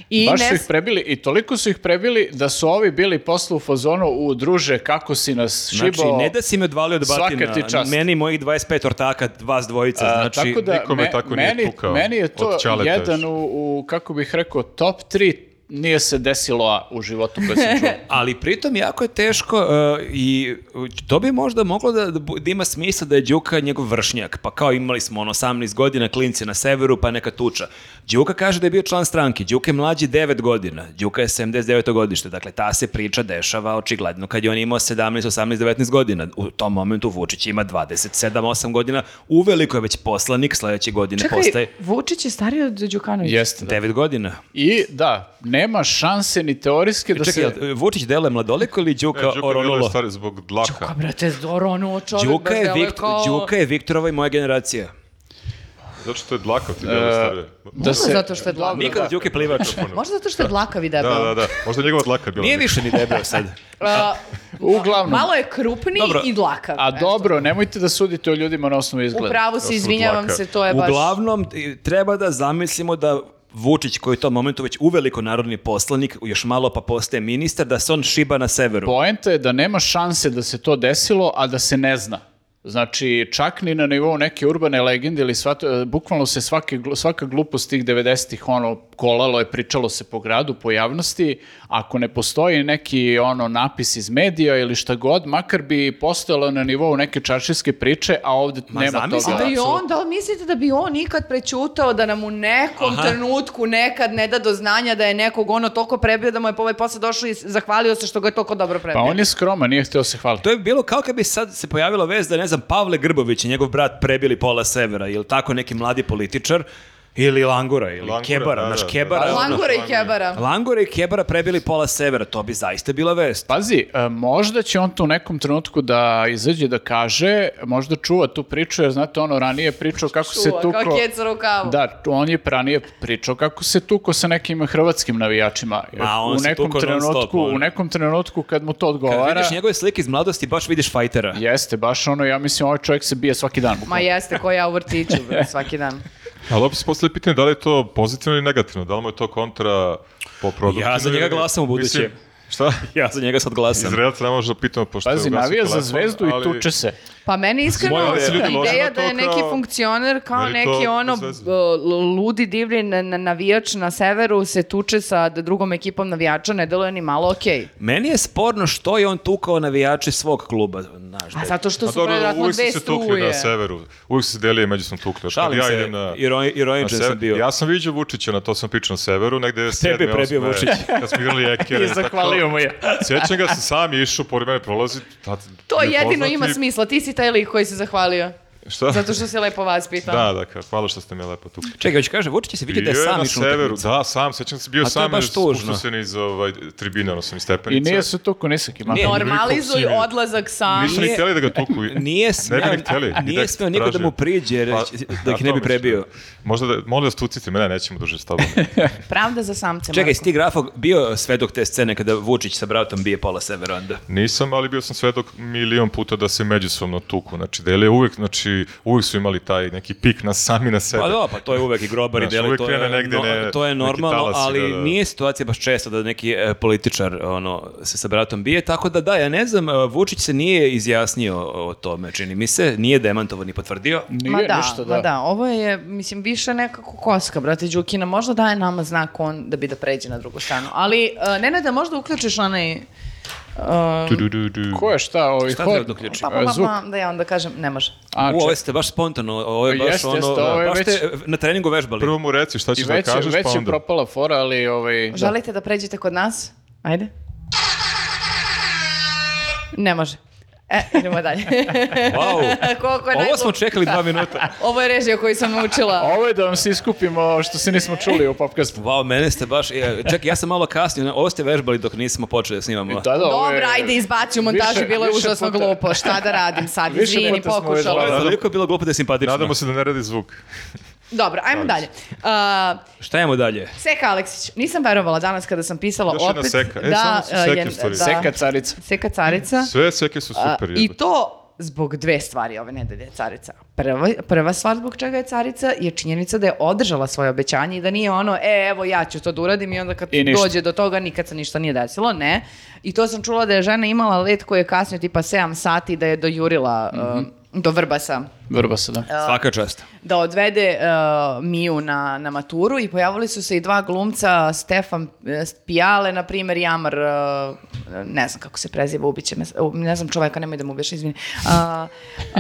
S3: I
S4: Baš
S3: ne
S4: su ih
S3: s-
S4: prebili i toliko su ih prebili da su ovi bili posle u fazonu u druže kako si nas šibao.
S2: Znači, ne da si me odvalio od
S4: Svaka
S2: batina,
S4: ti čast.
S2: meni i mojih 25 ortaka, vas dvojica,
S4: A,
S2: znači...
S4: tako da,
S1: nikome
S4: me-
S1: tako nije
S4: meni,
S1: tukao
S4: meni je
S1: od
S4: to
S1: Ćaleta još.
S4: jedan u, u, kako bih rekao, top 3 nije se desilo A u životu koje sam
S3: [laughs]
S4: čuo.
S2: Ali pritom jako je teško uh, i uh, to bi možda moglo da, da, bu- da ima smisla da je Đuka njegov vršnjak. Pa kao imali smo ono 18 godina, klinci na severu, pa neka tuča. Đuka kaže da je bio član stranke. Đuka je mlađi 9 godina. Đuka je 79. godište. Dakle, ta se priča dešava očigledno kad je on imao 17, 18, 19 godina. U tom momentu Vučić ima 27, 8 godina. Uveliko je već poslanik, sledeće godine
S3: Čekaj,
S2: postaje
S3: Vučić je stariji od Đukanovića.
S4: Jeste, da.
S2: 9 godina.
S4: I da, nema šanse ni teorijske da
S2: E, Čekaj,
S4: se...
S2: jel, Vučić dele mladoliko ili Đuka,
S1: E, Đuka Milo je
S2: oronulo?
S1: stari zbog dlaka.
S3: Čuka, brate, zoronuo čovjek.
S2: Đuka
S3: baš
S2: je,
S3: deluje
S2: Vikt,
S3: kao-
S2: Đuka je Viktorova i moja generacija.
S1: Zato što je dlakav ti
S2: E,
S1: delo starije.
S4: Da se...
S3: Zato što je dlaka.
S2: Nikad da. Đuke plivač.
S3: Možda zato što je dlakav i debel.
S1: Da, da, da. Možda je njegova dlaka bila.
S2: Nije više ni debel
S3: [laughs]
S2: sad.
S3: A,
S4: [laughs] Uglavnom.
S3: malo je krupni
S2: Dobro.
S3: i dlakav.
S4: A
S3: eto.
S4: dobro, nemojte da sudite o ljudima na osnovu
S3: U
S4: izgleda.
S3: pravu
S1: su
S3: si, izvinjavam
S1: dlaka.
S3: se, to Pa je baš...
S2: Uglavnom, i- treba da zamislimo da Vučić, koji je u tom momentu već uveliko narodni poslanik, još malo pa postaje ministar, da se on šiba na severu.
S4: Poenta je da nema šanse da se to desilo, a da se ne zna. Znači, čak ni na nivou neke urbane legende ili svat, e, bukvalno se svake, glu- svaka glupost tih 90-ih ono, kolalo je, pričalo se po gradu, po javnosti. Ako ne postoji neki ono napis iz medija ili šta god, makar bi postojalo na nivou neke čaršijske priče, a ovde
S2: Ma,
S4: nema
S2: zamisli
S4: toga.
S3: Da i
S2: Apsolutno.
S3: on, da li mislite da bi on ikad prećutao da nam u nekom
S2: Aha.
S3: trenutku nekad ne da do znanja da je nekog ono toliko prebio da mu je po ovaj posle došao i zahvalio se što ga je toliko dobro prebio.
S4: Pa on je skroman, nije hteo se hvaliti.
S2: To je bilo kao kad bi sad se pojavila vez da, ne znam, Pavle Grbović i njegov brat prebili pola severa, ili tako neki mladi političar, ili Langura, ili
S1: Langura,
S2: Kebara,
S1: da,
S2: naš
S1: da, da.
S2: Kebara. ono-
S3: Langura i kebara.
S2: Langura i Kebara prebili pola severa, to bi zaista bila vest.
S4: Pazi, e, možda će on to u nekom trenutku da izađe da kaže, možda čuva tu priču, jer znate, ono ranije je pričao kako se
S3: Čuva,
S4: tuko...
S3: Kao keca rukavu.
S4: Da, on je ranije pričao kako se tuko sa nekim hrvatskim navijačima.
S2: Ma, on
S4: u
S2: se
S4: nekom
S2: tukao non stop,
S4: trenutku,
S2: ono.
S4: u nekom trenutku kad mu to
S2: Kad
S4: odgovara,
S2: vidiš njegove slike iz mladosti, baš vidiš fajtera.
S4: jeste baš ono, ja mislim ovaj čovjek se bije svaki dan.
S3: Ma
S4: bukvalno.
S3: jeste, ko ja u vrtiću bre, svaki dan.
S1: Ali opet se postavlja pitanje da li je to pozitivno ili negativno, da li mu je to kontra po produktu.
S2: Ja za njega glasam u buduće.
S1: Mislim, šta?
S2: Ja za njega sad glasam.
S1: Izraelca ne može da pitamo, pošto je
S4: Pazi,
S1: ugasio
S4: navija za
S1: telefon,
S4: zvezdu
S1: ali-
S4: i tuče se.
S3: Pa meni iskreno
S1: Moja se ljudi lože
S3: ideja
S1: na to
S3: da je neki
S1: kao-
S3: funkcioner kao
S1: Meni to
S3: neki
S1: bez
S3: ono
S1: veze.
S3: b- l- ludi divlji na, na- navijač na severu se tuče sa drugom ekipom navijača, ne deluje ni malo okej.
S2: Meni je sporno što je on tukao navijače svog kluba. Znaš,
S3: A
S2: da-
S3: zato što
S1: A
S3: su
S1: E, pa dobro,
S3: prevratno
S1: uvijek
S3: dve
S1: su se tukli
S3: struje.
S1: na severu. Uvijek su se delije međusobno tukli.
S2: Šalim
S1: Kad
S2: se,
S1: ja idem na,
S2: ironi-
S1: na
S2: ironičan sam
S1: sever,
S2: bio.
S1: ja sam viđao Vučića na to sam pričao na severu, negde je
S2: Tebe je prebio Vučić.
S1: [laughs] Kad smo
S2: [laughs]
S1: igrali ekere.
S4: I zahvalio mu je.
S1: Sjećam ga, sam sam je išao, pored mene prolazi. tad-
S3: To jedino
S1: nepoznati-
S3: ima smisla, ti si taj lik koji se
S1: [laughs]
S3: zahvalio.
S1: Šta?
S3: Zato što si lepo vas pitao.
S1: Da, da, kao, hvala što ste me lepo tukli.
S2: Čekaj, hoće kaže, Vučić se vidi da je
S1: Bio
S2: sam
S1: na
S2: išao na
S1: severu,
S2: utakmicu.
S1: da, sam, sećam se, bio
S2: A to je
S1: sam,
S2: baš tužno.
S1: spuštao se niz ovaj, tribine, ono sam iz
S4: I
S1: stepenice.
S4: nije se tuko nisaki. Ma,
S2: Nije.
S3: Normalizuj
S1: Nikog si-
S3: odlazak sam.
S1: Nisu ni
S2: Nije-
S1: htjeli da ga tuku.
S2: [laughs] Nije
S1: Ne bi
S2: smeo,
S1: ni htjeli. I
S2: nije
S1: da
S2: smeo niko da
S1: traže.
S2: mu priđe jer
S1: Pa,
S2: će- da
S1: a
S2: ih ne
S1: to
S2: bi
S1: mislim.
S2: prebio.
S1: Možda da, molim da stucite me, ne, nećemo duže
S2: [laughs]
S1: s tobom.
S3: Pravda za samce.
S2: Čekaj,
S3: Marko.
S2: si ti grafog bio svedok te scene kada Vučić sa bratom bije pola severa onda?
S1: Nisam, ali bio sam svedok milion puta da se međusobno tuku. Znači, dele uvek, znači, uvek su imali taj neki pik na sami na sebe.
S2: Pa da, pa to je uvek i grobar i
S1: Znaš,
S2: deli,
S1: uvek
S2: to je,
S1: krene negde
S2: no-
S1: ne-
S2: to je
S1: neki
S2: normalno,
S1: talasi,
S2: ali
S1: da, da.
S2: nije situacija baš često da neki e, političar ono, se sa bratom bije, tako da da, ja ne znam, e, Vučić se nije izjasnio o tome, čini mi se, nije demantovo ni potvrdio.
S4: nije
S3: Ma da,
S4: ništa,
S3: ma da, ovo je, mislim, više nekako koska, brate Đukina, možda daje nama znak on da bi da pređe na drugu stranu, ali ne Nenada, možda uključiš onaj, e,
S1: Du, du, du, du.
S4: Ko je šta? Ovaj,
S2: Šta
S4: hor?
S2: treba da uključim?
S3: pa, pa, pa,
S4: Zvuk.
S3: pa, da ja onda kažem, ne može.
S4: A,
S2: U, ovaj ovo
S4: čekaj.
S2: ste baš spontano, ovo je baš
S4: Pa Jeste,
S2: ono,
S4: jeste, ovo je
S2: baš
S4: već-
S2: ste na treningu vežbali.
S1: Prvo mu reci šta
S4: I
S1: ćeš da
S4: već, je,
S1: kažeš,
S4: već
S1: pa
S4: je
S1: onda.
S4: propala fora, ali... Ovaj, da.
S3: Želite da pređete kod nas? Ajde. Ne može. E, idemo dalje.
S4: [laughs]
S2: Wow.
S3: Koliko je
S2: Ovo
S3: najglup-
S2: smo čekali dva minuta.
S3: Ovo je režija koju sam naučila.
S4: Ovo je da vam se iskupimo što se nismo čuli u popkastu.
S2: Wow, mene ste baš, e, čekaj, ja sam malo kasnio, ovo ste vežbali dok nismo počeli da snimamo.
S4: Da, da, ovo je-
S3: Dobro, ajde, izbaci u montaži,
S4: Više-
S3: bilo je
S4: više
S3: užasno
S4: puta-
S3: glupo. Šta da radim sad?
S4: Više
S3: Izvini,
S4: puta smo
S3: pokušala.
S2: Ovo je
S1: Nadam-
S2: toliko bilo glupo da je simpatično.
S1: Nadamo se da ne radi zvuk.
S3: Dobro, ajmo dalje. Uh,
S2: Šta imamo dalje?
S3: Seka Aleksić, nisam verovala danas kada sam pisala
S1: Još jedna
S3: opet.
S1: Seka. E, samo su
S3: uh,
S1: Seke
S3: je-
S1: u stvari.
S4: Seka carica.
S3: Seka carica.
S1: Sve seke su
S3: A,
S1: super.
S3: I
S1: jebote.
S3: to zbog dve stvari ove nedelje carica. Prva, prva stvar zbog čega je carica je činjenica da je održala svoje obećanje i da nije ono, e, evo ja ću to da uradim i onda kad
S4: I ništa.
S3: dođe do toga nikad se ništa nije desilo, ne. I to sam
S4: Mhm.
S3: čula da je žena imala let koji je kasnio tipa 7 sati da je dojurila um, do Vrbasa
S4: Vrbasa, da.
S2: Svaka čast.
S3: da odvede uh, Miju na, na maturu i pojavili su se i dva glumca, Stefan eh, Pijale, na primjer, Jamar, uh, ne znam kako se preziva, ubiće me, s- u, ne znam čoveka, nemoj da mu ubiješ, izvini. Uh,
S1: [laughs]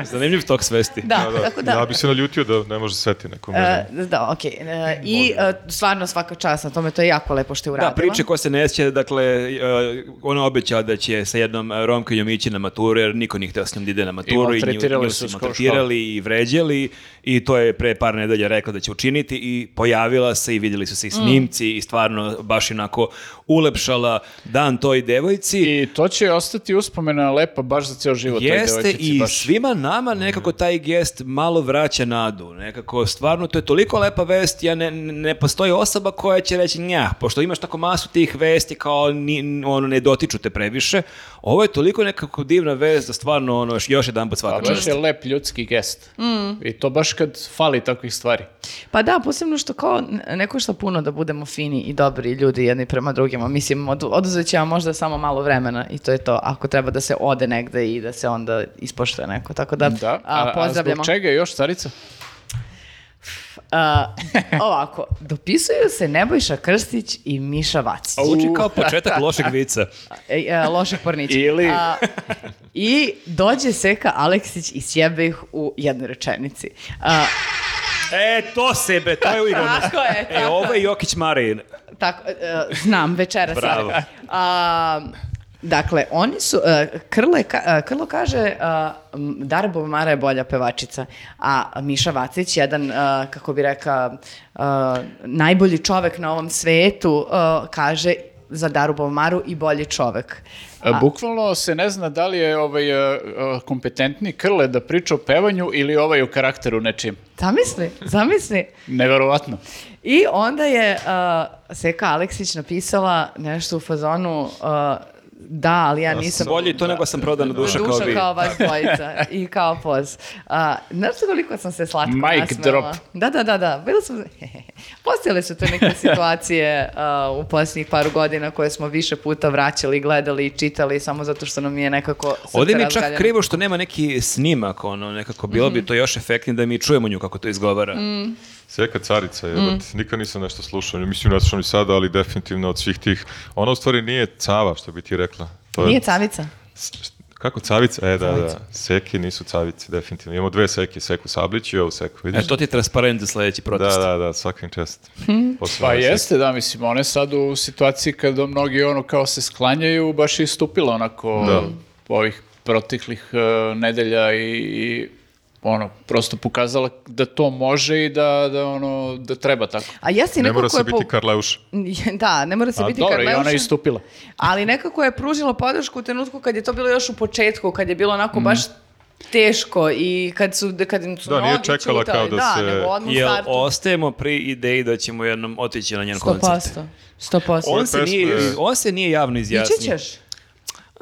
S3: uh,
S2: Zanimljiv tok svesti.
S3: da, tako da.
S1: Ja bi se naljutio da ne može sveti nekom. ne znam.
S3: E, da, okej. E, I e, stvarno svaka čast na tome, to je jako lepo što je uradila.
S2: Da, priče ko se ne sjeća, dakle, e, ona obećala da će sa jednom e, Romkinjom ići na maturu, jer niko nije htio s njom da ide na maturu i, nju,
S4: maltretirali
S2: nju
S4: su
S2: su
S4: skoro
S2: maltretirali i vređali i to je pre par nedelja rekla da će učiniti i pojavila se i vidjeli su se i
S4: Mm.
S2: snimci i stvarno baš onako ulepšala dan toj devojci.
S4: I to će ostati uspomena lepa baš za ceo život. toj
S2: Jeste
S4: devojčici,
S2: i
S4: baš.
S2: svima nama nekako taj gest malo vraća nadu. Nekako stvarno to je toliko lepa vest, ja ne, ne postoji osoba koja će reći nja, pošto imaš tako masu tih vesti kao ni, ono ne dotiču te previše. Ovo je toliko nekako divna vest da stvarno ono još- još jedan
S4: Pa
S2: svaka
S4: baš
S2: čast.
S4: je lep ljudski gest.
S3: Mm.
S4: I to baš kad fali takvih stvari.
S3: Pa da, posebno što kao n- ne košta puno da budemo fini i dobri ljudi jedni prema drugima. Mislim, od, oduzet će vam možda samo malo vremena i to je to. Ako treba da se ode negde i da se onda ispoštuje neko. Tako da,
S4: Da.
S3: a, pozdravljamo.
S4: zbog čega još, carica?
S3: A, [laughs] ovako, dopisuju se Nebojša Krstić i Miša Vacić.
S2: Zvuči kao početak lošeg vica.
S3: E, e, loših pornića.
S4: Ili-
S3: A, I dođe Seka Aleksić i sjebe ih u jednoj rečenici. A,
S2: [laughs] E, to sebe, to je uigranost.
S3: Tako je,
S2: E,
S3: tako
S2: ovo je
S3: je.
S2: Jokić Marin.
S3: Tako, e, znam, večeras.
S2: Bravo.
S3: A, dakle, oni su, e, Krle, ka- e, Krlo kaže, e, m, Darbo Mara je bolja pevačica, a Miša Vacić, jedan, e, kako bi reka, e, najbolji čovek na ovom svetu, e, kaže za Darubo Maru i bolji čovek.
S4: E, Bukvalno se ne zna da li je ovaj e, e, kompetentni krle da priča o pevanju ili ovaj o karakteru nečim.
S3: Zamisli, zamisli.
S4: Neverovatno.
S3: I onda je uh, Seka Aleksić napisala nešto u fazonu uh, da, ali ja nisam...
S2: Bolje to nego sam prodana duša, kao vi.
S3: vas dvojica i kao poz. A, znaš koliko sam se slatko
S4: Mic
S3: nasmela?
S4: drop.
S3: Da, da, da, da. Bilo sam... [laughs] Postojale su te neke situacije a, u posljednjih paru godina koje smo više puta vraćali, gledali i čitali samo zato što nam je nekako srce
S2: Ovdje mi je čak
S3: razgaljeno.
S2: krivo što nema neki snimak, ono, nekako bilo
S3: Mhm.
S2: bi to još efektnije da mi čujemo nju kako to izgovara.
S1: Seka carica je, mm. nikad nisam nešto slušao, ne mislim da sam i sada, ali definitivno od svih tih. Ona u stvari nije cava, što bi ti rekla. To je-
S3: Nije cavica.
S1: S- št- Kako cavica? E, da, da. Seki nisu cavice, definitivno. Imamo dve seke, seku Sablić i ovu seku, vidiš?
S2: E, to ti je transparent za sljedeći
S1: da,
S2: protest.
S1: da, da, svaka im čast.
S3: Mhm.
S1: Posebno
S4: Pa
S1: ove seke.
S4: jeste, da, mislim, ona je sad u situaciji kada mnogi ono kao se sklanjaju, baš je istupila onako
S1: Da.
S4: ovih proteklih e, nedelja i, i ono, prosto pokazala da to može i da, da ono, da treba tako.
S3: A jesi
S1: Ne
S3: neko
S1: mora
S3: ko je...
S1: se biti
S3: po-
S1: Karleuš.
S3: [laughs] Da, ne
S2: Pa
S3: mora se
S4: A
S3: biti pa
S4: dobro, i ona je
S3: Karleuša.
S4: istupila.
S3: Ali nekako je pružila podršku u trenutku kad je to bilo još u početku, kad je bilo onako baš teško i kad su, kad im su
S1: Da, nije
S3: noge
S1: čekala
S3: ćutale.
S1: kao da
S3: da
S1: se-
S3: nego odmah u
S2: Jel
S3: startu.
S2: ostajemo pri ideji da ćemo jednom otići na njen koncert?
S3: 100%. 100%.
S1: Ove
S2: On se, nije,
S1: pesme-
S2: on se nije javno
S3: Ići
S2: izjasnio.
S3: ćeš?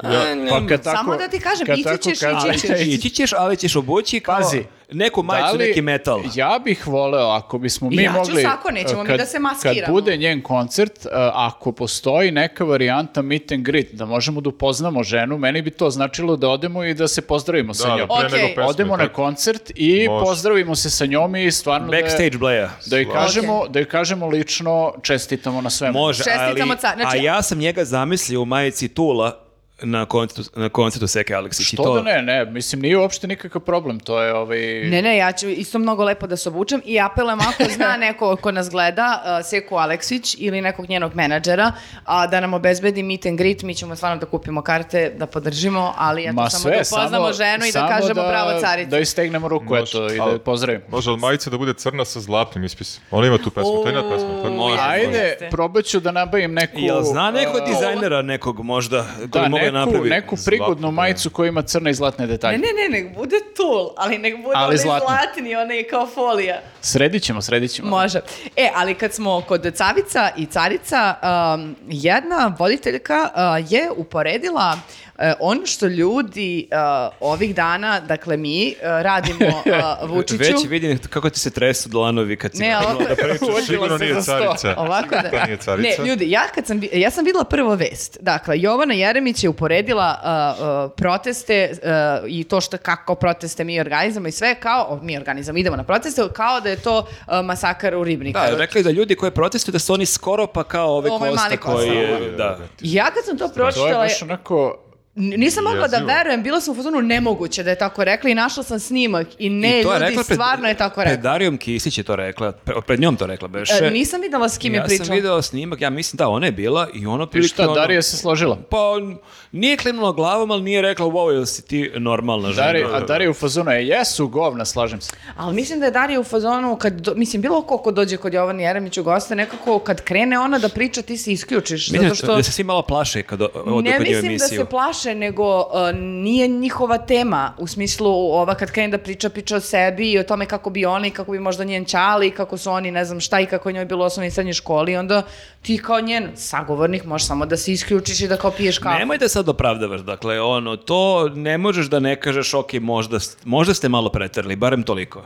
S2: A, ne,
S4: Pa kad
S3: Samo
S4: tako-
S3: da ti kažem,
S4: kad
S3: ići
S4: tako
S3: ćeš,
S4: kaže-
S2: ali,
S4: [laughs]
S2: ići ćeš, ali ćeš obući kao
S4: Pazi,
S2: neku majicu,
S4: Da li-
S2: neki metal.
S4: Ja bih voleo, ako bismo mi
S3: Ja ću
S4: mogli... eh,
S3: sako, nećemo mi da se
S4: Kad
S3: maskiramo.
S4: bude njen koncert, uh, ako postoji neka varijanta meet and greet, da možemo da upoznamo ženu, meni bi to značilo da odemo i da se pozdravimo sa
S1: Da,
S4: njom. E,
S1: da, pre
S3: Ok.
S1: nego pesme,
S4: Odemo na
S1: tako.
S4: koncert i
S1: Može.
S4: pozdravimo se sa njom i stvarno da je-
S2: Backstage bleja.
S4: Da joj,
S1: Ok.
S4: kažemo, da joj kažemo lično čestitamo na svemu.
S2: Može, ali,
S3: Čestitamo ca- znači-
S2: a ja sam njega zamislio u majici Tula na koncertu, na koncertu Seke Aleksić. i
S4: Što
S2: to,
S4: da ne, ne, mislim nije uopšte nikakav problem, to je ovaj...
S3: Ne, ne, ja ću isto mnogo lepo da se obučem i apelujem ako zna neko ko nas gleda, uh, Seku Aleksić ili nekog njenog menadžera, a da nam obezbedi meet and greet, mi ćemo stvarno da kupimo karte, da podržimo, ali eto,
S4: Ma
S3: samo
S4: sve,
S3: da upoznamo
S4: samo-
S3: ženu i da
S4: samo
S3: kažemo
S4: da-
S3: bravo carica.
S4: Da istegnemo ruku,
S1: Može.
S4: eto, i da
S1: Al-
S4: je pozdravimo.
S1: Može, ali majica da bude crna sa zlatnim ispisom. Ona ima tu pesmu, to je jedna pesma. tako?
S3: Može.
S4: Ajde,
S3: Jeste.
S4: probat ću da nabavim neku...
S2: Jel zna neko
S4: a,
S2: dizajnera nekog možda koji
S4: Da,
S2: bi mogao
S4: neku,
S2: napraviti?
S4: neku prigodnu
S1: Zlatno, da.
S4: majicu koja ima crne i zlatne detalje.
S3: Ne, ne, ne, nek bude tul, ali nek bude
S4: Ali
S3: onaj
S4: zlatno.
S3: zlatni, onaj kao folija.
S4: Sredit ćemo, sredit ćemo.
S3: Može. E, ali kad smo kod cavica i carica, um, jedna voditeljka uh, je uporedila uh, E, ono što ljudi e, ovih dana, dakle mi, e, radimo e, Vučiću...
S2: Već vidim kako ti se tresu dlanovi kad si
S3: Ne, ali
S2: krenuo da pričaš.
S1: Sigurno nije carica.
S3: Ovako da...
S1: To nije carica.
S3: Ne, ljudi, ja kad sam, vi- ja sam videla prvo vest. Dakle, Jovana Jeremić je uporedila a, a, proteste a, i to što kako proteste mi organizamo i sve kao, o, mi organizamo, idemo na proteste, kao da je to a, masakar u Ribnikaru.
S2: Da, rekli da ljudi koji protestuju da su oni skoro pa kao ove
S3: Ovo je
S2: kosta
S3: mali Kosta.
S2: koji
S1: Da,
S2: je...
S1: da,
S2: Da.
S1: da.
S3: Ja kad sam to
S4: To je
S3: pročitala,
S4: baš
S2: ono-
S4: onako...
S3: n- nisam mogla da
S1: Jezivo.
S3: verujem, bila sam u fazonu nemoguće da je tako rekla i našla sam snimak i ne,
S2: I to je
S3: ljudi,
S2: rekla pred-
S3: stvarno je tako
S2: Pred
S3: rekla.
S2: Darijom Kisić je to rekla, pre- pred njom to rekla beše.
S3: E, nisam videla s kim je
S2: ja
S3: pričala.
S2: sam video snimak, ja mislim da ona je bila i ono
S4: I
S2: prilike...
S4: šta, Darija se složila?
S2: Pa on nije klimnula glavom, ali nije rekla wow, jel si ti normalna žena?
S4: Darija, a Darija u fazonu je, jesu govna, slažem se.
S3: Ali mislim da je Darija u fazonu, kad do- mislim, bilo ko ko dođe kod Jovana Jeremića u goste, nekako kad krene ona da priča, ti se isključiš.
S2: Mislim
S3: zato što
S2: da se svi malo plaše kad o- odu
S3: ne
S2: kod nje u
S3: mislim da
S2: emisiju.
S3: se plaše, nego uh, nije njihova tema. U smislu, ova kad krene da priča, priča o sebi i o tome kako bi oni, kako bi možda njen čali, kako su oni, ne znam šta i kako je njoj bilo u osnovnoj i srednjoj školi. i Onda ti kao njen sagovornik možeš samo da se isključiš i da kao piješ kafu.
S2: Nemoj da sad opravdavaš, dakle, ono, to ne možeš da ne kažeš, ok, možda, s- možda ste malo preterli, barem toliko.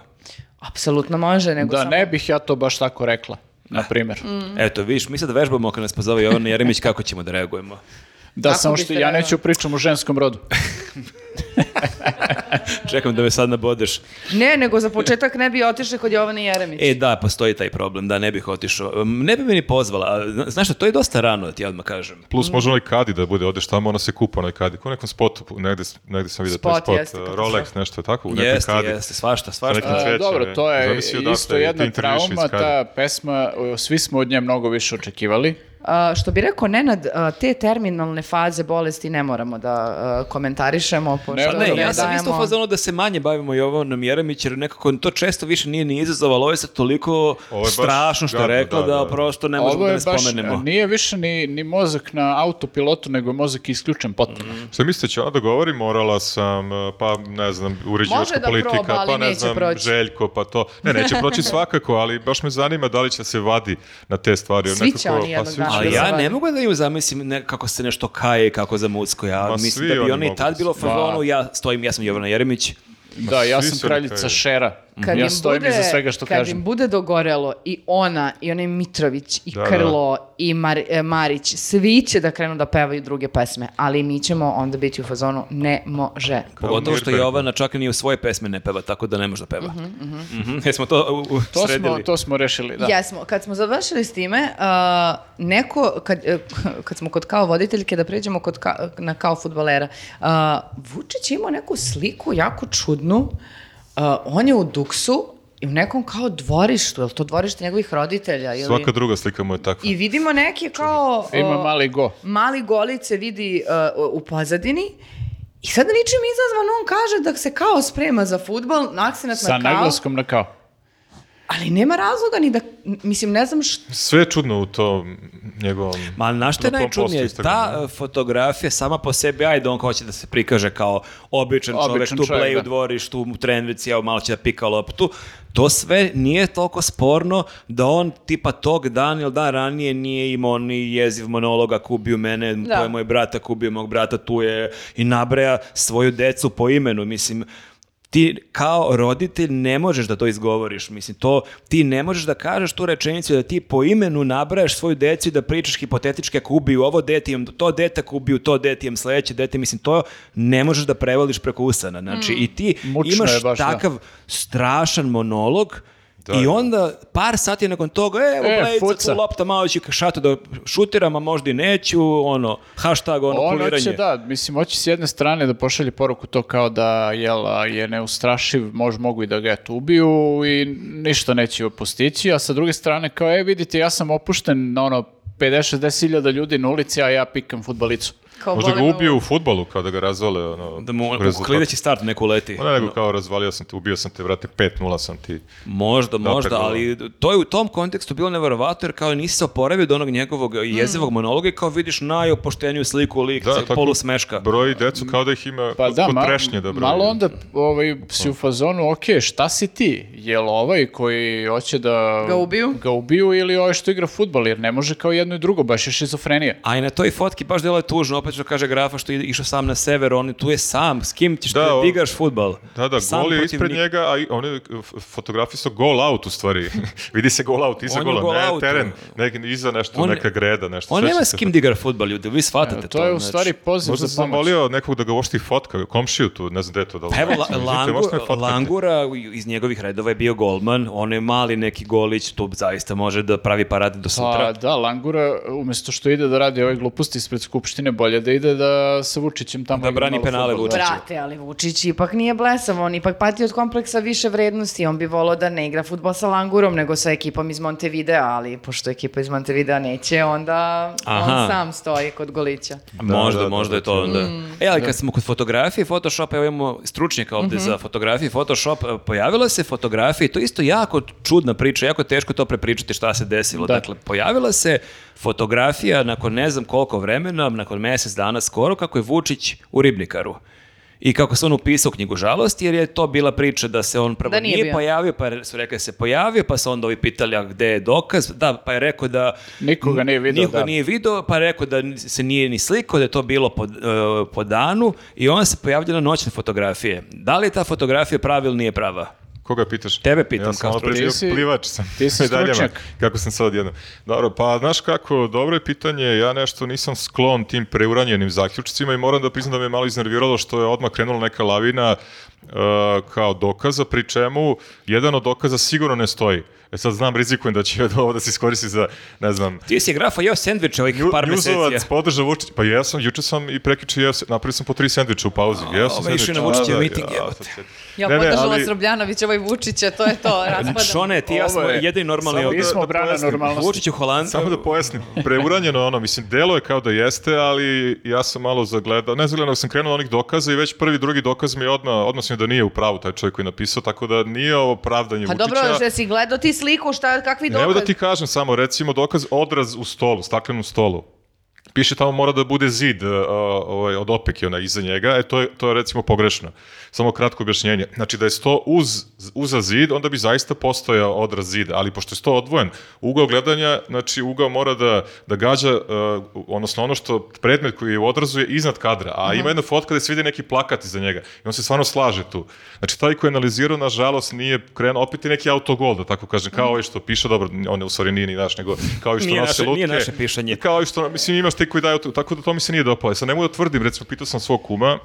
S3: Apsolutno može, nego
S4: Da,
S3: samo... Mm.
S4: ne bih ja to baš tako rekla, na primjer.
S2: Eto, vidiš, mi sad vežbamo kad nas pozove Jovan Jeremić kako ćemo da reagujemo.
S4: Da,
S3: Kako
S4: samo
S3: biste
S4: što ja
S3: rekla?
S4: neću pričam u ženskom
S1: [laughs]
S4: rodu.
S2: Čekam da me sad nabodeš.
S3: Ne, nego za početak ne bi otišli kod Jovana Jeremića.
S2: E, da, postoji taj problem, da, ne bih otišao. Um, Ne bi me ni pozvala, a zna- znaš šta, to je dosta rano, da ti odmah kažem.
S1: Plus
S3: Mhm.
S1: može onaj kadi da bude, odeš tamo, ona se kupa onaj kadi. Ko u nekom spotu, negde, negde sam vidio taj
S3: Spot,
S1: spot,
S3: jeste,
S1: eh,
S3: katastrofa.
S1: Rolex, nešto je tako, u nekom
S2: Jeste,
S1: kadi.
S2: jeste, svašta,
S1: Sa nekim
S2: svašta.
S1: cve-
S4: E,
S1: Cveće,
S4: dobro,
S1: ne?
S4: to je
S1: Zamisli odakle
S4: isto
S1: je
S4: jedna
S1: ti intervjuiš iz
S4: trauma,
S1: Kada.
S4: ta pesma, o, svi smo od nje mnogo više očekivali.
S3: A, što bi rekao Nenad, a, te terminalne faze bolesti ne moramo da a, komentarišemo. Pošto
S4: Pa
S2: Ne,
S3: ne
S2: ja sam
S3: dajemo-
S2: isto u fazonu da se manje bavimo Jovanom Jeremić, jer nekako to često više nije ni izazovalo, ovo je sad toliko
S1: Ovo je baš
S2: strašno što je
S1: gadno,
S2: rekla
S1: da,
S2: da,
S1: da.
S2: prosto ne možemo
S4: Ovo
S2: da
S4: je
S2: ne
S4: baš,
S2: spomenemo.
S4: nije više ni, ni mozak na autopilotu, nego je mozak isključen potpuno.
S2: Mm.
S1: Šta mislite, će ona da govori, morala sam, eh, pa ne znam, uređivačka
S3: Može da
S1: politika,
S3: proba, ali
S1: pa ne
S3: neće
S1: znam,
S3: proći.
S1: Željko, pa to. Ne,
S3: [laughs]
S1: neće proći svakako, ali baš me zanima da li će se vadi na te stvari. jer
S3: Svi će
S1: nekako- pa
S3: oni jednog
S1: svi će.
S3: dana.
S2: Ali
S3: Da se
S2: ja
S3: vadi.
S2: ne mogu da ju zamislim ne, kako se nešto kaje, kako za mucko. Ja
S1: Ma,
S2: mislim
S1: svi
S2: da bi
S1: oni
S2: oni
S1: mogu
S2: tad
S1: da
S2: bilo u
S1: se-
S2: fazonu, ja stojim, ja sam Jovana Jeremić.
S4: Da, ja
S1: svi
S4: sam
S1: su
S4: kraljica
S1: nekaj-
S4: šera.
S3: Kad
S4: ja
S3: im
S4: stojim
S3: bude-
S4: iza svega što
S3: kad
S4: kažem.
S3: im bude dogorelo i ona, i onaj Mitrović, i
S1: Da, da.
S3: Krlo, i Mar- e, Marić, svi će da krenu da pevaju druge pesme, ali mi ćemo onda biti u fazonu ne može.
S2: Pogotovo što
S1: Mirberg.
S2: Jovana čak i ni u svoje pesme ne peva, tako da ne može da peva. Mhm, Jesmo to u, u,
S4: To smo,
S2: sredili.
S4: to smo rešili, da.
S3: Jesmo, kad smo završili s time, a, neko, kad, e, [laughs] kad smo kod kao voditeljke, da pređemo kod ka- na kao futbolera, a, Vučić je imao neku sliku jako čudnu, a, on je u duksu i u nekom kao dvorištu, je li to dvorište njegovih roditelja? Ili...
S1: Svaka druga slika mu je takva.
S3: I vidimo neke kao...
S4: Ima
S3: o,
S4: mali go.
S3: Mali golice vidi uh, u pozadini i sada ničim izazvan on kaže da se kao sprema za futbol, akcenat
S4: Sa
S3: na kao,
S4: naglaskom na kao.
S3: ali nema razloga ni da, n- mislim ne znam što,
S1: Sve je čudno u tom njegovom...
S2: Ma znaš što je
S1: Na tom
S2: najčudnije?
S1: postu Instagrama.
S2: Ta e, fotografija sama po sebi, ajde, on hoće da se prikaže kao običan, čovjek,
S4: Običan
S2: tu
S4: čovjek,
S2: play
S4: da.
S2: u dvorištu, u trenvici, evo malo će da pika loptu. To sve nije toliko sporno da on tipa tog dan ili dan ranije nije imao ni jeziv monologa kubio mene,
S3: Da.
S2: to je moj brat, ako ubio mog brata, tu je i nabraja svoju decu po imenu, mislim, ti kao roditelj ne možeš da to izgovoriš, mislim, to, ti ne možeš da kažeš tu rečenicu da ti po imenu nabrajaš svoju decu i da pričaš hipotetički ako ubiju ovo dete, imam to dete, ako ubiju to dete, imam sledeće dete, mislim, to ne možeš da prevališ preko usana, znači, i ti
S4: Mm. Mučno je
S2: imaš
S4: baš, da.
S2: takav strašan monolog,
S1: Da,
S2: I
S1: da.
S2: onda par sati nakon toga, evo,
S4: E,
S2: e, blejica,
S4: fuca.
S2: tu lopta, malo ću ka šatu da šutiram, a možda i neću, ono, hashtag, ono,
S4: On
S2: kuliranje.
S4: hoće da, mislim, hoće s jedne strane da pošalje poruku to kao da jel, a, je neustrašiv, mož mogu i da ga eto ubiju i ništa neće postići, a sa druge strane kao, e vidite, ja sam opušten na ono 50-60 hiljada ljudi na ulici, a ja pikam futbalicu.
S3: kao
S1: Možda ga
S3: volimo-
S1: ubiju u futbolu kada ga razvale. Ono,
S2: Da mu
S1: rezultat.
S2: klideći start neko leti.
S1: Ma ne, nego kao razvalio sam te, ubio sam te, vrate, 5-0 sam ti.
S2: Možda, možda,
S1: Napredovo.
S2: ali to je u tom kontekstu bilo neverovatno jer kao nisi se oporavio od onog njegovog
S4: Mm.
S2: jezivog monologa i kao vidiš najopošteniju sliku lik,
S1: Da,
S2: da,
S1: tako-
S2: polusmeška.
S1: Broji decu kao da ih ima
S4: Pa
S1: kod,
S4: da,
S1: kod
S4: ma-
S1: trešnje Pa. da broji.
S4: malo onda ovaj, si u fazonu, ok, šta si ti? Jel ovaj koji hoće da...
S3: Ga ubiju?
S4: Ga ubiju ili ovaj što igra futbol, jer ne može kao jedno i drugo, baš je šizofrenija.
S2: A i na toj fotki baš delo je tužno, opet što kaže Grafa što je išao sam na sever, on je tu je sam, s kim ćeš
S1: Da,
S2: da,
S1: on-
S2: digaš futbal?
S1: Da, da,
S2: sam
S1: gol je
S2: protiv
S1: ispred
S2: njih.
S1: njega, a i- on je fotografisao gol out u stvari. [laughs] Vidi se gol out, iza
S2: On je
S1: gola,
S2: gol
S1: ne
S2: out.
S1: teren, ne, iza nešto,
S2: On-
S1: neka greda, nešto.
S2: On nema
S1: sećam
S2: s
S1: se
S2: kim da igra futbal, ljudi, vi shvatate to.
S4: E, To je u
S2: znači.
S4: stvari poziv
S1: Možda
S4: za
S1: sam
S4: pomoć.
S1: molio nekog da ga vošti fotka, komšiju tu, ne znam gde je to da li. [laughs]
S2: Pa Evo, La-
S1: Izvinite,
S2: Langu-
S1: možete me fotkati?
S2: Langura u- iz njegovih redova je bio golman, on je mali neki golić, tu zaista može da pravi parade do
S4: Pa
S2: sutra.
S4: da, Langura, umjesto što ide da radi ove gluposti ispred Skupštine, bolje da ide da sa Vučićem tamo...
S2: Da
S4: igra
S2: brani
S4: malo
S2: penale
S4: fudbal,
S2: Vučiću.
S3: Brate, ali Vučić ipak nije blesav, on ipak pati od kompleksa više vrednosti, on bi volao da ne igra futbol sa Langurom nego sa ekipom iz Montevidea, ali pošto ekipa iz Montevidea neće, onda
S2: Aha.
S3: on sam stoji kod Golića.
S1: Da,
S2: možda,
S1: da, da,
S2: možda je to
S1: da.
S2: onda. E, ali kad smo kod fotografije, Photoshop, evo imamo stručnjaka ovde
S3: Mhm.
S2: za fotografiju, Photoshop, e, pojavila se fotografija i to je isto jako čudna priča, jako je teško to prepričati šta se desilo.
S4: Da.
S2: Dakle, pojavila se fotografija nakon ne znam koliko vremena, nakon mjesec dana skoro, kako je Vučić u Ribnikaru. I kako se on upisao u knjigu žalosti, jer je to bila priča da se on prvo
S3: Da nije
S2: nije,
S3: bio.
S2: pojavio, pa je- su rekli da se pojavio, pa su onda ovi pitali, a gde je dokaz? Da, pa je rekao da
S4: Nikoga nije video,
S2: Niko
S4: da.
S2: nije video, pa je rekao da n- se nije ni slikao, da je to bilo po, d- e, po danu i onda se pojavljena noćne fotografije. Da li je ta fotografija prava ili nije prava?
S1: Koga pitaš?
S2: Tebe pitam
S1: ja sam
S2: kao
S1: malo pre
S4: stručnjak.
S1: bio
S4: Ti si-
S1: plivač sam. [laughs]
S4: ti si
S1: medaljama.
S4: stručnjak.
S1: Kako sam sad jednom. Dobro, pa znaš kako, dobro je pitanje, ja nešto nisam sklon tim preuranjenim zaključcima i moram da priznam da me je malo iznerviralo što je odmah krenula neka lavina e, kao dokaza, pri čemu jedan od dokaza sigurno ne stoji. E sad znam, rizikujem da će ovo da se iskoristi za, ne znam,
S2: Ti si grafa jeo sendviče ovih
S1: Nju-
S2: par
S1: Njuzovac
S2: meseci.
S1: podrža Vučić. Pa jesam, juče sam i prekjuče jeo, se- napravio sam po tri sendviča u pauzi. Jeo sam
S2: ovo je ovaj išao
S1: sendviče,
S2: na Vučićev
S1: da, da,
S2: miting,
S1: ja,
S2: evo
S1: sad
S2: te.
S1: se-
S3: Ja
S1: Ne, ne,
S3: podržala
S1: ali-
S3: Srbljanovića, ovaj Vučića, to je
S1: [laughs]
S3: to, raspadam.
S2: Šone, ti i ja
S4: Ovo
S2: smo
S4: je-
S2: jedini normalni
S4: Samo
S2: ovdje.
S4: Mi smo
S1: da
S4: brana
S1: pojasnim.
S4: normalnosti.
S2: Vučić u Holandiju.
S1: Samo da pojasnim, preuranjeno je ono, mislim, delo je kao da jeste, ali ja sam malo zagledao, ne zagledao, nego sam krenuo od onih dokaza i već prvi, drugi dokaz mi je odmah, odnosno da nije u pravu taj čovjek koji je napisao, tako da nije ovo pravdanje
S3: Pa
S1: Vučića.
S3: dobro, da si gledao ti sliku, šta, kakvi
S1: Evo
S3: dokaz?
S1: da ti kažem samo, recimo dokaz odraz u stolu, staklenom stolu. Piše tamo mora da bude zid e, a, ovaj, od opeke ona iza njega, e to je, to je recimo pogrešno. Samo kratko objašnjenje. Znači da je sto uz, uza zid, onda bi zaista postojao odraz zida, ali pošto je sto odvojen, ugao gledanja, znači ugao mora da, da gađa, e, odnosno ono što predmet koji je u odrazu je iznad kadra, a
S2: Mhm.
S1: ima jedna fotka da se vidi neki plakat iza njega i on se stvarno slaže tu. Znači taj koji je analizirao, nažalost, nije krenuo, opet je neki autogol, da tako kažem, kao ovaj što piše, dobro, on je u stvari nije ni naš, nego kao i što
S2: Mhm. Nije
S1: nosi
S2: naše-
S1: lutke.
S2: nije naše pišanje.
S1: Kao i što, mislim, imaš ti koji daju, tu- tako da to mi se nije dopalo. E, Sad ne mogu da tvrdim, recimo, pitao sam svog kuma,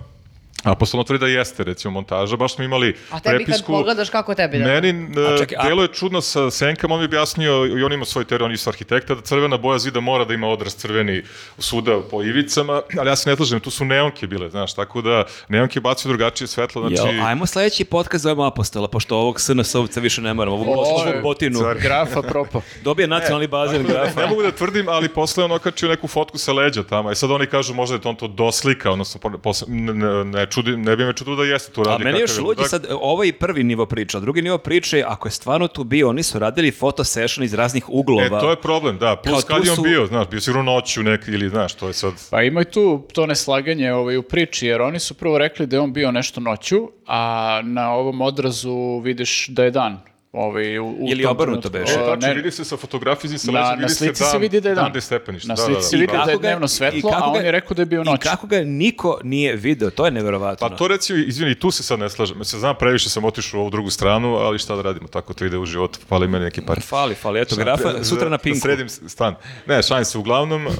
S1: a posle on tvrdi da jeste, recimo, montaža, baš smo imali
S3: A tebi kad
S1: prepisku.
S3: pogledaš kako tebi da...
S1: Meni
S2: A
S1: e,
S2: čekaj, a-
S1: delo je čudno sa senkama, on mi je objasnio, i on ima svoj teorij, on je isto arhitekta, da crvena boja zida mora da ima odraz crveni svuda po ivicama, ali ja se ne slažem, tu su neonke bile, znaš, tako da neonke bacaju drugačije svetlo, znači...
S2: Jel, ajmo sljedeći podcast zovemo Apostola, pošto ovog SNS-ovca više ne moramo, ovog,
S4: Ovo je-
S2: ovog botinu.
S4: Grafa propo.
S2: Dobije nacionalni bazen grafa.
S1: Pa Ne mogu da tvrdim, ali posle on okačio neku fotku sa leđa tamo i sad oni kažu možda je to on to doslika, odnosno po- posle, ne, ne, ne čudi, ne bi me čudilo da jeste to
S2: A
S1: radi.
S2: meni je još
S1: kakav
S2: luđi
S1: ludak.
S2: sad, ovo je prvi nivo priča, a drugi nivo priče je, ako je stvarno tu bio, oni su radili foto session iz raznih uglova.
S1: E, to je problem, da. Plus
S2: Kao
S1: kad
S2: tu
S1: je on
S2: su-
S1: bio, znaš, bio sigurno noću nek, ili znaš, to je sad...
S4: Pa ima i tu to neslaganje ovaj, u priči, jer oni su prvo rekli da je on bio nešto noću, a na ovom odrazu vidiš da je dan. Ovaj, u, u
S2: Ili
S4: tom
S2: obrnuto
S4: trenutku.
S2: beše.
S1: E,
S4: O,
S1: tačno,
S4: Pa, ne,
S1: vidi se sa fotografiji sa leđa,
S4: Na,
S1: vidi
S4: na slici
S1: dan,
S4: se vidi da je dan.
S1: gde je stepenište,
S4: Na
S1: da, Pa-
S4: slici
S1: da,
S4: se
S1: da. Da.
S4: vidi da je
S2: Kako ga-
S4: dnevno
S2: i
S4: svetlo,
S2: kako
S4: a on
S2: ga-
S4: je rekao da je bio
S2: I
S4: noć.
S2: kako ga niko nije video, to je nevjerovatno.
S1: Pa to recimo, izvini, tu se sad ne slažem. Se znam, previše sam otišao u ovu drugu stranu, ali šta da radimo, tako to ide u životu, pali meni neki
S4: E,
S1: par.
S2: Fali, fali, eto,
S1: Šta, pre-
S2: grafa,
S1: da-
S2: sutra na
S1: da
S2: pinku.
S1: sredim s- stan. Ne, šalim se, uglavnom, e,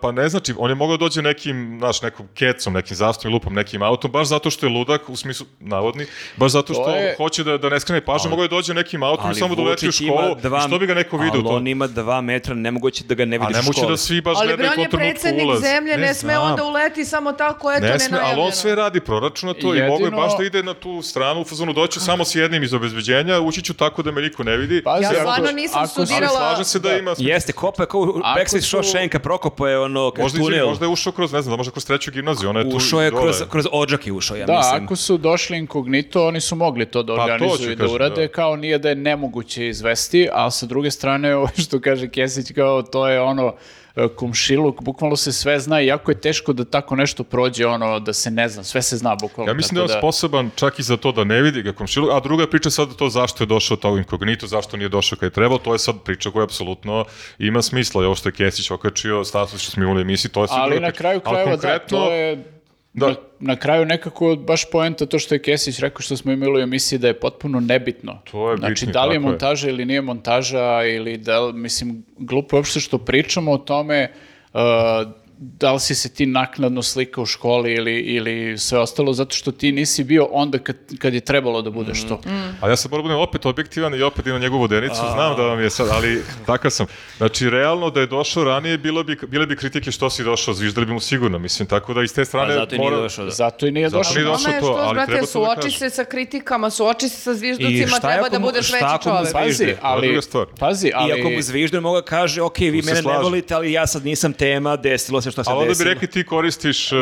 S1: pa ne znači, on je mogao da dođe nekim, znaš, nekom kecom, nekim zastavim lupom, nekim autom, baš zato što je ludak, u smislu, navodni, baš zato što
S4: To je-
S1: hoće da, da ne skrene pažnje, mogao je da dođe nekim autom i samo da uleti u
S2: Vučić ima
S1: školu,
S2: dva-
S1: što bi ga neko vidio
S2: Ali
S1: u to?
S2: on ima dva metra, nemoguće da ga ne
S1: A
S2: vidiš
S1: ne
S2: u
S1: moće
S2: školi.
S1: da svi baš
S3: Ali bre,
S1: gledaju
S3: on je
S1: kontrolnu
S3: predsednik
S1: ulaz.
S3: zemlje, ne, sme
S1: znam.
S3: onda uleti samo tako, eto,
S1: Ne sme, ali
S3: nenajavljeno.
S1: on sve radi proračunato i
S4: Jedino-
S1: mogu je baš da ide na tu stranu u fazonu doću samo s jednim iz obezbeđenja, ući ću tako da me niko ne vidi.
S4: Pazi,
S3: Ja
S4: ako-
S3: stvarno nisam
S4: ako- ali
S1: ali
S3: studirala-
S1: slažem se da,
S4: Da.
S1: ima
S2: Jeste, kopa je kao u
S4: Ako
S2: Backstreet
S4: su-
S2: Shawshanka, Prokopo je ono, kao
S1: Možda, je,
S2: tunel.
S1: možda je ušao kroz, ne znam, da možda kroz treću gimnaziju, ona je tu
S2: Ušao je
S1: dole.
S2: kroz, kroz odžak je ušao, ja
S4: Da,
S2: mislim.
S4: ako su došli inkognito, oni su mogli to da
S1: Pa, to
S4: organizuju
S1: ću
S4: i da
S1: kažem,
S4: urade,
S1: da.
S4: kao nije [laughs] da je nemoguće izvesti, a sa druge strane, ovo što kaže Kesić, kao to je ono e, komšiluk, bukvalno se sve zna i jako je teško da tako nešto prođe, ono, da se ne zna, sve se zna bukvalno.
S1: Ja mislim da je
S4: tako
S1: on sposoban čak i za to da ne vidi ga komšiluk, a druga priča sad to zašto je došao to inkognito, zašto nije došao kad je trebao, to je sad priča koja apsolutno ima smisla. I ovo što je Kesić okačio, status što smo imali u emisiji, to je sigurno
S4: Ali na
S1: priča.
S4: kraju
S1: Ali
S4: krajeva, da,
S1: konkretno,
S4: to je...
S1: Da.
S4: Na, na kraju nekako baš poenta to što je Kesić rekao što smo imali u emisiji da je potpuno nebitno.
S1: To je
S4: znači,
S1: bitno,
S4: da li je
S1: tako je.
S4: montaža ili nije montaža ili da li, mislim, glupo je uopšte što pričamo o tome uh, da li si se ti naknadno slika u školi ili, ili sve ostalo zato što ti nisi bio onda kad, kad je trebalo da budeš to.
S1: A ja sam moram da budem opet objektivan i opet imam njegovu denicu, znam da vam je sad, ali takav sam. Znači, realno da je došao ranije, bilo bi, bile bi kritike što si došao, zviždali bi mu sigurno, mislim, tako da iz te strane...
S2: A Pa zato i nije
S1: mora-
S2: došao da.
S4: Pa Zato i nije
S1: Zato
S4: došao.
S1: nije
S4: na-
S1: došao.
S3: Ono je
S1: to,
S3: što,
S1: ali treba
S3: brate,
S1: to da
S3: suoči
S1: kažem.
S3: se sa kritikama, suoči se sa
S2: I
S3: zvižducima,
S2: šta
S3: treba
S2: ako
S3: da
S2: mu-
S3: budeš
S2: šta
S3: veći
S2: ako mu
S3: čovek.
S2: zvi-
S4: Pazi,
S2: zvižde.
S1: To je
S4: ali,
S1: druga stvar.
S4: pazi, ali...
S2: Iako mu zviždu, mogu da kaže, ok, vi
S1: se
S2: mene ne
S1: slažem.
S2: volite, ali ja sad nisam tema, desilo se što se
S1: Ali onda bi
S2: desilo.
S1: rekli ti koristiš, uh,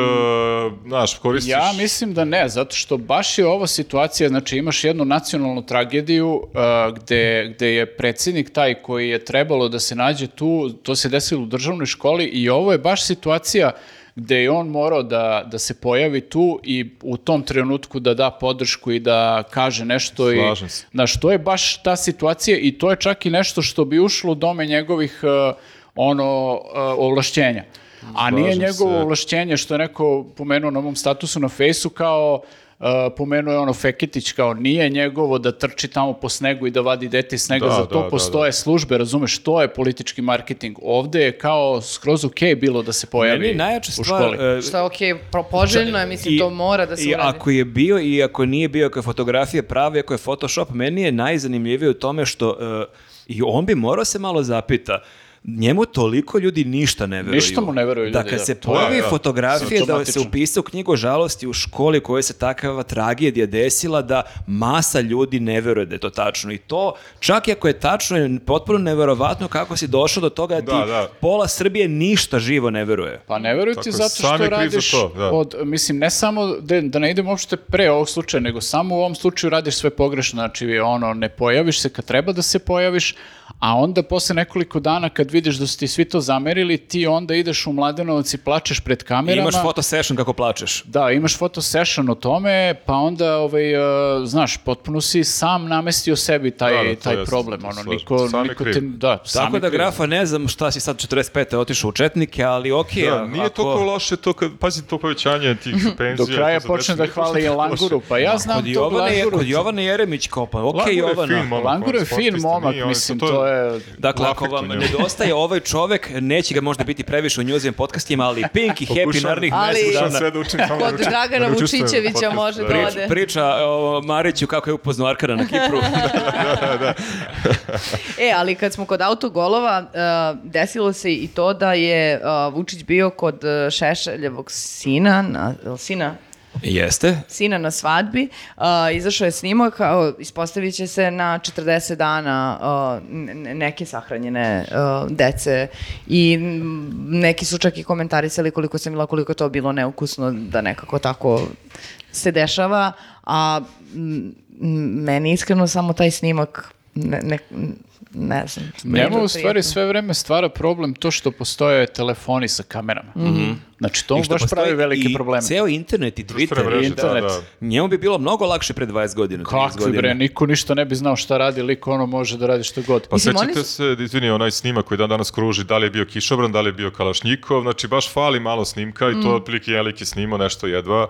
S1: znaš, koristiš...
S4: Ja mislim da ne, zato što baš je ova situacija, znači imaš jednu nacionalnu tragediju uh, gde, gde je predsjednik taj koji je trebalo da se nađe tu, to se desilo u državnoj školi i ovo je baš situacija gde je on morao da, da se pojavi tu i u tom trenutku da da podršku i da kaže nešto. i-
S1: Slažem se.
S4: na što je baš ta situacija i to je čak i nešto što bi ušlo u dome njegovih e, ono e, ovlašćenja. A nije
S1: se.
S4: njegovo ovlašćenje što je neko pomenuo na mom statusu na fejsu kao e, pomenuo je ono Feketić kao nije njegovo da trči tamo po snegu i da vadi dete iz snega,
S1: Da,
S4: za to
S1: da, da,
S4: postoje službe, razumeš, to je politički marketing. Ovde je kao skroz okej bilo da se pojavi
S2: Meni je najjača
S4: u
S2: stvar,
S4: školi.
S2: e,
S3: Što je okej, pro- poželjno je, mislim,
S2: I-
S3: to mora da se
S2: I
S3: uradi.
S2: ako je bio i ako nije bio, ako je fotografije prave, ako je Photoshop, meni je najzanimljivije u tome što e, i on bi morao se malo zapita, njemu toliko ljudi ništa ne veruju.
S4: Ništa mu ne veruju
S2: Da
S4: ljudi,
S2: kad
S4: da.
S2: se
S4: To
S1: je,
S2: pojavi
S1: da,
S2: fotografije da se
S4: simptomatično.
S2: upisa u knjigu žalosti u školi u kojoj se takava tragedija desila da masa ljudi ne veruje da je to tačno. I to, čak i ako je tačno, je potpuno neverovatno kako si došao do toga da,
S1: Da,
S2: ti
S1: da.
S2: pola Srbije ništa živo ne veruje.
S4: Pa ne veruj ti
S1: Tako je,
S4: zato
S1: sam je
S4: što
S1: kriv za
S4: radiš
S1: to, da.
S4: od, mislim, ne samo da, da ne idemo uopšte pre ovog slučaja, nego samo u ovom slučaju radiš sve pogrešno, znači ono, ne pojaviš se kad treba da se pojaviš, a onda posle nekoliko dana kad vidiš da su ti svi to zamerili, ti onda ideš u Mladenovac i plačeš pred
S2: I
S4: kamerama.
S2: imaš foto session kako plačeš.
S4: Da, imaš foto session o tome, pa onda, ovaj, e, znaš, potpuno si sam namestio sebi taj,
S1: Da, da, to
S4: taj
S1: jeste,
S4: problem.
S1: to
S4: Ono,
S1: slažem.
S4: niko,
S1: Sam je
S4: niko
S1: kriv.
S4: te, da, sam
S2: Tako
S4: je
S2: da
S4: kriv.
S2: grafa ne znam šta si sad 45. otišao u četnike, ali okej.
S1: Da,
S2: a-
S1: nije
S2: ako-
S1: toliko loše to kad, pazi, to povećanje tih penzija.
S4: Do kraja
S1: to za
S4: počne
S1: decu,
S4: da
S1: nije
S4: hvali i
S1: toliko loše.
S4: Languru, pa ja znam
S2: Kod
S4: tog
S2: Jovane,
S4: Languru.
S2: kod Jovane Jeremić kopa, okej
S1: Languru je
S2: Jovana.
S1: fin momak,
S4: Languru je
S1: on Ono, sportista,
S4: fin momak,
S1: nije on-
S4: mislim, to je-
S2: Dakle, ako
S1: lafekt
S2: vam
S1: u njemu.
S2: nedostaje ovaj čovek, neće ga možda biti previše u njuzim podcastima, ali Pink i Happy
S1: Pokušavam-
S2: narednih
S3: Ali-
S2: mesec
S1: Pokušavam
S2: dana.
S1: sve da učim samo da
S3: Kod
S1: učim-
S3: Dragana
S1: da učestvujem u
S3: Vučićevića
S1: podcastu,
S3: može
S1: da.
S3: da
S1: Prič-
S3: ode.
S2: Priča e, o Mariću kako je upoznao Arkara na
S4: [laughs]
S2: Kipru.
S3: E, ali kad smo kod autogolova, e, desilo se i to da je e, Vučić bio kod e, Šešeljevog sina, na, jel sina,
S2: Jeste.
S3: sina na svadbi, uh, izašao je snimak, kao, ispostavit će se na 40 dana uh, ne- ne- neke sahranjene uh, dece i m, neki su čak i komentarisali koliko sam bila, koliko je to bilo neukusno da nekako tako se dešava, a m, m, meni iskreno samo taj snimak ne, ne, ne znam.
S4: Njemu u
S3: prijetno.
S4: stvari sve vreme stvara problem to što postoje telefoni sa kamerama.
S1: Mhm.
S4: Znači to mu
S2: Mhm. I što
S4: baš
S2: postoji
S4: pravi velike
S2: i
S4: probleme.
S2: Ceo internet i
S1: Društvene
S2: Twitter.
S1: mreže,
S2: i
S1: da,
S4: internet.
S1: da.
S2: Njemu bi bilo mnogo lakše pre 20 godina. 30
S4: Kakvi
S2: godina.
S4: bre, niko ništa ne bi znao šta radi, liko ono može da radi što god.
S1: Pa
S3: Mislim, oni
S1: sećate se, izvini, onaj snimak koji dan danas kruži, da li je bio kišobran, da li je bio kalašnjikov, znači baš fali malo snimka i to otprilike jedan lik je snimao nešto jedva,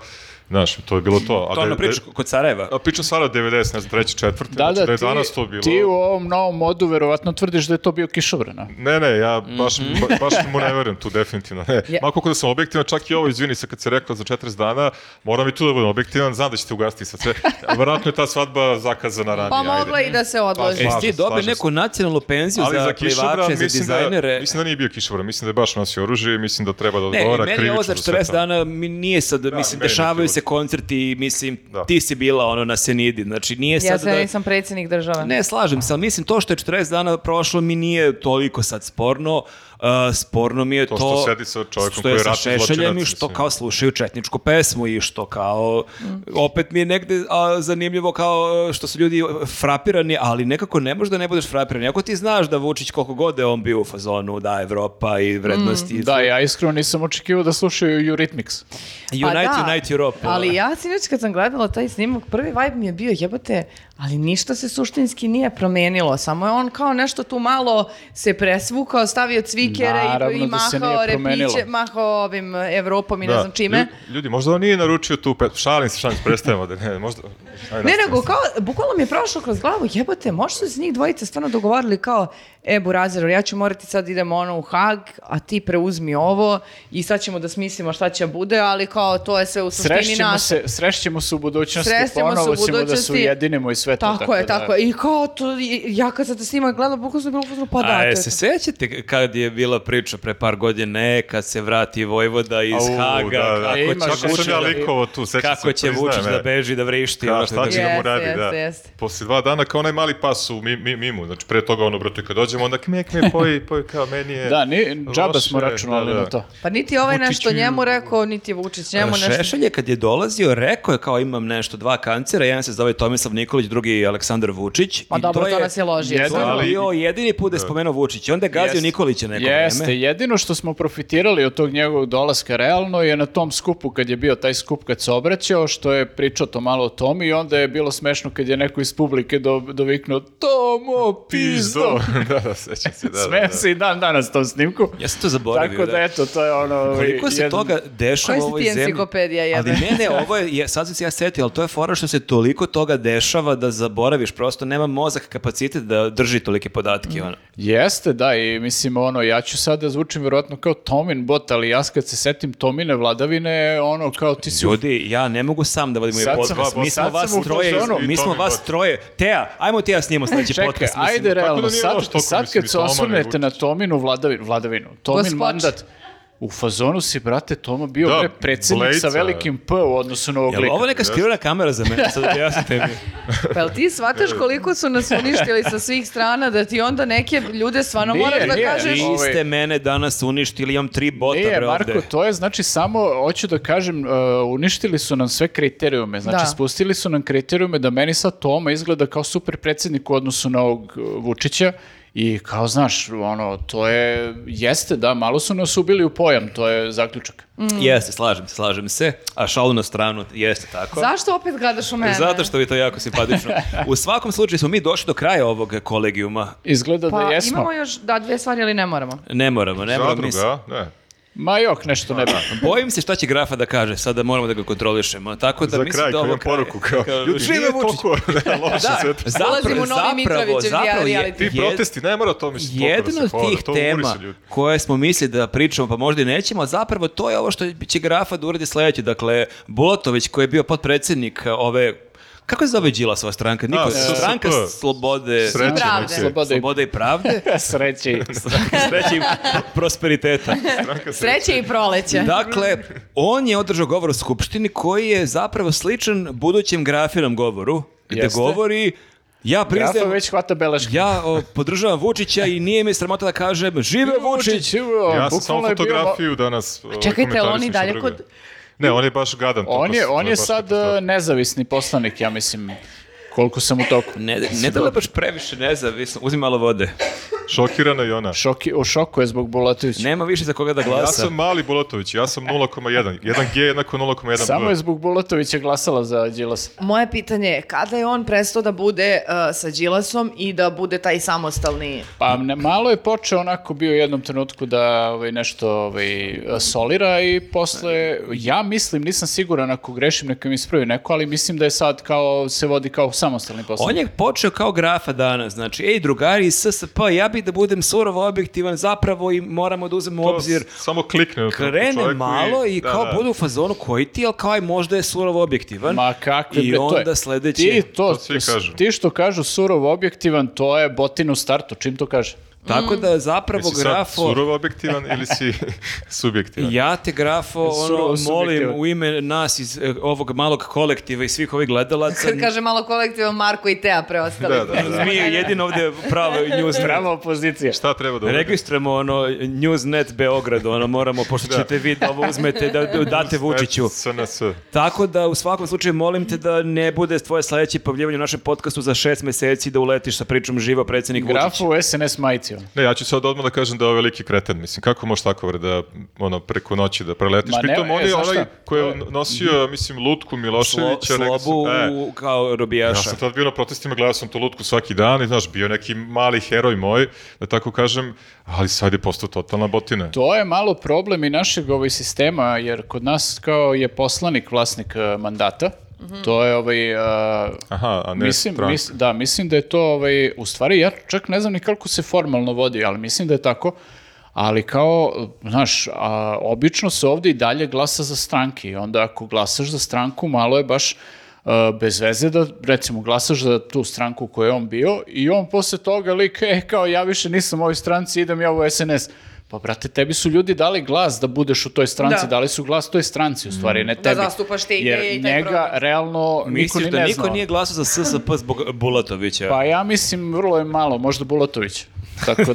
S1: znaš, to je bilo to.
S2: To je
S1: A da-
S2: ono
S1: da-
S2: priča kod Sarajeva.
S1: A pričam sada 90, ne znam, treći, četvrti,
S4: Da,
S1: znači
S4: da,
S1: da je
S4: ti,
S1: danas to bilo.
S4: ti u ovom novom modu verovatno tvrdiš da je to bio kišobrana.
S1: Ne, ne, ja baš,
S4: Mhm.
S1: ba- baš mu ne verujem tu definitivno. Ne.
S3: Ja-
S1: Ma koliko da sam objektivan, čak i ovo, izvini se kad se rekla za 40 dana, moram i tu da budem objektivan, znam da ćete ugasiti sa sve. Vjerojatno je ta svadba zakazana ranije.
S3: Pa
S1: ajde.
S3: moglo je i da se odloži.
S2: E, Jesi
S1: Slažem
S2: ti
S1: se,
S2: dobio
S1: slažem
S2: neku nacionalnu penziju
S1: Ali
S2: za,
S1: za kišobran,
S2: plivače, za
S1: mislim da,
S2: dizajnere?
S1: mislim da nije bio kišobran, mislim da je baš nosio oružje i mislim da treba da
S2: Ne,
S1: odgovara
S2: meni je ovo za
S1: krivično sve
S2: 40
S1: to.
S2: dana mi nije sad, mislim,
S1: meni je
S2: dešavaju
S1: krivo.
S2: se koncerti, mislim,
S1: Da.
S2: ti si bila ono na Senidi, znači nije
S3: Ja
S2: sad
S3: se
S2: da...
S3: nisam predsjednik države.
S2: Ne, slažem se, ali mislim to što je 40 dana prošlo mi nije toliko sad sporno, Uh, sporno mi je to...
S1: To što sedi sa čovjekom
S2: što je
S1: koji je
S2: sa
S1: ratni
S2: Šešeljem i
S1: zločinac,
S2: što
S1: mislim.
S2: kao slušaju četničku pesmu i što kao,
S3: Mm.
S2: opet mi je negde a, zanimljivo kao e, što su ljudi frapirani, ali nekako ne možeš da ne budeš frapiran. Ako ti znaš da Vučić koliko god je on bio u fazonu, da, Evropa i vrednosti.
S3: Mm,
S2: i
S4: Da, ja iskreno nisam očekivao da slušaju Eurythmics.
S3: Pa
S2: Unite,
S3: da,
S2: Unite Europe. ovaj.
S3: Ali
S4: ovaj.
S3: ja sinoć kad sam gledala taj snimak, prvi vibe mi je bio jebote, ali ništa se suštinski nije promenilo. Samo je on kao nešto tu malo se presvukao, stavio cvikere
S4: Naravno
S3: i, i
S4: da se
S3: mahao
S4: nije promenilo.
S3: repiće, mahao ovim e, Evropom i ne
S1: Da.
S3: znam čime.
S1: Lju- Ljudi, možda on nije naručio tu pe... Šalim se, šalim se, prestajemo da ne, možda... Ajde,
S3: Ne,
S1: nastavimo.
S3: nego kao, bukvalno mi je prošlo kroz glavu, jebote, možda su se njih dvojica stvarno dogovorili kao, e, Burazeru, ja ću morati sad idemo ono u Hag, a ti preuzmi ovo i sad ćemo da smislimo šta će bude, ali kao, to je sve u suštini
S4: Srešćemo
S3: naše.
S4: se, srešćemo se u budućnosti,
S3: Srešćemo se u
S4: ponovo ćemo da se
S3: budućnosti.
S4: ujedinimo i sve E, to.
S3: Tako, je, tako je. I kao to, i- ja kad sam te snima gledala, bukvalno sam bila u fazonu, pa da,
S2: A
S3: to
S2: je
S3: je
S2: se
S3: to.
S2: sećate kad je bila priča pre par godine kad se vrati Vojvoda iz
S1: Au,
S2: Haga,
S1: da, da.
S2: kako,
S4: E, imaš
S2: će
S1: Kako
S2: Vučić
S1: sam ja
S2: da-
S1: likovo tu, sećam se,
S2: kako će
S1: priznajem,
S2: Vučić da
S1: e.
S2: beži, da vrišti.
S1: Ka,
S2: ono što
S1: šta će
S2: je-
S1: da mu
S3: Jeste,
S1: radi, da.
S3: jeste, jeste.
S1: Poslije dva dana kao onaj mali pas u mi, mi, mimu, znači pre toga ono, brate, kad dođemo, onda kme,
S2: [laughs]
S1: kme, poji, poji, kao meni je...
S4: Da, ni, džaba
S1: loše,
S4: smo računali
S1: da, da.
S4: na to.
S3: Pa niti je ovaj
S1: Vučiću-
S3: nešto njemu rekao, niti je Vučić njemu nešto.
S2: Ono, Šešelj je kad je dolazio, rekao je kao imam nešto, dva kancera, jedan se zove Tomislav Nikolić, drugi je Aleksandar Vučić.
S3: Pa
S2: I
S3: dobro, to,
S2: je-
S3: nas je ložio.
S4: Jedan-
S2: To je
S1: Ali-
S2: bio jedini put da je spomenuo Vučić. I onda je gazio
S4: Jeste.
S2: Nikolića neko
S4: Jeste,
S2: vreme.
S4: jedino što smo profitirali od tog njegovog dolaska realno je na tom skupu kad je bio taj skup kad se obraćao, što je pričao to malo o tom i onda je bilo smešno kad je neko iz publike do, doviknuo Tomo, pizdo!
S1: Pizdo.
S4: [laughs]
S1: [laughs] da, da, sećam se, da, da,
S4: Smejem
S1: da.
S4: se i dan danas tom snimku.
S2: Ja sam to zaboravio.
S4: Tako da eto, to je ono...
S2: Koliko se
S4: jedan-
S2: toga dešava
S3: Koji
S2: u
S3: si
S2: ovoj
S3: ti
S2: zemlji?
S3: enciklopedija, jebe?
S2: Ali ne, ne, ovo je, je- sad sam se ja setio, ali to je fora što se toliko toga dešava da zaboraviš, prosto nema mozak kapacitet da drži tolike podatke.
S3: Mm.
S2: Ono.
S4: Jeste, da, i mislim, ono, ja ću sad da zvučim vjerojatno kao Tomin bot, ali ja kad se setim Tomine vladavine, ono, kao ti si... u-
S2: Ljudi, ja ne mogu sam da vodim ovaj
S4: Sad sam-
S2: podcast. Mi smo
S4: sad
S2: vas
S4: sam u
S2: troje,
S4: fazonu.
S2: mi smo
S1: Tomi
S2: vas
S1: Bot.
S2: troje. Tea, ajmo Teja snijemo sledeći
S4: Čekaj,
S2: podcast. mislim.
S4: ajde realno,
S1: da nije ono
S4: sad,
S1: loš toliko,
S4: sad
S1: mislim,
S4: kad
S1: i
S4: se
S1: Toman i
S4: osvrnete
S1: Vučić.
S4: na Tominu vladavinu, vladavinu Tomin
S3: Gospod.
S4: mandat, u fazonu si, brate, Toma bio
S1: Da,
S4: bre predsjednik sa
S1: Blejca.
S4: velikim P u odnosu na E, ovog
S2: Jel
S4: lika.
S2: ovo neka skrivena kamera za mene? Sad objasnite mi.
S3: Pa jel ti shvataš koliko su nas uništili sa svih strana, da ti onda neke ljude stvarno
S4: Nije,
S3: moraš da
S4: nije.
S3: kažeš...
S4: Nije.
S2: Vi
S4: Ovaj-
S2: ste mene danas uništili, imam tri bota
S4: Nije,
S2: bre
S4: Marko,
S2: ovde.
S4: to je znači samo, hoću da kažem, uh, uništili su nam sve kriterijume. Znači,
S3: Da.
S4: spustili su nam kriterijume da meni sad Toma izgleda kao super predsjednik u odnosu na ovog uh, Vučića i kao, znaš, ono, to je, jeste, da, malo su nas ubili u pojam, to je zaključak.
S2: Jeste, slažem se, slažem se. A šalu na stranu, jeste tako.
S3: Zašto opet gledaš u mene?
S2: E, Zato što je to jako simpatično. U svakom slučaju smo mi došli do kraja ovog kolegijuma.
S4: Izgleda
S3: Pa
S4: da jesmo.
S3: imamo još, da, dve stvari, ali ne moramo.
S2: Ne moramo, ne moramo.
S1: Zadruga,
S2: mislim.
S1: a? ne.
S4: Ma jok, nešto ne bi.
S2: Bojim se šta će grafa da kaže, sada moramo da ga kontrolišemo. Tako da
S1: Za
S2: mislim
S1: kraj,
S2: da
S1: kao
S2: ovo
S1: imam
S2: kraj-
S1: poruku, kao, ljudi,
S2: Žive
S1: nije
S2: Vučić.
S1: toliko [laughs] da, loše sve to.
S2: zapravo-
S3: Ulazimo u Znači, novi
S2: zapravo-
S3: Mitrovićev
S2: zapravo je-
S3: reality.
S1: Ti protesti, ne mora to, mislim, potpuno
S2: Jedna
S1: se
S2: od
S1: hoda,
S2: tih
S1: to umori
S2: tema
S1: se ljudi.
S2: koje smo mislili da pričamo, pa možda i nećemo, a zapravo to je ovo što će Grafa da uradi sledeće. Dakle, Bulatović koji je bio potpredsjednik ove Kako se zove Đilasova stranka? Niko,
S1: A, SSP.
S2: stranka slobode,
S1: Sreće, znači.
S3: Pravde.
S1: ok.
S4: Sloboda i- [laughs]
S2: slobode i
S1: [laughs]
S2: pravde,
S4: Sreći.
S2: sreće i prosperiteta.
S1: Stranka sreće.
S3: Sreće i proleće.
S2: Dakle, on je održao govor u Skupštini koji je zapravo sličan budućem grafinom govoru, gde
S4: Jeste.
S2: govori ja
S4: Grafa
S2: priznajem,
S4: već hvata beleške.
S2: ja o, podržavam Vučića i nije mi sramota da kažem žive Vučić.
S4: evo,
S1: Ja sam samo
S4: bukvalno je bio-
S1: fotografiju danas ovaj,
S3: čekajte, ali on i
S1: komentarisao,
S3: dalje
S1: ništa drugo.
S3: kod-
S1: Ne, on je baš gadan.
S4: On
S1: toliko
S4: je,
S1: se-
S4: on
S1: to
S4: je
S1: baš
S4: sad
S1: katastrofa.
S4: e, nezavisni poslanik, ja mislim, koliko sam u toku.
S2: Ne, ne da li je baš previše nezavisno, uzmi malo vode.
S1: Šokirana i ona.
S4: Šoki, u šoku je zbog Bulatovića.
S2: Nema više za koga da
S1: Ja
S2: glasa.
S1: sam mali Bulatović, ja sam 0,1. 1G je jednako 0,1.
S4: Samo
S1: B.
S4: je zbog Bulatovića glasala za Đilasa.
S3: Moje pitanje je, kada je on prestao da bude uh, sa Đilasom i da bude taj samostalni...
S4: Pa ne, malo je počeo onako bio u jednom trenutku da ovaj, nešto ovaj, solira i posle, ja mislim, nisam siguran ako grešim, neka mi ispravi neko, ali mislim da je sad kao, se vodi kao samostalni poslanik.
S2: On je počeo kao grafa danas, znači, ej drugari iz SSP, ja bi da budem surovo objektivan, zapravo i moramo da uzmemo u
S1: To
S2: obzir
S1: s- Samo klikne na to
S2: krene
S1: čoveku
S2: malo i,
S1: da,
S2: kao
S1: da.
S2: bude u fazonu koji ti, ali kao aj možda je surovo objektivan.
S4: Ma kakve
S2: I
S4: bre, to je-
S2: onda sledeći...
S4: Ti, to,
S1: To svi kažu.
S4: ti što kažu surov objektivan, to je botin u startu, čim to kaže?
S2: Tako da zapravo
S1: Mm. Jesi sad
S2: grafo...
S1: surovo objektivan ili si [laughs] subjektivan?
S2: Ja te grafo
S4: Surovo
S2: ono, molim
S4: subjektivan.
S2: u ime nas iz e, ovog malog kolektiva i svih ovih
S4: [laughs]
S2: gledalaca.
S3: Kad kaže malo kolektivom Marko i Teja preostali.
S1: Da, da, da.
S2: Mi je jedino ovdje prava news
S4: Prava opozicija.
S1: Šta treba da uradim?
S2: Registramo ono Newsnet Beograd, ono moramo, pošto ćete vi da ovo uzmete, da date Vučiću.
S1: SNS.
S2: Tako da u svakom slučaju molim te da ne bude tvoje sledeće pojavljivanje u našem podcastu za šest meseci da uletiš sa pričom živo predsjednik Vučić.
S4: Grafu u SNS majici. ono.
S1: Ne, ja ću sad odmah da kažem da je ovo veliki kreten, mislim, kako možeš tako bre, da ono, preko noći da preletiš?
S4: Ma ne,
S1: Pritom,
S4: e,
S1: on je
S4: znaš
S1: onaj
S4: šta?
S1: koji je nosio, mislim, Lutku
S2: Slo,
S1: Miloševića. rekao sam-
S2: slobu
S1: e,
S2: u- kao
S1: Ja
S2: robijaša.
S1: sam tad bio na protestima, gledao sam tu lutku svaki dan i, znaš, bio neki mali heroj moj, da tako kažem, ali sad je postao totalna botina.
S4: To je malo problem i našeg ovaj sistema, jer kod nas kao je poslanik vlasnik e, mandata. To je ovaj... e,
S1: Aha, a ne
S4: mislim,
S1: stranka.
S4: mis- da, mislim da je to ovaj, u stvari ja čak ne znam ni kako se formalno vodi, ali mislim da je tako. Ali kao, znaš, a, obično se ovdje i dalje glasa za stranke i onda ako glasaš za stranku, malo je baš e, bez veze da, recimo, glasaš za tu stranku u kojoj je on bio i on posle toga lik, e, kao ja više nisam u ovoj stranci, idem ja u SNS. Pa, brate, tebi su ljudi dali glas da budeš u toj stranci,
S3: Da.
S4: dali su glas toj stranci, u stvari, ne tebi.
S3: zastupaš te ideje
S4: Jer
S3: i taj
S4: njega,
S3: program.
S4: realno, niko
S2: Misliš
S4: ni
S2: da
S4: ne
S2: niko
S4: zna.
S2: nije glasao za SSP zbog Bulatovića?
S4: Pa ja mislim vrlo je malo, možda Bulatović. Tako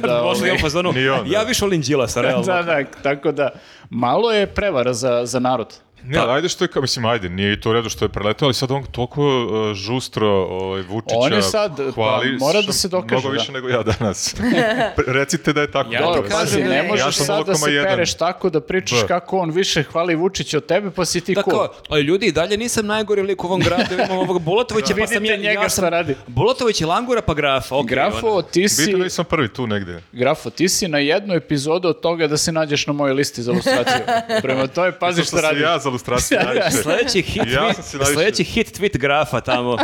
S1: [laughs]
S4: da,
S2: Možda je u
S4: ovaj,
S2: fazonu,
S1: Ni on, da.
S2: ja više volim Đilasa, realno.
S4: [laughs] da, da, tako da, malo je prevara za, za narod.
S1: Ne, ali ajde što je, kao- mislim, ajde, nije i to u redu što je preletao, ali sad on toliko uh, žustro ovaj, Vučića
S4: On je sad, pa,
S1: hvali,
S4: mora da
S1: što
S4: se dokaže,
S1: Mnogo
S4: da.
S1: više nego ja danas. Pre- Recite da je tako.
S2: Ja
S1: dobro.
S2: ti
S4: Dobro, pazi,
S2: kažem,
S4: ne
S3: ne.
S4: možeš
S1: Ja sam
S4: sad da se
S1: 0,1.
S4: pereš tako da pričaš
S1: Da.
S4: kako on više hvali Vučića od tebe, pa si ti
S2: Da
S4: cool.
S2: kao, ali ljudi, i dalje nisam najgori lik u ovom gradu, imam
S1: [laughs]
S2: ovog Bulatovića, pa sam
S4: Vidite
S2: ja,
S4: njega
S2: ja
S4: šta
S2: sam
S4: radi.
S2: Bulatović i Langura, pa Grafa, okej. ono.
S1: [laughs]
S4: Grafo, ti si,
S1: Bitno da nisam prvi tu negde.
S4: Grafo, ti si na jednu epizodu od toga da se nađeš na mojoj listi za ilustraciju.
S1: [laughs]
S4: Prema toj, pazi
S1: Zato
S4: šta
S1: što sam
S4: radiš.
S1: ja za
S4: [laughs]
S1: ilustraciju najviše.
S2: Sljedeći hit,
S1: Ja sam se
S2: tweet,
S1: najviše-
S2: sljedeći hit tweet Grafa tamo.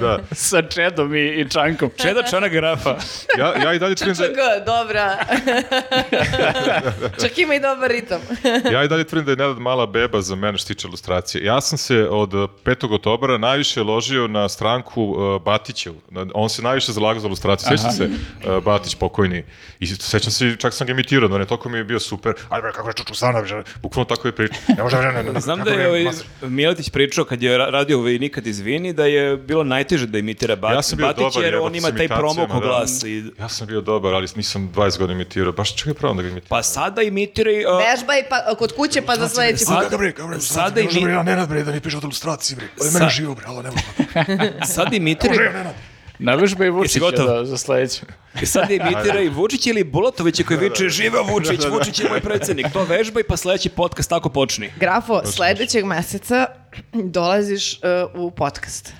S1: da.
S4: Sa Čedom i, i Čankom.
S2: Čeda čana Grafa.
S1: Ja, ja i dalje tvrdim da je-
S3: G, dobra.
S1: [laughs]
S3: Čak ima i dobar ritam.
S1: Ja i dalje tvrdim da je Nenad mala beba za mene što se tiče ilustracije. Ja sam se od eh, 5. oktobra najviše ložio na stranku eh, Batićevu. Na- On se najviše zalagao za ilustraciju. Sjećam se eh, Batić pokojni. I sećam se, čak sam ga imitirao, no ne, toliko mi je bio super. Ajde bre, kako je čuču stana, bre, bukvalno tako je priča. Ne može, bre, ne, ne, ne,
S2: Znam
S1: kako
S2: da je
S1: bre,
S2: ovaj
S1: mas-
S2: Miletić pričao kad je ra- radio ovaj nikad izvini da je bilo najteže da imitira Bat,
S1: Ja sam bio
S2: Batić
S1: dobar,
S2: jer on
S1: jebote,
S2: ima
S1: s
S2: taj
S1: imitacijama,
S2: promoko
S1: da.
S2: glas. I,
S1: Ja sam bio dobar, ali nisam 20 godina imitirao. Baš čekaj pravom da ga imitiram.
S2: pa sada imitira i... a-
S3: Vežba i pa, kod kuće pa za sledeći put.
S2: Sada, sada,
S5: Sada i
S2: imi-
S5: mi... Nenad bre, da mi piše od ilustraciji bre. Ovo je meni
S2: Sa-
S5: živo bre, ali ne možemo.
S2: sada imitira
S4: Navežba i Vučića
S2: gotov?
S4: da, za sledeće.
S2: I E sad imitira i Vučić ili Bulatovića koji viče živa Vučić, Vučić je moj predsjednik. To vežba i pa sledeći podcast tako počni.
S3: Grafo, sledećeg meseca dolaziš e, u podcast.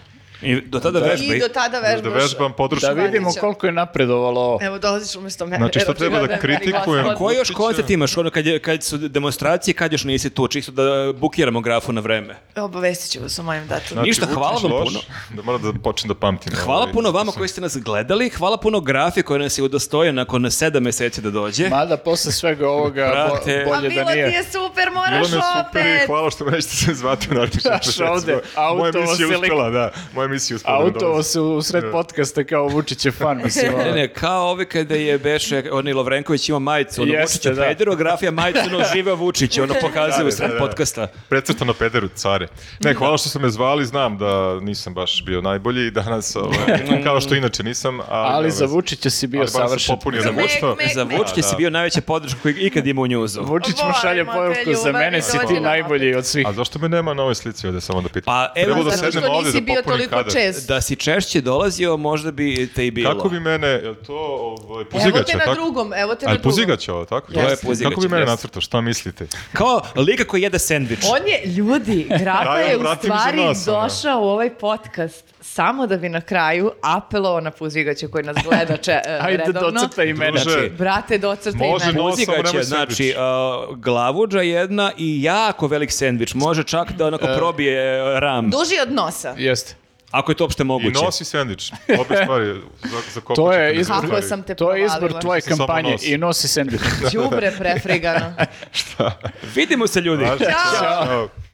S2: I do tada vežba.
S3: I do tada
S1: Da
S3: vežbaš.
S1: vežbam područnu.
S4: Da vidimo
S3: Vanića.
S4: koliko je napredovalo ovo.
S3: Evo, dolaziš umjesto mene.
S1: Znači, šta
S3: Evo,
S1: treba da
S3: prirodno,
S1: kritikujem?
S3: gospod.
S2: Koji još
S1: Vučića.
S2: koncert imaš? Ono kad, je, kad su demonstracije, kad još nisi tu, čisto da bukiramo grafu na vreme.
S3: Obavestit ću vas o mojem datumu.
S1: Znači,
S2: Ništa, hvala
S1: Vučić
S2: vam
S1: loš, Da moram da počnem da pamtim.
S2: Hvala
S1: ovaj,
S2: puno
S1: što
S2: vama
S1: sam-
S2: koji ste nas gledali, hvala puno grafi koja nas je udostoje nakon sedam meseci da dođe.
S4: Mada posle svega ovoga bo-
S2: Brate.
S3: A
S4: bolje
S3: bilo
S4: da
S3: ti
S4: nije.
S3: je super, moraš
S1: Bilo mi je super i
S3: opet.
S1: hvala što me nećete se zvati u narednih šest
S4: Znaš,
S1: meseci.
S4: ovde,
S1: Moja
S4: autovo
S1: misija
S4: se
S1: je
S4: lik-
S1: uspela, da. Moja misija je uspela. da
S4: Autovo
S1: dolazi.
S4: se u sred podcasta kao Vučić je fan, mislim. ono.
S2: Ne, ne, kao ove kada je Beše, onaj Lovrenković ima majicu, ono
S4: Jeste,
S2: Vučića
S4: da.
S2: Federu, a grafija majicu, ono živa Vučić, ono pokazuje u sred
S1: da, da.
S2: podcasta.
S1: Precrtano pederu, care. Ne, hvala što ste me zvali, znam da nisam baš bio najbolji danas,
S4: [laughs]
S1: ovaj, kao što inače nisam. Ali,
S4: Ali
S1: ovaj,
S4: za Vučića si bio
S1: ali barem sam
S4: savršen.
S1: Popunio
S3: Za
S1: za Vučito.
S3: Mek, Mek.
S2: Za Vučića si bio najveća podrška koju ikad ima u njuzu.
S4: Vučić mu
S3: Volimo
S4: šalje
S3: te,
S4: poruku, za
S3: ljubavi,
S4: mene si
S3: dođi
S4: ti
S3: nam
S4: najbolji od svih.
S1: A zašto me nema na ovoj slici ovde, samo da pitam?
S2: Pa, evo,
S1: Trebalo
S2: zato
S1: da
S3: Zato
S1: sedem
S3: što
S1: ovde da
S3: nisi bio
S1: popunim
S3: toliko
S1: kadar.
S3: čest.
S2: Da si češće dolazio, možda bi te i bilo.
S1: Kako bi mene, je li to ovaj,
S3: Evo
S1: puzigača?
S3: te na
S1: tako?
S3: drugom, evo te na
S1: Ali
S3: drugom.
S1: puzigaća ovo, tako?
S2: To je
S1: Jeste. Kako
S2: puzigaća,
S1: bi mene
S2: jeste.
S1: nacrtao, šta mislite?
S2: Kao lika koji jede sendvič.
S3: On je, ljudi, Grafa
S1: Daj,
S3: je u
S1: vrati mi za
S3: stvari
S1: nos, ono.
S3: došao u ovaj podcast samo da bi na kraju apelovao na puzigaća koji nas gleda
S1: [laughs]
S3: če, e,
S4: Ajde,
S3: redovno.
S4: docrta i mene.
S1: Druže,
S3: znači, Brate, docrta i
S1: Može
S3: mene.
S1: nos-
S2: Muziga
S1: samo
S2: će,
S1: nemoj
S2: znači,
S1: sendvič.
S2: a, glavuđa jedna i jako velik sendvič. Može čak da onako
S1: E.
S2: probije uh, ram,
S3: Duži od nosa.
S4: Jeste.
S2: ako je to uopšte
S1: I
S2: moguće.
S1: nosi sendvič. Obe stvari za, za kopačete.
S4: To je
S1: na
S4: izbor-
S1: stvari.
S3: Kako sam te
S4: To je
S3: provalila.
S4: izbor tvoje
S1: Samo
S4: kampanje
S1: nos.
S4: i nosi sendvič.
S3: Đubre prefrigano.
S2: Vidimo se, ljudi!
S1: Važno.
S3: Ćao.
S1: Ćao.